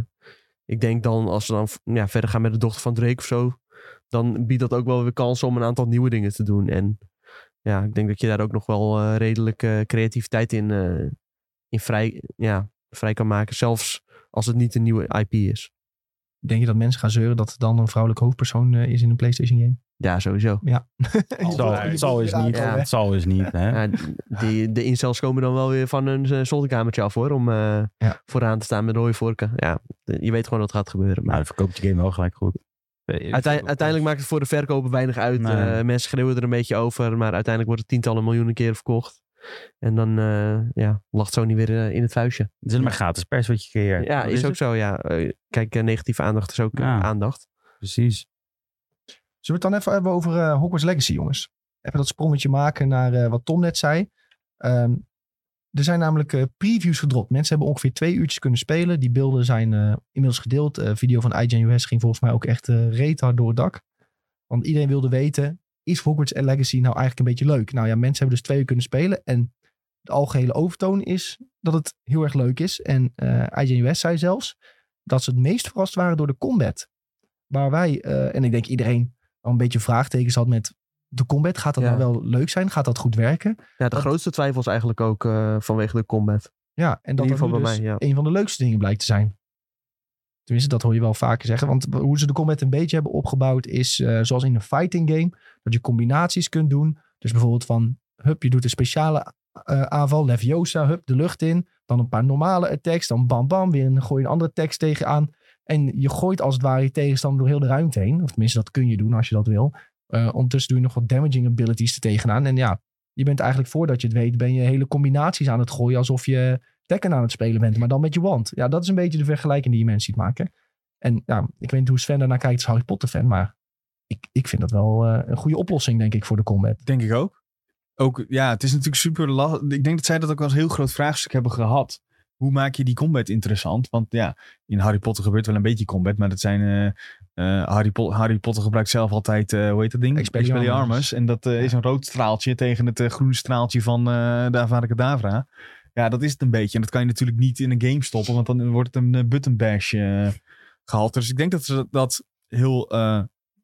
C: ik denk dan, als ze dan v- ja, verder gaan met de dochter van Drake of zo... dan biedt dat ook wel weer kans om een aantal nieuwe dingen te doen. En ja, ik denk dat je daar ook nog wel eh, redelijk eh, creativiteit in... eh, in vrij, ja, vrij kan maken. Zelfs als het niet een nieuwe IP is.
A: Denk je dat mensen gaan zeuren dat er dan een vrouwelijk hoofdpersoon eh, is in een PlayStation game?
C: Ja, sowieso.
D: Het zal, het zal eens niet.
C: Ja.
A: eh,
D: Het zal eens niet. Hè?
C: Ja, die, de incels komen dan wel weer van hun eh, zolderkamertje af hoor. Om eh,
A: Ja.
C: vooraan te staan met rode vorken. Ja, de- je weet gewoon dat gaat gebeuren.
D: Nou,
C: Maar
D: dan verkoopt je game wel gelijk goed. Eh,
C: uitei- uiteindelijk maakt het voor de verkoper weinig uit.
D: Nee.
C: Eh, mensen schreeuwen er een beetje over. Maar uiteindelijk wordt het tientallen miljoenen keren verkocht. En dan eh, ja, lacht Sony weer eh, in het vuistje.
D: Het is maar gratis pers wat je creëert.
C: Ja,
D: Dat
C: is ook
D: het.
C: zo. Ja. Eh, kijk, eh, negatieve aandacht is ook eh,
D: Ja.
C: aandacht.
D: Precies.
A: Zullen we het dan even hebben over eh Hogwarts Legacy, jongens? Even dat sprongetje maken naar eh, wat Tom net zei. Ehm, er zijn namelijk eh, previews gedropt. Mensen hebben ongeveer twee uurtjes kunnen spelen. Die beelden zijn eh, inmiddels gedeeld. Eh video van IGN US ging volgens mij ook echt eh retard door het dak. Want iedereen wilde weten, is Hogwarts Legacy nou eigenlijk een beetje leuk? Nou ja, mensen hebben dus twee uur kunnen spelen. En de algehele overtoon is dat het heel erg leuk is. En eh IGN US zei zelfs dat ze het meest verrast waren door de combat. Waar wij, eh, en ik denk iedereen al een beetje vraagtekens had met de combat. Gaat dat
C: Ja.
A: nou wel leuk zijn? Gaat dat goed werken?
C: Ja, de
A: Dat-
C: grootste twijfel is eigenlijk ook eh, vanwege de combat.
A: Ja, en dat
C: ieder
A: dat
C: geval
A: nu
C: bij
A: dus
C: mij,
A: een van de leukste dingen blijkt te zijn. Tenminste, dat hoor je wel vaker zeggen. Want hoe ze de combat een beetje hebben opgebouwd is eh, zoals in een fighting game. Dat je combinaties kunt doen. Dus bijvoorbeeld van, hup, je doet een speciale eh, aanval. Leviosa, hup, de lucht in. Dan een paar normale attacks. Dan bam bam, weer een, gooi je een andere attacks tegenaan. En je gooit als het ware je tegenstander door heel de ruimte heen. Of tenminste, dat kun je doen als je dat wil. Eh, ondertussen doe je nog wat damaging abilities er tegenaan. En ja, je bent eigenlijk voordat je het weet, ben je hele combinaties aan het gooien. Alsof je Tekken aan het spelen bent, maar dan met je wand. Ja, dat is een beetje de vergelijking die je mensen ziet maken. En ja, ik weet niet hoe Sven daarnaar kijkt als Harry Potter fan, maar ik, ik vind dat wel eh, een goede oplossing, denk ik, voor de combat.
B: Denk ik ook. Ook, ja, het is natuurlijk super lastig. Ik denk dat zij dat ook wel eens een heel groot vraagstuk hebben gehad. Hoe maak je die combat interessant? Want ja, in Harry Potter gebeurt wel een beetje combat, maar dat zijn... eh, eh, Harry, Po- Harry Potter gebruikt zelf altijd, eh, hoe heet dat ding?
A: Expelliarmus.
B: En dat eh, is een rood straaltje tegen het eh, groene straaltje van eh de Avada Kedavra. Ja, dat is het een beetje. En dat kan je natuurlijk niet in een game stoppen, want dan wordt het een eh, button bash eh, gehaald. Dus ik denk dat ze dat, dat heel eh,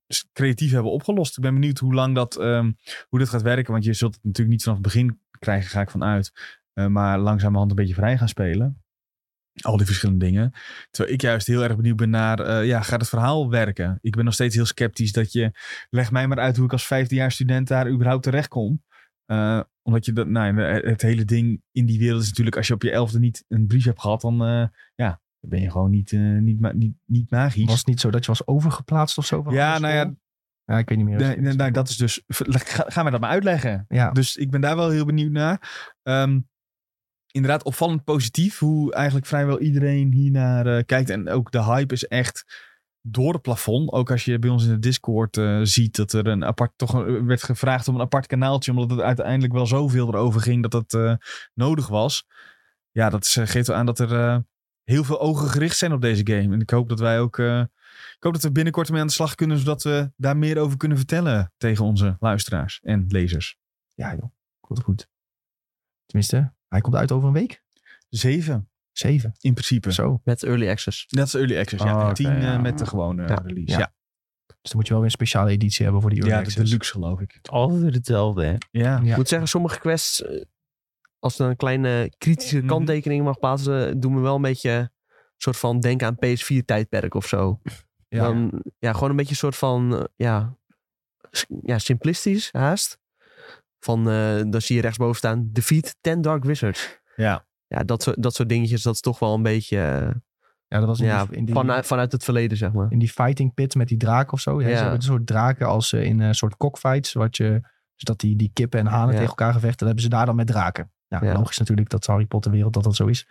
B: s- creatief hebben opgelost. Ik ben benieuwd hoe lang dat, ehm, hoe dat gaat werken. Want je zult het natuurlijk niet vanaf het begin krijgen, ga ik vanuit. Eh, maar langzamerhand een beetje vrij gaan spelen. Al die verschillende dingen. Terwijl ik juist heel erg benieuwd ben naar, eh, ja, gaat het verhaal werken? Ik ben nog steeds heel sceptisch dat je, leg mij maar uit hoe ik als 15-jaar student daar überhaupt terecht kom. Eh, omdat je dat, nou, ja, het hele ding in die wereld is natuurlijk, als je op je elfde niet een brief hebt gehad, dan eh, ja, dan ben je gewoon niet, eh, niet, ma- niet, niet magisch.
A: Was het niet zo dat je was overgeplaatst of zo? van
B: Ja,
A: andere
B: nou ja,
A: school? ja, ik weet niet meer.
B: Nee, nee, nou, dat is dus. Ga, ga mij dat maar uitleggen.
A: Ja,
B: Dus ik ben daar wel heel benieuwd naar. Ehm, inderdaad, opvallend positief hoe eigenlijk vrijwel iedereen hier naar eh, kijkt. En ook de hype is echt door het plafond. Ook als je bij ons in de Discord eh, ziet dat er een apart, toch een- eh, werd gevraagd om een apart kanaaltje. Omdat het uiteindelijk wel zoveel erover ging dat dat eh, nodig was. Ja, dat is, eh, geeft wel aan dat er eh, heel veel ogen gericht zijn op deze game. En ik hoop dat wij ook. eh, ik hoop dat we binnenkort mee aan de slag kunnen, zodat we daar meer over kunnen vertellen tegen onze luisteraars en lezers.
A: ja joh, komt goed. Tenminste, hij komt uit over een week.
B: Zeven,
A: Zeven,
B: in principe.
A: zo.
C: Met early access.
B: Dat is early access,
D: Oh,
B: ja. En
D: oké,
B: tien
D: ja.
B: eh, met de gewone
C: Ja,
B: release.
A: ja.
B: Ja,
A: Dus dan moet je wel weer een speciale editie hebben voor die
B: ja.
A: Early
B: de
A: Access.
B: deluxe geloof ik.
D: Altijd hetzelfde, hè?
B: Ja.
A: Ja.
C: Ik moet zeggen, sommige quests, eh, als er een kleine kritische
B: Mhm.
C: kanttekening mag plaatsen, doen me wel een beetje een soort van denken aan PS4-tijdperk of zo.
A: Ja.
C: Dan, ja, gewoon een beetje een soort van, eh, ja, s- ja simplistisch haast. Van, eh, dan zie je rechtsboven staan, defeat 10 Dark Wizards.
B: Ja.
C: Ja, dat, soort- dat soort dingetjes, dat is toch wel een beetje eh,
A: Ja, dat was in
C: ja,
A: die- in die-
C: vanuit, vanuit het verleden, zeg maar.
A: in die fighting pit met die draken of zo. Ja,
C: Ja.
A: Ze hebben een soort draken als eh, in een soort cockfights. Wat je, dus dat die, die kippen en hanen
C: Ja.
A: tegen elkaar gevechten. Dat hebben ze daar dan met draken. Ja,
C: Ja.
A: logisch natuurlijk dat de Harry Potter wereld dat dat zo is.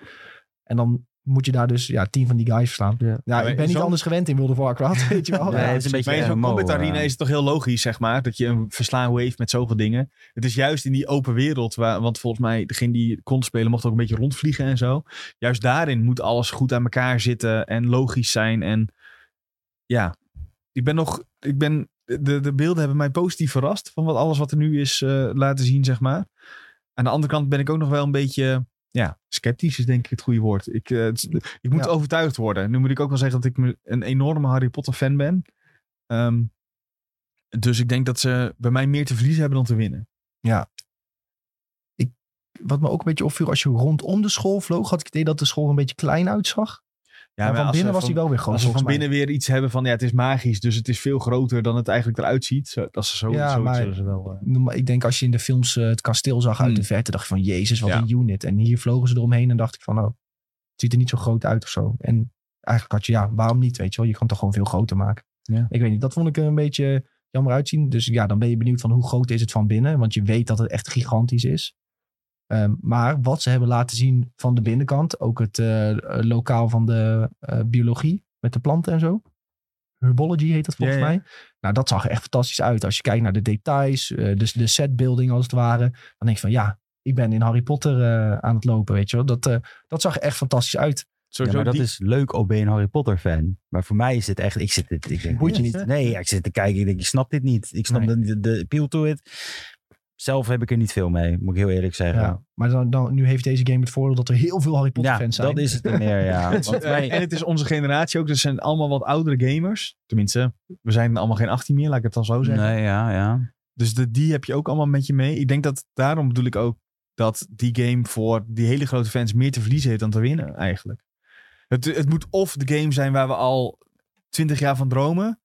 A: En dan moet je daar dus ja, tien van die guys verslaan.
C: Ja.
A: Ja,
B: Maar
A: ik ben niet
B: zo'n-
A: anders gewend in World of Warcraft, weet je wel.
C: Ja,
A: Ja, dus
C: het is een beetje
B: Maar in zo'n
D: MMO,
B: combat arena
D: eh.
B: is het toch heel logisch, zeg maar, dat je een verslaan wave met zoveel dingen. Het is juist in die open wereld, waar, want volgens mij degene die kon spelen mocht ook een beetje rondvliegen en zo. Juist daarin moet alles goed aan elkaar zitten en logisch zijn. En ja, ik ben nog, ik ben, de, de beelden hebben mij positief verrast van wat alles wat er nu is eh, laten zien, zeg maar. Aan de andere kant ben ik ook nog wel een beetje, ja, sceptisch is denk ik het goede woord. Ik, eh, het is- ik moet
A: Ja.
B: overtuigd worden. Nu moet ik ook wel zeggen dat ik me- een enorme Harry Potter fan ben. Ehm, dus ik denk dat ze bij mij meer te verliezen hebben dan te winnen.
A: Wat me ook een beetje opviel, als je rondom de school vloog, had ik het idee dat de school er een beetje klein uitzag.
B: Ja,
A: maar van binnen was hij wel weer groot.
B: Als ze van
A: volgens mij.
B: binnen weer iets hebben van ja, het is magisch, dus het is veel groter dan het eigenlijk eruit ziet. Zo, dat ze zo,
A: Ja,
B: zo
A: maar-
B: zullen ze wel. eh,
A: Noem maar- Ik denk als je in de films eh, het kasteel zag uit
B: Hmm.
A: de verte, dacht je van jezus, wat
B: Ja.
A: een unit. En hier vlogen ze eromheen en dacht ik van, oh, het ziet er niet zo groot uit of zo. En eigenlijk had je, ja, waarom niet, weet je wel. Je kan het toch gewoon veel groter maken.
B: Ja.
A: Ik weet niet, dat vond ik een beetje jammer uitzien. Dus ja, dan ben je benieuwd van hoe groot is het van binnen. Want je weet dat het echt gigantisch is. Ehm, maar wat ze hebben laten zien van de binnenkant, ook het eh, eh, lokaal van de eh, biologie met de planten en zo. Herbology heet dat volgens
B: Ja, ja.
A: mij. Nou, dat zag er echt fantastisch uit. Als je kijkt naar de details, eh, dus de setbuilding als het ware. Dan denk je van ja, ik ben in Harry Potter eh, aan het lopen, weet je wel. Dat, eh, dat zag er echt fantastisch uit.
D: Ja,
B: sowieso
D: maar dat
B: die-
D: is leuk, ook ben je een Harry Potter fan. Maar voor mij is het echt, ik zit dit, ik denk,
A: Boeit je
D: dit-
A: niet.
D: Nee, ja, ik zit te kijken, ik denk, ik snap dit niet. Ik snap
A: Nee.
D: de, de, de appeal to it. Zelf heb ik er niet veel mee, moet ik heel eerlijk zeggen.
A: Ja, maar dan, dan, nu heeft deze game het voordeel dat er heel veel Harry Potter
D: Ja,
A: fans zijn.
D: dat is het niet meer, ja. Want
B: Eh,
D: wij-
B: en het is onze generatie ook. Dus het zijn allemaal wat oudere gamers. Tenminste, we zijn allemaal geen 18 meer, laat ik het dan zo zeggen.
D: nee, ja, ja.
B: Dus de, die heb je ook allemaal met je mee. Ik denk dat daarom bedoel ik ook dat die game voor die hele grote fans meer te verliezen heeft dan te winnen eigenlijk. Het, het moet of de game zijn waar we al 20 jaar van dromen,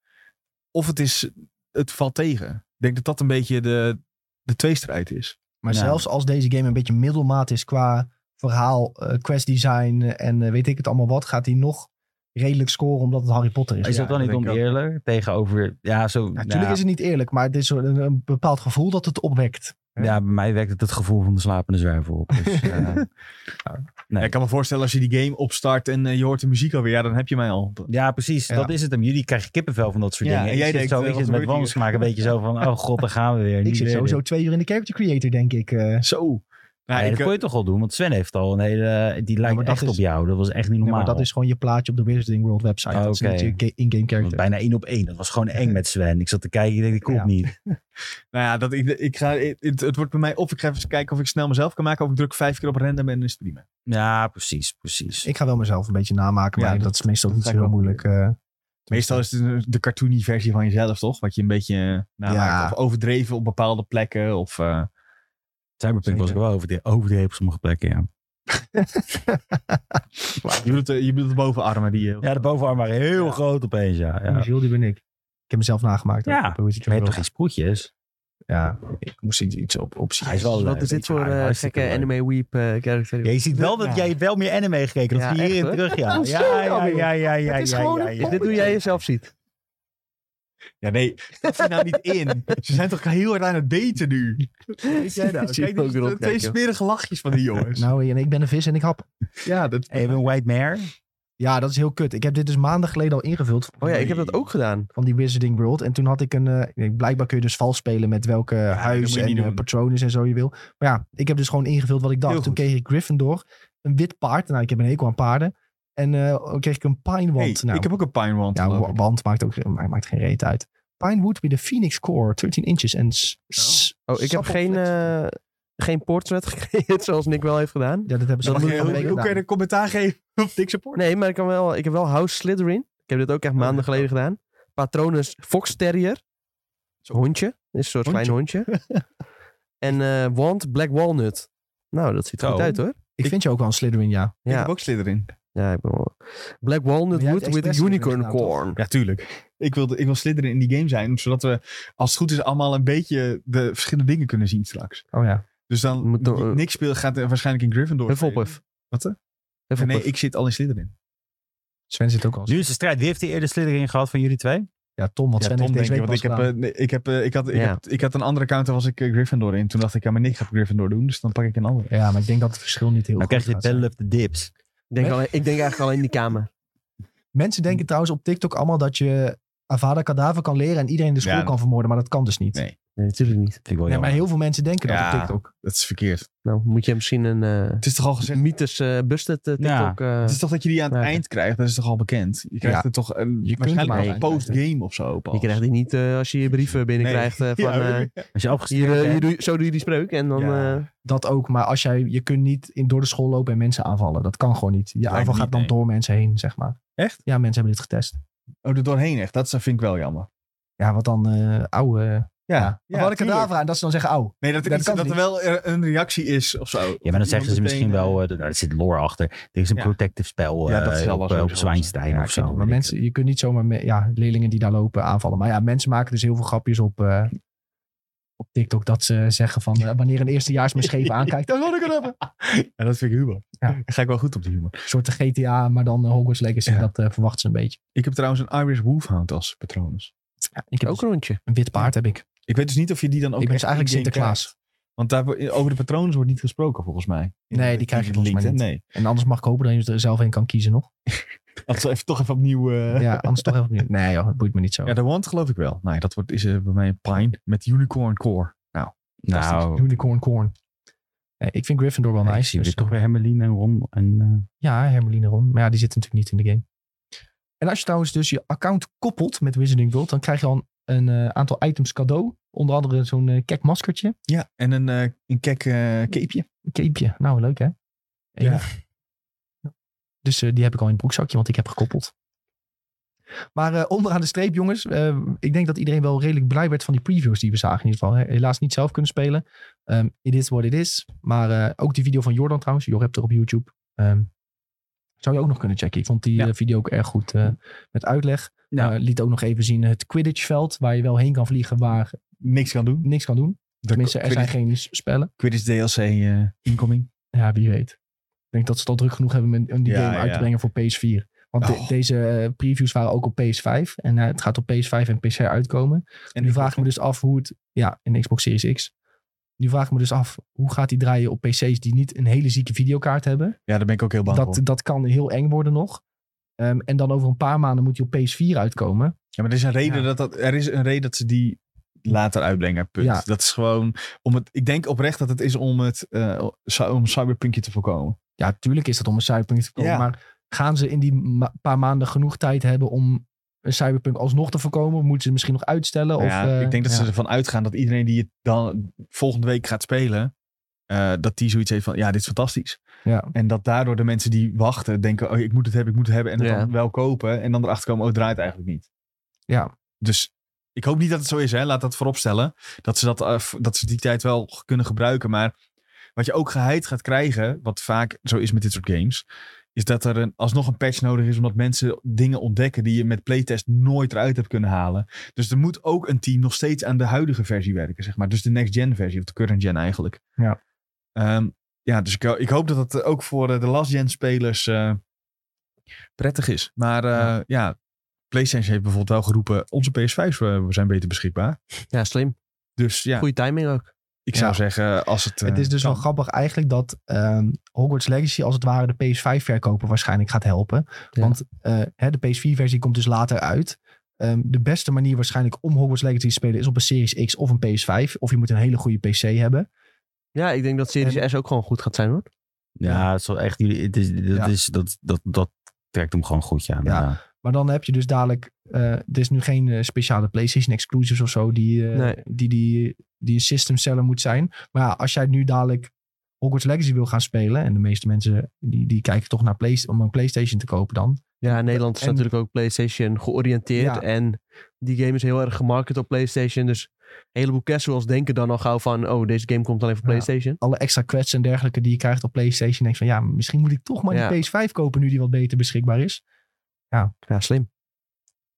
B: of het, is, het valt tegen. Ik denk dat dat een beetje de, de tweestrijd is.
A: Maar
D: Ja.
A: zelfs als deze game een beetje middelmaat is qua verhaal, eh quest design en eh, weet ik het allemaal wat, gaat hij nog redelijk scoren omdat het Harry Potter is.
D: Is dat
B: Ja,
D: dan niet
B: dat denk ik ook.
D: oneerlijk tegenover... Ja, zo,
A: Natuurlijk
D: ja,
A: is het niet eerlijk, maar het is een, een bepaald gevoel dat het opwekt.
D: ja, bij mij wekt het het gevoel van de slapende zwerver op. Dus, eh, Nee.
B: Ja, ik kan me voorstellen als je die game opstart en eh, je hoort de muziek alweer, ja, dan heb je mij al.
D: ja, precies.
A: Ja.
D: Dat is het hem. Jullie krijgen kippenvel van dat soort
B: Ja,
D: dingen.
B: en jij
D: Ik zit
B: denkt,
D: zo,
B: eh,
D: ik
B: wat
D: zit met
B: gebeurt hier?
D: wansmaak een beetje zo van... Oh god, daar gaan we weer.
A: Ik
D: niet
A: zit
D: weer
A: sowieso
D: dit.
A: twee uur in de character creator, denk ik. eh.
B: Zo. Nou,
D: Nee,
B: ik,
D: dat kon je toch wel doen, want Sven heeft al een hele... Die lijkt
A: maar dat
D: echt
A: is-
D: op jou. Dat was echt niet
A: Ja,
D: normaal.
A: maar dat is gewoon je plaatje op de Wizarding World website. Dat is
D: Oké.
A: niet je ga- in-game
D: Want
A: character.
D: bijna één op één. Dat was gewoon eng met Sven. Ik zat te kijken, ik denk, ik komt
A: Ja.
D: niet.
B: nou ja, dat, ik, ik ga, het, het wordt bij mij of ik ga even kijken of ik snel mezelf kan maken, of ik druk vijf keer op random en streamen.
D: Ja, precies, precies.
A: Ik ga wel mezelf een beetje namaken,
B: Ja,
A: maar dat,
B: dat-
A: is meestal
B: dat
A: niet
B: ga
A: zo
B: ik
A: heel
B: ook
A: moeilijk. eh.
B: Meestal is het een- de cartoony versie van jezelf, toch? Wat je een beetje nou,
A: Ja.
B: of overdreven op bepaalde plekken. Of, eh,
D: Cyberpunk was ik
B: Zeker.
D: wel overde- overdreven op sommige plekken, ja.
B: je, bedoelt, de- je bedoelt de bovenarmen die je...
D: Ja, de bovenarm waren heel
B: Ja.
D: groot opeens, ja.
A: Ja.
D: ja.
A: Jules, die ben ik. eh. Ik heb mezelf nagemaakt. ook
D: Ja,
A: op de Wizarding
D: Je hebt
A: World.
D: toch geen sproetjes?
A: Ja, ik moest iets- iets op, op
D: Hij is wel leuk,
C: Wat is dit
D: weet je,
C: voor
D: hij-
C: eh,
D: hartstikke
C: gekke
D: leuk.
C: anime weep eh, character?
D: Ja, je ziet wel dat
C: Ja.
D: jij wel meer anime gekeken. Dat
C: Ja,
D: zie je
C: echt,
D: hierin
C: hoor.
D: terug, ja.
A: Hoe
D: Ja,
A: zo
D: ja, ja,
A: nou weer?
D: ja, ja, ja,
A: is
D: ja,
A: gewoon
D: ja,
A: een
D: ja.
C: Dit doe jij jezelf ziet.
B: Ja, nee, dat zit nou niet in. Ze zijn toch heel erg aan het daten nu? Weet jij nou?
C: Ik zie
B: Kijk,
C: hem ook
B: die,
C: erop
B: de- twee
C: kijken.
B: smerige lachjes van die jongens.
A: Nou, en ik ben een vis en ik hap.
B: ja, dat...
D: Even een white mare.
A: Ja, dat is heel kut. Ik heb dit dus maanden geleden al ingevuld.
C: Oh ja, ik heb dat ook gedaan.
A: Van die Wizarding World. En toen had ik een... eh, blijkbaar kun je dus vals spelen met welke
B: moet
A: huis
B: je
A: en
B: niet
A: eh,
B: doen.
A: patronen en zo je wil. Maar ja, ik heb dus gewoon ingevuld wat ik dacht.
B: Heel
A: Toen
B: goed.
A: kreeg ik Gryffindor, een wit paard. Nou, ik heb een hekel aan paarden. En eh, kreeg ik een
B: Hey,
A: pinewand. nou,
B: ik heb ook een pine wand.
A: ja,
B: geloof
A: wa-
B: ik.
A: wand maakt ook maar maakt geen reet uit. Pinewood with a Phoenix Core, 13 inches. En s- s-
C: Oh, ik heb
A: sappel
C: geen,
A: flex.
C: eh, geen portret gecreëerd zoals Nick wel heeft gedaan.
A: Ja, dat hebben ze
C: dat
A: al
C: moet
B: Mag
C: je
B: je-
A: van de
B: hoe,
A: week
B: hoe kan je
A: gedaan.
B: een commentaar geven op Dick Support?
C: Nee, maar ik, kan wel, ik heb wel House Slytherin. Ik heb dit ook echt maanden geleden gedaan. Patronus Fox Terrier. Zo'n hondje. Is een soort klein hondje. en eh Wand Black Walnut. Nou, dat ziet er
D: Zo.
C: goed uit hoor.
A: Ik vind je ook wel een Slytherin, ja.
B: Ik
C: Ja,
B: heb ook Slytherin.
C: ja ik ben wel... Black Walnut
A: Maar jij hebt
C: Wood with a
A: expres Slytherin
C: Unicorn
A: gedaan, toch?
C: Corn.
B: Ja, tuurlijk. Ik wil, ik wil Slytherin in die game zijn, zodat we als het goed is allemaal een beetje de verschillende dingen kunnen zien straks.
A: Oh ja.
B: Dus dan,
C: Moet dan,
B: die
C: eh,
B: Nick speelt, gaat eh, waarschijnlijk in Gryffindor.
C: Hufflepuff.
B: Wat, hè? spelen.
C: Hufflepuff.
B: Nee, ik zit al in Slytherin.
A: Sven zit ook al.
D: Nu is de strijd. Wie heeft de eerder Slytherin gehad van jullie twee?
A: Ja, Tom, wat
B: Ja,
A: Sven
B: Tom,
A: heeft
B: denk
A: deze
B: ik,
A: week
B: want
A: pas
B: ik heb,
A: gedaan.
B: eh, nee, ik, heb, eh, ik, had, ik,
C: Ja.
B: heb, ik had een andere account, daar was ik eh, Gryffindor in. Toen dacht ik, ja, maar Nick gaat Gryffindor doen, dus dan pak ik een andere.
A: Ja, maar ik denk dat het verschil niet heel
D: Dan
A: groot
D: krijg je
A: gaat zijn.
D: de Battle of the Dips.
C: Ik denk, alleen, ik denk eigenlijk alleen die kamer.
A: Mensen denken trouwens op TikTok allemaal dat je Avada Kedavra kan leren en iedereen in de school
B: Ja.
A: kan vermoorden, maar dat kan dus niet.
B: Nee,
A: Nee,
C: Nee, natuurlijk niet.
D: Vind ik wel
A: maar
D: jammer.
A: heel veel mensen denken dat
B: Ja.
A: op TikTok.
B: Dat is verkeerd.
C: Nou, moet je misschien een eh
B: Het is toch al gezegd,
C: mythes eh busted eh,
D: Ja.
C: TikTok... eh,
B: het is toch dat je die aan het
C: Ja.
B: eind krijgt, dat is toch al bekend. Je krijgt
A: Ja.
B: het toch een,
A: kunt
B: waarschijnlijk
C: hem
B: al
C: al
B: post-game of zo.
C: je
B: pas.
C: krijgt die niet eh, als je je brieven binnenkrijgt eh, van...
B: Ja,
C: eh,
D: Als je
C: hier,
D: afgestuurd
C: eh, hier
D: bent.
C: doe je- zo doe je die spreuk en dan...
B: Ja.
C: eh,
A: Dat ook, maar als jij, je kunt niet in, door de school lopen en mensen aanvallen. Dat kan gewoon niet. Je
B: Lijkt
A: aanval
B: niet,
A: gaat dan
B: nee.
A: door mensen heen, zeg maar.
B: Echt?
A: Ja, mensen hebben dit getest.
B: Oh, er doorheen echt. Dat vind ik wel jammer.
A: Ja, wat dan eh oude...
B: Ja,
A: ja. Avada Kedavra en dat ze dan zeggen ouw.
B: Nee, dat,
A: Dat
B: dat,
A: kan
B: dat er
A: niet.
B: wel eh, een reactie is of zo.
D: Ja, maar dan zeggen ze misschien wel, eh, dat- nou, er zit lore achter. Er is een
B: Ja.
D: protective spel
B: Ja, dat
D: eh,
B: zal wel
D: op,
B: zo
D: eh, op
B: zijn.
D: Zwijnstein
A: Ja,
D: of zo.
A: maar mensen, je kunt niet zomaar me- ja, leerlingen die daar lopen aanvallen. Maar ja, mensen maken dus heel veel grapjes op, eh, op TikTok. Dat ze zeggen van eh, wanneer een eerstejaars me scheef aankijkt. Dat wil ik het hebben.
B: En dat vind ik humor.
A: eh, Ja.
B: Daar ga ik wel goed op die humor.
A: Een soort de GTA, maar dan eh, Hogwarts Legacy.
B: Ja.
A: Dat eh verwachten ze een beetje.
B: Ik heb trouwens een Irish Wolfhound als patronus.
A: Ja, ik heb
C: ook
A: dus
C: een rondje.
A: een wit paard heb ik.
B: Ik weet dus niet of je die dan ook
A: ik ben dus
B: echt
A: eigenlijk
B: in-game
A: Sinterklaas.
B: krijgt. Want daar, wo- over de patronus wordt niet gesproken volgens mij. In
A: Nee,
B: de-
A: die krijg je
B: in
A: volgens mij
B: LinkedIn,
A: niet. En anders mag ik hopen dat je er zelf een kan kiezen nog.
B: Nee, dat is even, toch even opnieuw... eh, ja.
A: Ja, anders toch even opnieuw. Nee joh, het boeit me niet zo.
B: de wand geloof ik wel. Nee, dat wordt, is eh, bij mij een pine met unicorn core. Nou,
D: Nou,
A: Unicorn Corn. Nee, ik vind Gryffindor wel
D: ik
A: nice.
D: zie
A: dus-
D: weer toch weer Hermeline en Ron. En, eh,
A: Ja, Hermeline Ron. Maar ja, die zit natuurlijk niet in de game. En als je trouwens dus je account koppelt met Wizarding World, dan krijg je al een een eh, aantal items cadeau. Onder andere zo'n eh kek maskertje.
B: Ja, en een, eh een kek eh, capeje.
A: Een capeje. Nou, leuk hè?
B: Ja.
A: Enig. Dus eh, die heb ik al in het broekzakje, want ik heb gekoppeld. Maar eh, onderaan de streep, jongens. eh, ik denk dat iedereen wel redelijk blij werd van die previews die we zagen. In ieder geval. hè. Helaas niet zelf kunnen spelen. Ehm it is what it is. Maar eh, ook die video van Jordan trouwens. Jor hebt er op YouTube. Ehm, zou je ook nog kunnen checken. Ik vond die
B: Ja.
A: eh, video ook erg goed eh, met uitleg.
D: Ja.
A: Eh, liet ook nog even zien het Quidditchveld. Waar je wel heen kan vliegen, waar
B: Niks kan doen.
A: niks kan doen. Tenminste, er zijn geen s- spellen.
B: Quidditch DLC eh, incoming.
A: Ja, wie weet. Ik denk dat ze het al druk genoeg hebben met- om die
B: Ja,
A: game uit
B: ja.
A: te brengen voor PS4. Want de-
B: Oh.
A: deze eh, previews waren ook op PS5. En eh, het gaat op PS5 en PC uitkomen. En nu vraag ik me dus af hoe het... Ja, in Xbox Series X. Nu vraag ik me dus af, hoe gaat die draaien op PC's die niet een hele zieke videokaart hebben?
B: Ja, daar ben ik ook heel bang
A: Dat,
B: voor.
A: dat kan heel eng worden nog. Ehm, en dan over een paar maanden moet die op PS4 uitkomen.
B: Ja, maar er is een reden,
A: Ja.
B: dat, dat, er is een reden dat ze die later uitbrengen. Punt.
A: Ja.
B: Dat is gewoon om het. Ik denk oprecht dat het is om het eh, cy- om cyberpunkje te voorkomen.
A: Ja, tuurlijk is dat om een cyberpunk te komen.
B: Ja.
A: Maar gaan ze in die ma- paar maanden genoeg tijd hebben om een cyberpunk alsnog te voorkomen? Of moeten ze misschien nog uitstellen? Of,
B: Nou ja,
A: eh,
B: ik denk dat
A: ja.
B: ze ervan uitgaan dat iedereen die het dan volgende week gaat spelen, eh, dat die zoiets heeft van ja, dit is fantastisch.
A: Ja.
B: En dat daardoor de mensen die wachten denken, oh, ik moet het hebben, ik moet het hebben. En het
C: Ja.
B: dan wel kopen. En dan erachter komen, oh, het draait eigenlijk niet.
A: Ja.
B: Dus ik hoop niet dat het zo is, hè. Laat dat vooropstellen. Dat ze, dat, eh, v- dat ze die tijd wel g- kunnen gebruiken. Maar wat je ook geheid gaat krijgen, wat vaak zo is met dit soort games, is dat er een, alsnog een patch nodig is, omdat mensen dingen ontdekken die je met playtest nooit eruit hebt kunnen halen. Dus er moet ook een team nog steeds aan de huidige versie werken, zeg maar. Dus de next-gen versie, of de current-gen eigenlijk.
A: Ja.
B: Ehm, ja, dus ik, ho- ik hoop dat dat ook voor eh, de last-gen spelers eh, prettig is. Maar eh, ja. PlayStation heeft bijvoorbeeld wel geroepen, onze PS5's eh, zijn beter beschikbaar.
C: Ja, slim.
B: Dus ja,
C: Goede timing ook.
B: ik zou
A: Ja.
B: zeggen, als het...
A: Het
B: eh,
A: is dus
B: kan.
A: wel grappig eigenlijk dat ehm, Hogwarts Legacy als het ware de PS5-verkoper waarschijnlijk gaat helpen.
C: Ja.
A: Want eh, hè, de PS4-versie komt dus later uit. Ehm, de beste manier waarschijnlijk om Hogwarts Legacy te spelen is op een Series X of een PS5. Of je moet een hele goede PC hebben.
C: Ja, ik denk dat Series S ook gewoon goed gaat zijn hoor.
D: Ja, het is wel echt, jullie- het is, dat,
A: Ja.
D: is, dat, dat, dat trekt hem gewoon goed, ja. inderdaad.
A: Maar dan heb je dus dadelijk. eh, er is nu geen eh, speciale PlayStation exclusives of zo. Die, eh,
C: Nee.
A: die, die, die een system seller moet zijn. Maar ja, als jij nu dadelijk Hogwarts Legacy wil gaan spelen. En de meeste mensen die, die kijken toch naar play, om een PlayStation te kopen dan.
C: Ja, in Nederland is
A: En-
C: natuurlijk ook PlayStation georiënteerd.
A: Ja.
C: En die game is heel erg gemarket op PlayStation. Dus een heleboel casuals denken dan al gauw van... oh, deze game komt alleen voor
A: Ja.
C: PlayStation.
A: Alle extra quests en dergelijke die je krijgt op PlayStation. Denk je van ja, misschien moet ik toch maar die PS5 kopen nu die wat beter beschikbaar is.
C: Ja, slim.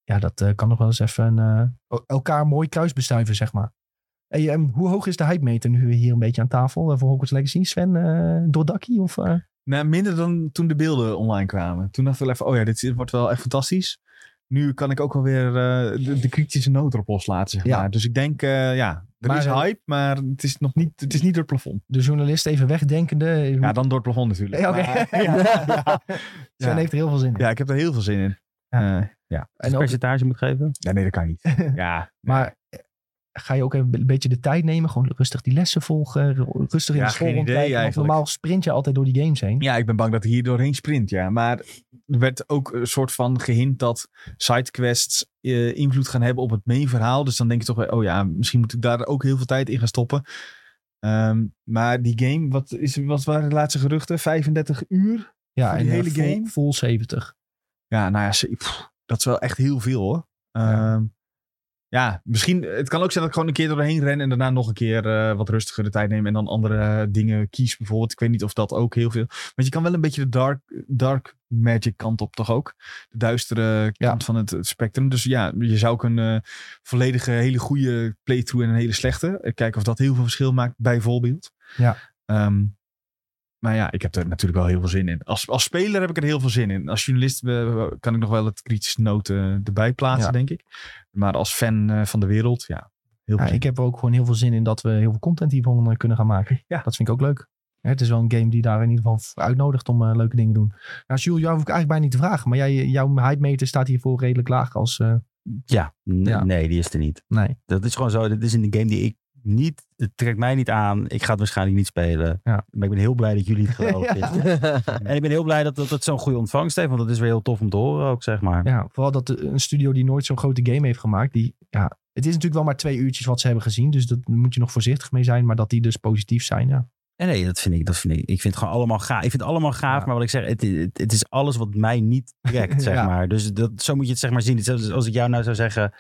A: Ja, dat eh, kan nog wel eens even een, eh, elkaar mooi kruisbestuiven, zeg maar. Hey, ehm, hoe hoog is de hype meter nu we hier een beetje aan tafel eh, voor Hogwarts Legacy? Sven, eh Dordaki of... eh?
B: Nou, minder dan toen de beelden online kwamen. Toen dacht ik wel even, oh ja, dit is- wordt wel echt fantastisch. Nu kan ik ook wel weer eh, de, de kritische noot erop loslaten, zeg
A: Ja.
B: maar. Dus ik denk, eh, ja, er
A: Maar,
B: is
A: eh,
B: hype, maar het is nog niet, het is niet door het plafond.
A: de journalist even wegdenkende. eh,
B: Ja,
A: Hoe-
B: dan door het plafond natuurlijk.
A: Ja, oké.
B: Maar, ja, ja,
A: Sven
B: ja.
A: heeft er heel veel zin in.
B: Ja, ik heb er heel veel zin in.
A: Ja.
B: Eh,
D: Als
A: en
D: je
A: ook,
D: percentage moet geven?
B: ja, nee, dat kan niet. Ja,
A: maar ga je ook even een beetje de tijd nemen? Gewoon rustig die lessen volgen. ru- Rustig in
B: Ja,
A: de school
B: geen idee
A: rondkijken, want
B: eigenlijk.
A: Normaal sprint je altijd door die games heen.
B: ja, ik ben bang dat ik hier doorheen sprint, ja. Maar er werd ook een soort van gehint dat sidequests eh, invloed gaan hebben op het main verhaal. Dus dan denk je toch, wel, oh ja, misschien moet ik daar ook heel veel tijd in gaan stoppen. Ehm, maar die game, wat, is, wat waren de laatste geruchten? 35 uur?
A: Ja,
B: voor die
A: eh,
B: hele
A: vol-
B: game?
A: Vol 70.
B: Ja, nou ja, ze- pff, dat is wel echt heel veel hoor.
A: Ja.
B: Ehm, ja, misschien, het kan ook zijn dat ik gewoon een keer doorheen ren en daarna nog een keer eh, wat rustiger de tijd neem en dan andere eh, dingen kies bijvoorbeeld. Ik weet niet of dat ook heel veel. Want je kan wel een beetje de dark, dark magic kant op toch ook? De duistere
A: Ja.
B: kant van het, het spectrum. Dus ja, je zou ook een eh, volledige hele goede playthrough en een hele slechte. eh, Kijken of dat heel veel verschil maakt bijvoorbeeld.
A: Ja.
B: Ehm, maar ja, ik heb er natuurlijk wel heel veel zin in. Als, als speler heb ik er heel veel zin in. Als journalist eh, kan ik nog wel het kritische noten erbij plaatsen,
A: Ja.
B: denk ik. Maar als fan eh, van de wereld, ja. Heel
A: Ja,
B: veel. zin.
A: ik heb er ook gewoon heel veel zin in dat we heel veel content hiervan eh, kunnen gaan maken.
B: Ja.
A: Dat vind ik ook leuk. Hè, Het is wel een game die daar in ieder geval voor uitnodigt om eh, leuke dingen te doen. Nou, Jules, jou hoef ik eigenlijk bijna niet te vragen. Maar jij, jouw hype meter staat hiervoor redelijk laag als... eh,
D: Ja, n-
A: Ja.
D: nee, die is er niet.
A: nee.
D: Dat is gewoon zo. Dit is een game die ik niet. Het trekt mij niet aan. Ik ga het waarschijnlijk niet spelen.
A: Ja.
D: Maar ik ben heel blij dat jullie het geloven.
A: Ja.
D: En ik ben heel blij dat, dat het zo'n goede ontvangst heeft. Want dat is weer heel tof om te horen ook, zeg maar.
A: Ja, vooral dat de- een studio die nooit zo'n grote game heeft gemaakt, die ja, Het is natuurlijk wel maar twee uurtjes wat ze hebben gezien. Dus daar moet je nog voorzichtig mee zijn. Maar dat die dus positief zijn, ja.
D: En nee, dat vind ik, dat vind ik. Ik vind het gewoon allemaal gaaf. Ik vind het allemaal gaaf,
A: Ja.
D: maar wat ik zeg, het, het, het is alles wat mij niet trekt, zeg
A: Ja.
D: maar. Dus dat, zo moet je het zeg maar zien. Hetzelfde als- als ik jou nou zou zeggen,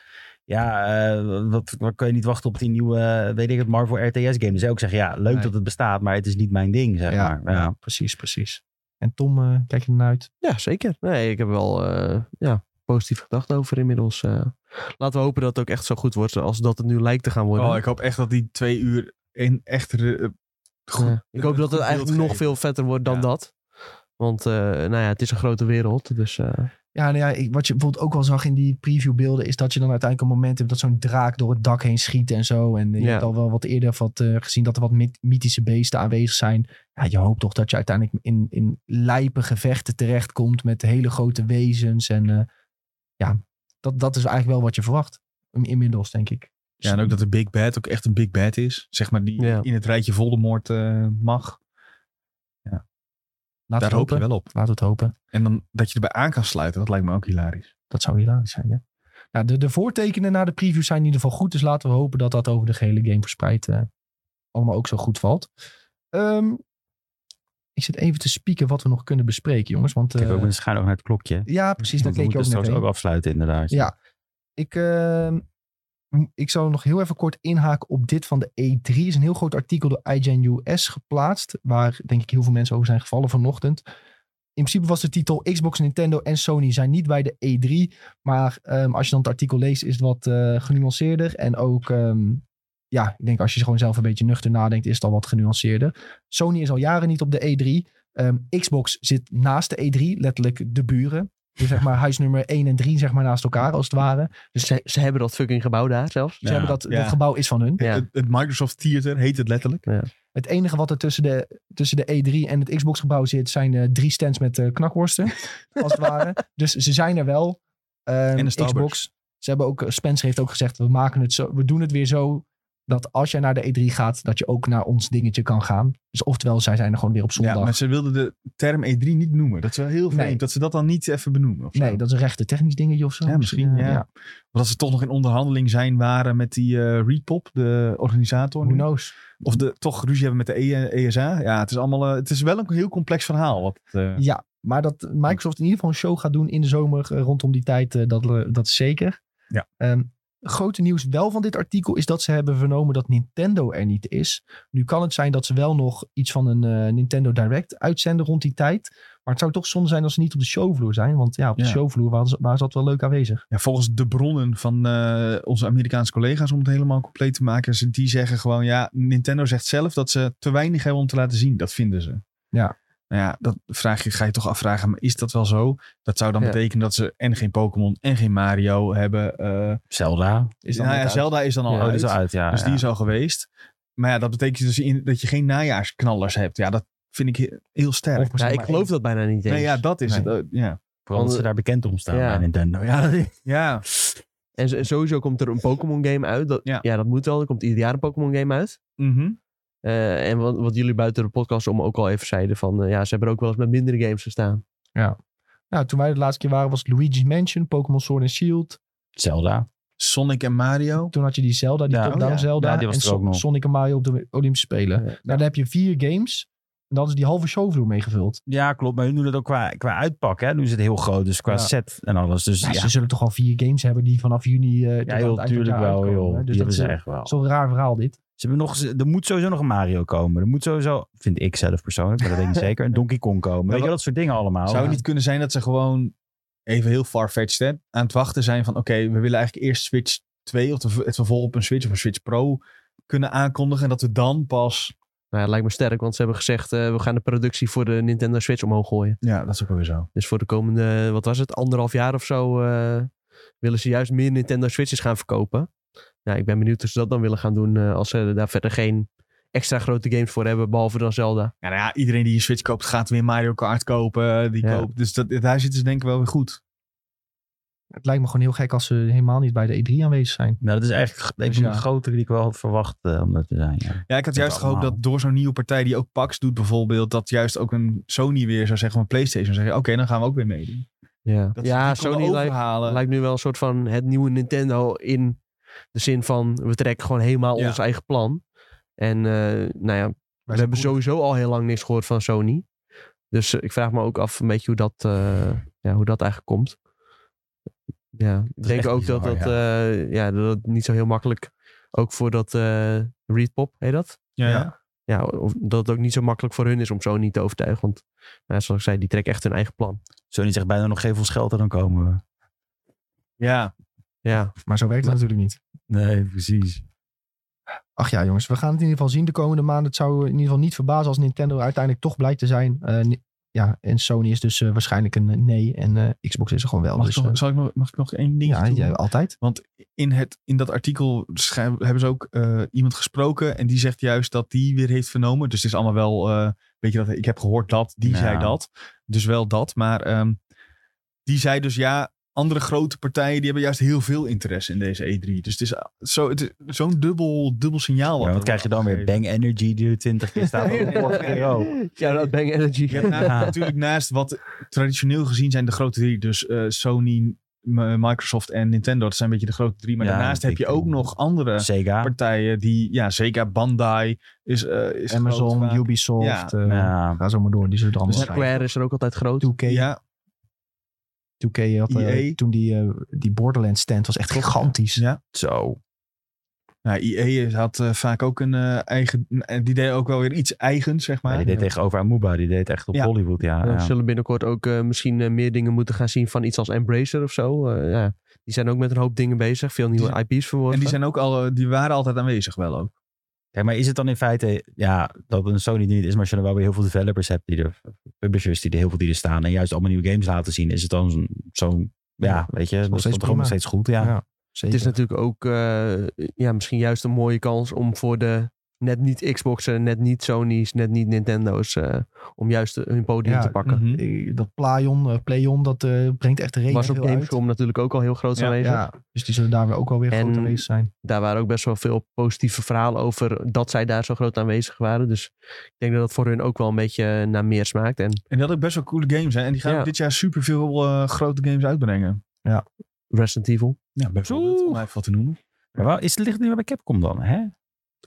D: ja, eh, wat, wat kun je niet wachten op die nieuwe, eh, weet ik het, Marvel RTS game. Dan zou ik zeggen, ja, leuk
A: Nee.
D: dat het bestaat, maar het is niet mijn ding, zeg
A: Ja,
D: maar. Ja.
A: precies, precies. En Tom, eh, kijk je ernaar uit?
C: Ja, zeker. Nee, ik heb wel eh, ja, positief gedacht over inmiddels. eh. laten we hopen dat het ook echt zo goed wordt als dat het nu lijkt te gaan worden.
B: Oh, ik hoop echt dat die twee uur in echt re- eh, goed.
C: Ja. ik hoop dat het eigenlijk nog veel vetter wordt dan
B: Ja.
C: dat. Want eh, nou ja, het is een grote wereld. Dus eh,
A: Ja, nou ja, ik- wat je bijvoorbeeld ook wel zag in die previewbeelden... is dat je dan uiteindelijk een moment hebt dat zo'n draak door het dak heen schiet en zo. En je
C: Ja.
A: hebt al wel wat eerder wat, eh, gezien dat er wat myth- mythische beesten aanwezig zijn. Ja, je hoopt toch dat je uiteindelijk in, in lijpe gevechten terechtkomt... met hele grote wezens. En eh, ja, dat, dat is eigenlijk wel wat je verwacht. In- Inmiddels, denk ik. Dus
B: Ja, en ook dat de Big Bad ook echt een Big Bad is. Zeg maar die
C: Ja.
B: in het rijtje Voldemort eh, mag.
A: Laten
B: Daar
A: we het
B: hoop je
A: hopen.
B: wel op.
A: Laten we het hopen.
B: En dan dat je erbij aan kan sluiten, dat lijkt me ook hilarisch.
A: Dat zou hilarisch zijn, ja. Nou, de, de voortekenen na de preview zijn in ieder geval goed. Dus laten we hopen dat dat over de gehele game verspreid eh, allemaal ook zo goed valt. Ehm, ik zit even te spieken wat we nog kunnen bespreken, jongens. Want,
D: Ik heb
A: eh,
D: ook een schuin oog naar het klokje.
A: ja, precies. Dat
D: Want we
A: keek je
D: moeten
A: ook net
D: straks
A: heen.
D: ook afsluiten, inderdaad.
A: Ja. Ik, ehm, m- ik zal nog heel even kort inhaken op dit van de E3. is een heel groot artikel door IGN US geplaatst. Waar denk ik heel veel mensen over zijn gevallen vanochtend. In principe was de titel Xbox, Nintendo en Sony zijn niet bij de E3. Maar ehm, als je dan het artikel leest is het wat eh, genuanceerder. En ook, ehm, ja, ik denk als je gewoon zelf een beetje nuchter nadenkt is het al wat genuanceerder. Sony is al jaren niet op de E3. Ehm, Xbox zit naast de E3, letterlijk de buren. Dus zeg maar huisnummer 1 en 3 zeg maar naast elkaar als het ware.
C: dus ze, ze hebben dat fucking gebouw daar zelfs.
A: Ze
B: Ja,
A: hebben dat,
B: ja.
A: dat gebouw is van hun.
C: Ja.
B: Het, het Microsoft Theater heet het letterlijk.
A: Het enige wat er tussen de, tussen de E3 en het Xbox-gebouw zit, zijn eh, drie stands met eh, knakworsten. als het ware. Dus ze zijn er wel. Ehm,
B: En de Starbucks.
A: Xbox. Ze hebben ook, Spencer heeft ook gezegd, we, maken het zo, we doen het weer zo dat als jij naar de E3 gaat, dat je ook naar ons dingetje kan gaan. Dus oftewel, zij zijn er gewoon weer op zondag.
B: Ja, maar ze wilden de term E3 niet noemen. Dat is wel heel vreemd.
A: Nee.
B: Dat ze dat dan niet even benoemen. of zo.
A: nee, dat is een rechte technisch dingetje of zo.
B: Ja, misschien,
A: Eh,
B: ja. Want als ze toch nog in onderhandeling zijn waren met die eh Repop, de organisator.
A: Who
B: nu.
A: knows?
B: Of de, toch ruzie hebben met de E- ESA. Ja, het is allemaal. eh, het is wel een heel complex verhaal. Wat, het, eh,
A: Ja, maar dat Microsoft in ieder geval een show gaat doen in de zomer eh, rondom die tijd, eh, dat, eh, dat is zeker.
B: Ja.
A: Ehm, grote nieuws wel van dit artikel is dat ze hebben vernomen dat Nintendo er niet is. Nu kan het zijn dat ze wel nog iets van een eh, Nintendo Direct uitzenden rond die tijd. Maar het zou toch zonde zijn als ze niet op de showvloer zijn. Want ja, op de
B: Ja.
A: showvloer waren ze, waren ze altijd wel leuk aanwezig.
B: Ja, volgens de bronnen van eh, onze Amerikaanse collega's, om het helemaal compleet te maken, ze, die zeggen gewoon, ja, Nintendo zegt zelf dat ze te weinig hebben om te laten zien. Dat vinden ze.
A: Ja.
B: Nou ja, dat vraag je, ga je toch afvragen, maar is dat wel zo? Dat zou dan
C: Ja.
B: betekenen dat ze en geen Pokémon en geen Mario hebben. eh
D: Zelda.
A: Is dan
B: nou
A: net
B: ja,
A: uit.
B: Zelda is dan al
C: Ja,
D: Oh,
B: uit.
D: die is al uit, ja.
B: Dus
D: ja.
B: die is al geweest. Maar ja, dat betekent dus in- dat je geen najaarsknallers hebt. Ja, dat vind ik he- heel sterk.
A: Of misschien
C: Ja, ik
A: maar
C: geloof dat bijna niet eens.
B: Nee, ja, dat is
A: Nee.
B: het. eh, ja.
D: Vooral omdat ze daar bekend om staan
C: Ja.
D: bij Nintendo. Ja, dat is-
B: ja,
C: En zo- sowieso komt er een Pokémon game uit. Dat, ja.
B: Ja.
C: dat moet wel. Er komt ieder jaar een Pokémon game uit.
B: mhm.
C: Eh, en wat, wat jullie buiten de podcast om ook al even zeiden van... eh, ja, ze hebben er ook wel eens met mindere games gestaan.
A: Nou, toen wij de laatste keer waren was het Luigi's Mansion, Pokémon Sword and Shield.
D: Zelda.
B: Sonic en Mario.
A: Toen had je die Zelda, die
D: Ja.
A: top-down
B: Oh ja.
A: Zelda.
D: Ja, die was
A: en
D: er ook nog.
A: Sonic en Mario op de Olympische Spelen.
C: Ja.
A: Nou, dan heb je vier games. En dan is die halve showvloer meegevuld.
D: Ja, klopt. Maar hun doen het ook qua, qua uitpak. Hè? Doen ze het heel groot. Dus qua
A: Ja.
D: set en alles. Dus
A: Ja,
D: ja,
A: Nou, Ze zullen toch al vier games hebben die vanaf juni. eh tot
D: ja
A: aan
D: heel
A: het eind van het
D: tuurlijk
A: jaar
D: wel,
A: uitkomen,
D: joh.
A: hè.
D: Die
A: Dus dat
D: hebben
A: is,
D: ze
A: eh,
D: echt wel.
A: zo'n raar verhaal dit.
D: Ze hebben nog, ze- er moet sowieso nog een Mario komen. Er moet sowieso, vind ik zelf persoonlijk, maar dat weet ik niet zeker, een Donkey Kong komen. Weet je,
B: wat-
D: dat soort dingen allemaal.
B: Zou het niet kunnen zijn dat ze gewoon even heel far-fetched hè, aan het wachten zijn van oké, we willen eigenlijk eerst Switch 2 of de- het vervolg op een Switch of een Switch Pro kunnen aankondigen en dat we dan pas...
C: Nou, het lijkt me sterk, want ze hebben gezegd... eh, we gaan de productie voor de Nintendo Switch omhoog gooien.
B: Ja, dat is ook wel weer zo.
C: Dus voor de komende, wat was het, anderhalf jaar of zo... eh, willen ze juist meer Nintendo Switches gaan verkopen. Nou, ik ben benieuwd of ze dat dan willen gaan doen... eh, als ze daar verder geen extra grote games voor hebben, behalve dan Zelda.
B: Ja, nou ja, iedereen die een Switch koopt gaat weer Mario Kart kopen. Die
C: Ja.
B: koopt, dus dat, daar zitten ze denk ik wel weer goed.
A: Het lijkt me gewoon heel gek als ze helemaal niet bij de E3 aanwezig zijn.
D: Nou, dat is eigenlijk een
A: Dus
D: van de
A: ja.
D: grotere die ik wel had verwacht eh, om dat te zijn. Ja.
B: Ja, ik had
D: Dat
B: juist gehoopt
D: allemaal.
B: dat door zo'n nieuwe partij die ook PAX doet bijvoorbeeld, dat juist ook een Sony weer zou zeggen van PlayStation zou zeggen oké, dan gaan we ook weer meedoen.
C: Ja,
B: Dat ze
C: ja
B: die konden
C: Sony lijkt,
B: overhalen.
C: lijkt nu wel een soort van het nieuwe Nintendo in de zin van, we trekken gewoon helemaal
B: Ja.
C: ons eigen plan. En eh, nou ja, we hebben sowieso al heel lang niks gehoord van Sony. Dus eh, ik vraag me ook af een beetje hoe dat, eh, ja, hoe dat eigenlijk komt. Ja, ik
E: is
C: denk
E: echt
C: ook
E: bizar,
C: dat dat, eh, ja, dat het niet zo heel makkelijk, ook voor dat eh Readpop, heet dat?
B: Ja, ja.
C: Ja, of, dat het ook niet zo makkelijk voor hun is om Sony te overtuigen. Want nou, zoals ik zei, die trekken echt hun eigen plan.
D: Sony zegt bijna nog geef ons geld en dan komen we.
B: Ja.
C: Ja,
A: Maar zo werkt het natuurlijk niet.
D: Nee, precies.
A: Ach ja, jongens, we gaan het in ieder geval zien de komende maanden. Het zou in ieder geval niet verbazen als Nintendo uiteindelijk toch blijkt te zijn. Eh, ni- ja, en Sony is dus eh, waarschijnlijk een eh, nee. En eh, Xbox is er gewoon wel.
B: Mag,
A: dus,
B: ik nog,
A: eh,
B: zal ik nog, mag ik nog één ding
A: ja,
B: doen?
A: ja, altijd.
B: in, het, in dat artikel schrijf- hebben ze ook eh, iemand gesproken. En die zegt juist dat die weer heeft vernomen. Dus het is allemaal wel, eh, weet je dat, ik heb gehoord dat, die
D: Nou.
B: zei dat. Dus wel dat. Maar ehm, die zei dus ja, andere grote partijen die hebben juist heel veel interesse in deze E3. Dus het is eh, zo- het is zo'n dubbel, dubbel signaal.
D: Ja,
B: er
D: wat krijg je dan
B: wordt
D: weer?
B: afgegeven.
D: Bang Energy die er 20 keer staat.
B: Ja.
D: Oh,
C: ja dat Bang Energy.
B: Je hebt na-
D: Ja.
B: natuurlijk naast wat traditioneel gezien zijn de grote drie. Dus eh, Sony, M- Microsoft en Nintendo. Dat zijn een beetje de grote drie. Maar
D: Ja,
B: daarnaast heb je
D: ik-
B: ook nog andere
D: Sega.
B: partijen die, ja, zeker Bandai is, eh, is groot
A: Amazon,
B: vaak.
A: Ubisoft. eh
D: Ja.
A: Ga zo maar door. Die zullen er allemaal
B: Dus
A: zijn.
C: Square is er ook altijd groot.
A: 2K,
B: Ja, E
A: 2K had eh,
B: EA.
A: toen die, eh, die Borderlands stand was echt gigantisch.
B: Ja.
D: Zo.
B: nou, EA is- had eh, vaak ook een eh, eigen, en die deed ook wel weer iets eigens, zeg
D: Ja,
B: maar.
D: die deed tegenover Amuba. Die deed echt op
B: Ja.
D: Hollywood. Ja,
C: Ja,
D: ja.
C: We zullen binnenkort ook eh, misschien eh, meer dingen moeten gaan zien van iets als Embracer of zo. Eh, ja. Die zijn ook met een hoop dingen bezig. Veel nieuwe IP's verworven.
B: en die, zijn ook al, eh, die waren altijd aanwezig wel ook.
D: Kijk, maar is het dan in feite, ja, dat een Sony die niet is, maar als je dan wel weer heel veel developers hebt, die er, publishers die er heel veel die er staan en juist allemaal nieuwe games laten zien, is het dan zo'n, zo'n- ja, weet je, dat
A: steeds
D: is toch
A: prima.
D: gewoon nog steeds goed, ja.
A: Ja,
C: Het
A: Zeker.
C: is natuurlijk ook eh, ja, misschien juist een mooie kans om voor de net niet Xboxen, net niet Sony's, net niet Nintendo's, eh, om juist hun podium
A: Ja,
C: te pakken.
B: Mhm.
A: Eh, Dat Playon, eh, Playon, dat eh, brengt echt de reden
C: Was op
A: veel uit.
C: Gamescom natuurlijk ook al heel groot
B: Ja,
C: aanwezig.
A: Ja, dus die zullen daar weer ook alweer
C: En-
A: groot aanwezig zijn.
C: Daar waren ook best wel veel positieve verhalen over dat zij daar zo groot aanwezig waren. Dus ik denk dat dat voor hun ook wel een beetje eh, naar meer smaakt. En
B: En die had ook best wel coole games, hè. En die gaan
C: Ja.
B: ook dit jaar superveel eh grote games uitbrengen.
C: Resident Evil,
B: Ja, bijvoorbeeld,
D: Oeh.
B: om even wat te noemen.
D: Maar wel, is, ligt het nu weer bij Capcom dan, hè?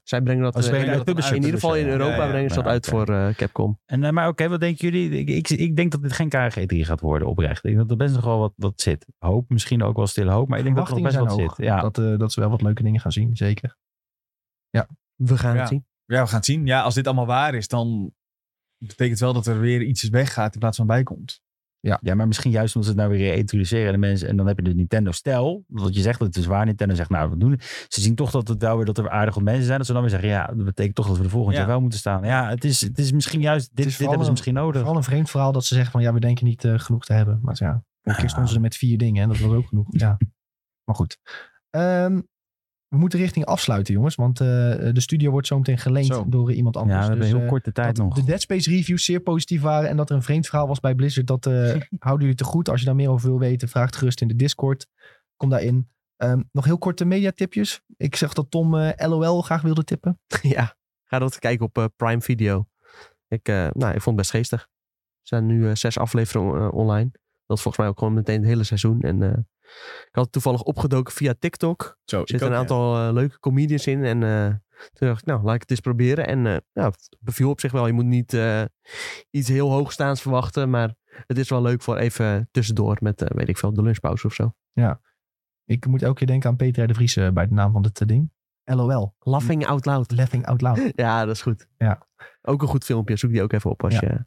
C: zij brengen dat,
D: Oh, ze
C: eh,
D: brengen
C: uit-
D: dat publisher.
C: in ieder geval in
D: Ja,
C: Europa
D: ja, ja.
C: brengen ze dat
D: Ja,
C: uit
D: oké.
C: voor eh, Capcom.
D: En, eh, maar oké, wat denken jullie? Ik, ik, ik denk dat dit geen KG3 gaat worden, oprecht. Ik denk dat er best nog wel wat, wat zit. Hoop, misschien ook wel stil hoop, maar ik denk dat er nog
A: Verwachtingen
D: best
A: zijn
D: wat
A: hoog.
D: zit. Ja.
A: Dat, eh, dat ze wel wat leuke dingen gaan zien, zeker.
C: We gaan
B: Ja.
C: het zien.
B: Ja, we gaan het zien. Ja, als dit allemaal waar is, dan betekent wel dat er weer iets weggaat in plaats van bijkomt.
D: Ja, maar misschien juist omdat ze het nou weer introduceren aan de mensen. En dan heb je de Nintendo stel. Dat je zegt dat het is waar. Nintendo zegt, nou, we doen het. Ze zien toch dat het wel weer dat er aardig wat mensen zijn. Dat ze dan weer zeggen, ja, dat betekent toch dat we de volgende
B: Ja.
D: jaar wel moeten staan. Ja, het is, het is misschien juist, dit, dit
A: vooral
D: hebben ze
A: een-
D: misschien nodig.
A: Vooral een vreemd verhaal dat ze zeggen van ja, we denken niet eh, genoeg te hebben. Maar ja, een keer stonden ze er met vier dingen en dat was ook genoeg. Ja. Maar goed. Ehm, we moeten richting afsluiten, jongens. Want eh, de studio wordt zo meteen geleend
B: Zo.
A: door eh, iemand
D: ja, we
A: anders.
D: hebben
A: Dus,
D: heel
A: eh,
D: korte tijd
A: dat
D: nog.
A: De Dead Space reviews zeer positief waren en dat er een vreemd verhaal was bij Blizzard. Dat eh, houden jullie te goed. Als je daar meer over wil weten, vraag het gerust in de Discord. Kom daarin. Ehm, nog heel korte mediatipjes. Ik zag dat Tom eh, LOL graag wilde tippen.
C: Ja, ga dat kijken op eh, Prime Video. Ik, eh, nou, ik vond het best geestig. Er zijn nu eh, zes afleveringen eh, online. Dat is volgens mij ook gewoon meteen het hele seizoen. En eh, ik had het toevallig opgedoken via TikTok. Er
B: Zo, ik
C: zitten
B: ook,
C: een
B: ja.
C: aantal eh, leuke comedians in. En eh, toen dacht ik, nou, laat ik het eens proberen. En eh, ja, het beviel op zich wel. Je moet niet eh, iets heel hoogstaans verwachten. Maar het is wel leuk voor even tussendoor met, eh, weet ik veel, de lunchpauze of zo.
A: Ik moet elke keer denken aan Peter R. de Vries eh, bij de naam van het eh, ding. LOL.
C: Laughing out loud.
A: Laughing out loud.
C: Ja, dat is goed.
A: Ja.
C: Ook een goed filmpje. Zoek die ook even op
A: Ja.
C: als, je,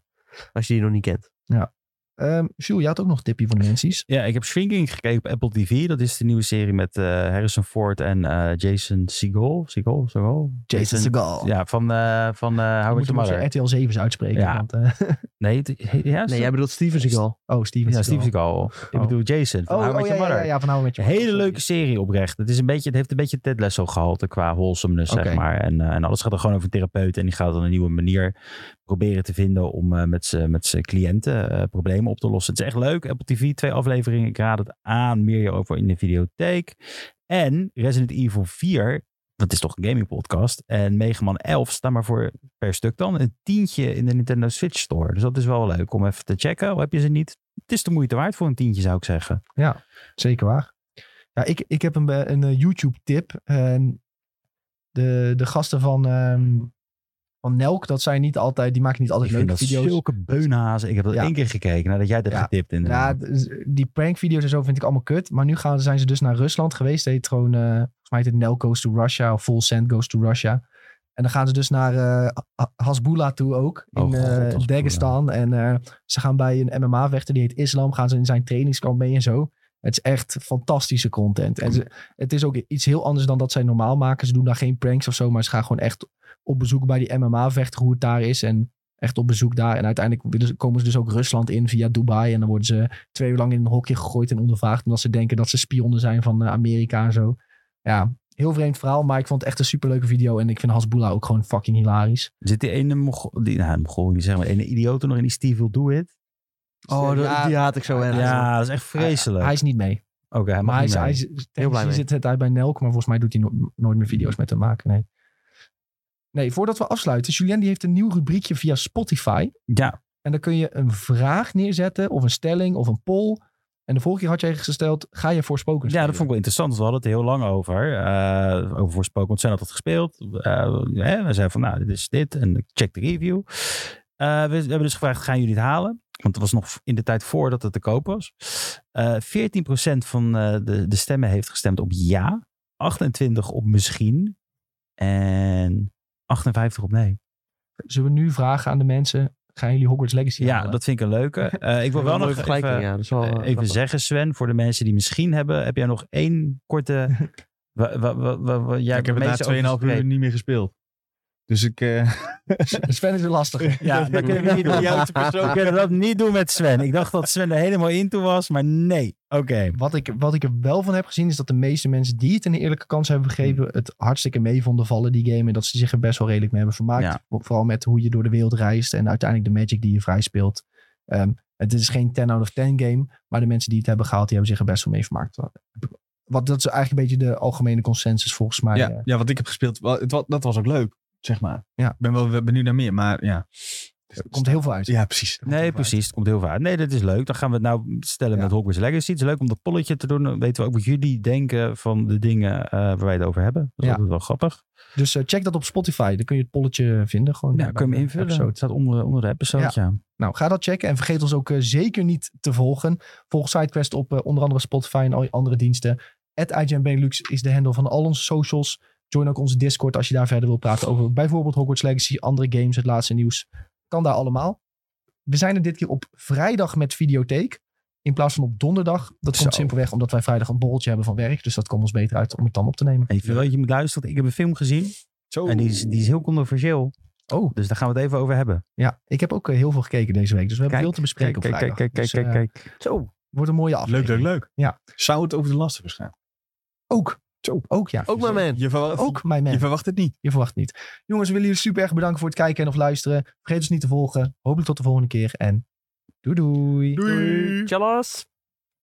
C: als je die nog niet kent.
A: Ehm Jules, jij had ook nog een tipje voor de mensies.
D: Ja, ik heb Shrinking gekeken op Apple TV. Dat is de nieuwe serie met eh, Harrison Ford en eh, Jason Segel. Segel? Segel?
A: Segal.
D: Ja, van, eh van eh
A: Hij
D: How
A: moet
D: I Met Your
A: hem
D: Mother.
A: RTL 7 spreken.
D: Ja.
A: Want, eh,
D: Nee, het- ja,
C: Nee, jij bedoelt Steven Seagal.
A: oh, Steven
D: ja,
A: Seagal.
D: Steve Segel. Ik
A: Oh.
D: bedoel Jason van
A: Oh,
D: How I
A: oh,
D: Met
A: ja,
D: Your
A: ja,
D: Mother.
A: ja, ja, van How I Met
D: Een
A: Your Mother, sorry.
D: hele leuke serie oprecht. Het, is een beetje, het heeft een beetje Ted Lasso gehalte qua wholesomeness,
A: Oké.
D: zeg maar. En, eh, en alles gaat er gewoon over een therapeut. En die gaat dan een nieuwe manier proberen te vinden om eh, met z'n- met zijn cliënten eh, problemen op te lossen. Het is echt leuk. Apple TV, twee afleveringen. Ik raad het aan. Meer hierover in de videotheek. En Resident Evil 4, dat is toch een gaming podcast. En Mega Man 11 staan maar voor per stuk dan een tientje in de Nintendo Switch Store. Dus dat is wel leuk om Oh, even te checken. Al heb je ze niet? Het is de moeite waard voor een tientje, zou ik zeggen.
A: Zeker waar. Ja, ik, ik heb een, be- een eh, YouTube-tip. Ehm, de, de gasten van, ehm, van Nelk, dat zijn niet altijd, die maken niet altijd
D: Ik vind
A: leuke
D: dat
A: video's.
D: zulke beunhazen. Ik heb dat
A: Ja.
D: één keer gekeken nadat jij dat
A: Ja.
D: getipt
A: Ja,
D: inderdaad.
A: d- die prankvideo's en zo vind ik allemaal kut. Maar nu gaan, zijn ze dus naar Rusland geweest. Het heet gewoon, eh, volgens mij heet het Nel Goes to Russia of Full Send Goes to Russia. En dan gaan ze dus naar eh, Ha- Hasbullah toe ook. In
D: Oh, God,
A: eh,
D: Hasbullah.
A: Dagestan. En eh, ze gaan bij een MMA-vechter, die heet Islam, gaan ze in zijn trainingskamp mee en zo. Het is echt fantastische content. En ze- het is ook iets heel anders dan dat zij normaal maken. Ze doen daar geen pranks of zo, maar ze gaan gewoon echt op bezoek bij die MMA-vechter, hoe het daar is. En echt op bezoek daar. En uiteindelijk willen ze- komen ze dus ook Rusland in via Dubai. En dan worden ze twee uur lang in een hokje gegooid en ondervraagd. Omdat ze denken dat ze spionnen zijn van eh, Amerika en zo. Ja, heel vreemd verhaal. Maar ik vond het echt een superleuke video. En ik vind Hasbullah ook gewoon fucking hilarisch.
D: Zit die ene Mogol, die, nou, Mogol niet zeggen, maar die ene idioot nog in die Steve Will Do It?
A: Oh, dat- die
C: Dus, eh, haat ik zo
A: erg.
D: Ja,
A: Ja,
D: dat is echt vreselijk.
A: Hij is niet mee.
D: Oké, hij mag
A: Maar hij,
D: niet
A: is,
D: mee.
A: hij is- technisch
C: blij mee.
A: zit het uit bij Nelk. Maar volgens mij doet hij no- nooit meer video's met hem maken. Nee. Nee, voordat we afsluiten. Julien die heeft een nieuw rubriekje via Spotify.
D: Ja,
A: En dan kun je een vraag neerzetten, of een stelling, of een poll. En de vorige keer had jij gesteld, ga je voor spoken
D: ja, dat vond ik wel interessant. want We hadden het er heel lang over. eh, over voorspoken, want zijn had dat gespeeld. Eh, hè, we zeiden van, nou, dit is dit. En ik check de review. Eh, we, hebben dus gevraagd, gaan jullie het halen? Want het was nog in de tijd voordat het te koop was. Eh 14% van eh, de, de stemmen heeft gestemd op ja. 28% op misschien. En 58% op nee.
A: Zullen we nu vragen aan de mensen, gaan jullie Hogwarts Legacy
D: Ja,
A: halen?
D: dat vind ik een leuke. Eh, ik wil wel nog even,
C: ja, dat is wel, eh,
D: eh, even
C: grappig.
D: zeggen, Sven, voor de mensen die misschien hebben, heb jij nog één korte. wa- wa- wa- wa- wa- jij
B: ik heb
D: hebt
B: het
D: meeste
B: na 2,5 uur
D: overgesproken.
B: niet meer gespeeld. Dus ik... eh,
A: Dus Sven is weer lastig.
D: Ja, dat kunnen we niet doen.
B: Jij hebt de persoon-
D: We kunnen dat niet doen met Sven. Ik dacht dat Sven er helemaal in toe was, maar nee. Oké.
A: Wat ik, wat ik er wel van heb gezien, is dat de meeste mensen die het een eerlijke kans hebben
D: Hmm.
A: gegeven, het hartstikke mee vonden vallen, die game. En dat ze zich er best wel redelijk mee hebben vermaakt.
D: Ja.
A: Vooral met hoe je door de wereld reist en uiteindelijk de magic die je vrij speelt. Ehm, het is geen 10 out of 10 game, maar de mensen die het hebben gehaald, die hebben zich er best wel mee vermaakt. Wat, dat is eigenlijk een beetje de algemene consensus volgens mij. eh.
B: ja, ja, wat ik heb gespeeld, wa- het wa- dat was ook leuk, zeg maar.
A: Ja. Dus
B: Ik ben wel benieuwd naar meer, maar ja.
A: Er eh, komt heel veel uit.
B: Ja, precies.
D: Nee, precies. Het komt heel vaak. Nee, dat is leuk. Dan gaan we het nou stellen
A: Ja.
D: met Hogwarts Legacy. Het is leuk om dat polletje te doen. Dan weten we ook wat jullie denken van de dingen eh, waar wij het over hebben. Dat is
A: Ja.
D: altijd wel grappig.
A: Dus eh, check dat op Spotify. Dan kun je het polletje vinden. Gewoon
D: Ja,
A: eh,
D: kun je
A: bij
D: hem
A: de
D: invullen.
A: episode.
D: Het staat onder, onder de episode,
A: Ja.
D: ja.
A: Nou, ga dat checken. En vergeet ons ook eh, zeker niet te volgen. Volg SideQuest op eh, onder andere Spotify en al je andere diensten. At IGN Benelux is de handle van al onze socials. Join ook onze Discord als je daar verder wil praten over bijvoorbeeld Hogwarts Legacy, andere games, het laatste nieuws. Kan daar allemaal. We zijn er dit keer op vrijdag met videotheek. In plaats van op donderdag. Dat komt
D: Zo.
A: simpelweg omdat wij vrijdag een borreltje hebben van werk. Dus dat komt ons beter uit om het dan op te nemen.
D: En je, vindt wel dat je moet luisteren. want Ik heb een film gezien.
B: Zo.
D: En die is, die is heel controversieel.
A: Oh.
D: Dus daar gaan we het even over hebben.
A: Ja, ik heb ook eh, heel veel gekeken deze week. Dus we hebben
D: Kijk,
A: veel te bespreken op vrijdag. Dus, eh,
D: kijk.
C: Zo.
A: Wordt een mooie aflevering.
B: Leuk, leuk, leuk.
A: Ja.
B: Zou het over de lasten verschijnen?
A: Ook. Ook, ja.
C: Ook maar man.
B: Je verwacht,
A: Ook, mijn man.
B: je verwacht het niet.
A: Je verwacht het niet. Jongens, we willen jullie super erg bedanken voor het kijken en of luisteren. Vergeet ons niet te volgen. Hopelijk tot de volgende keer en doei doei.
C: Tjallas.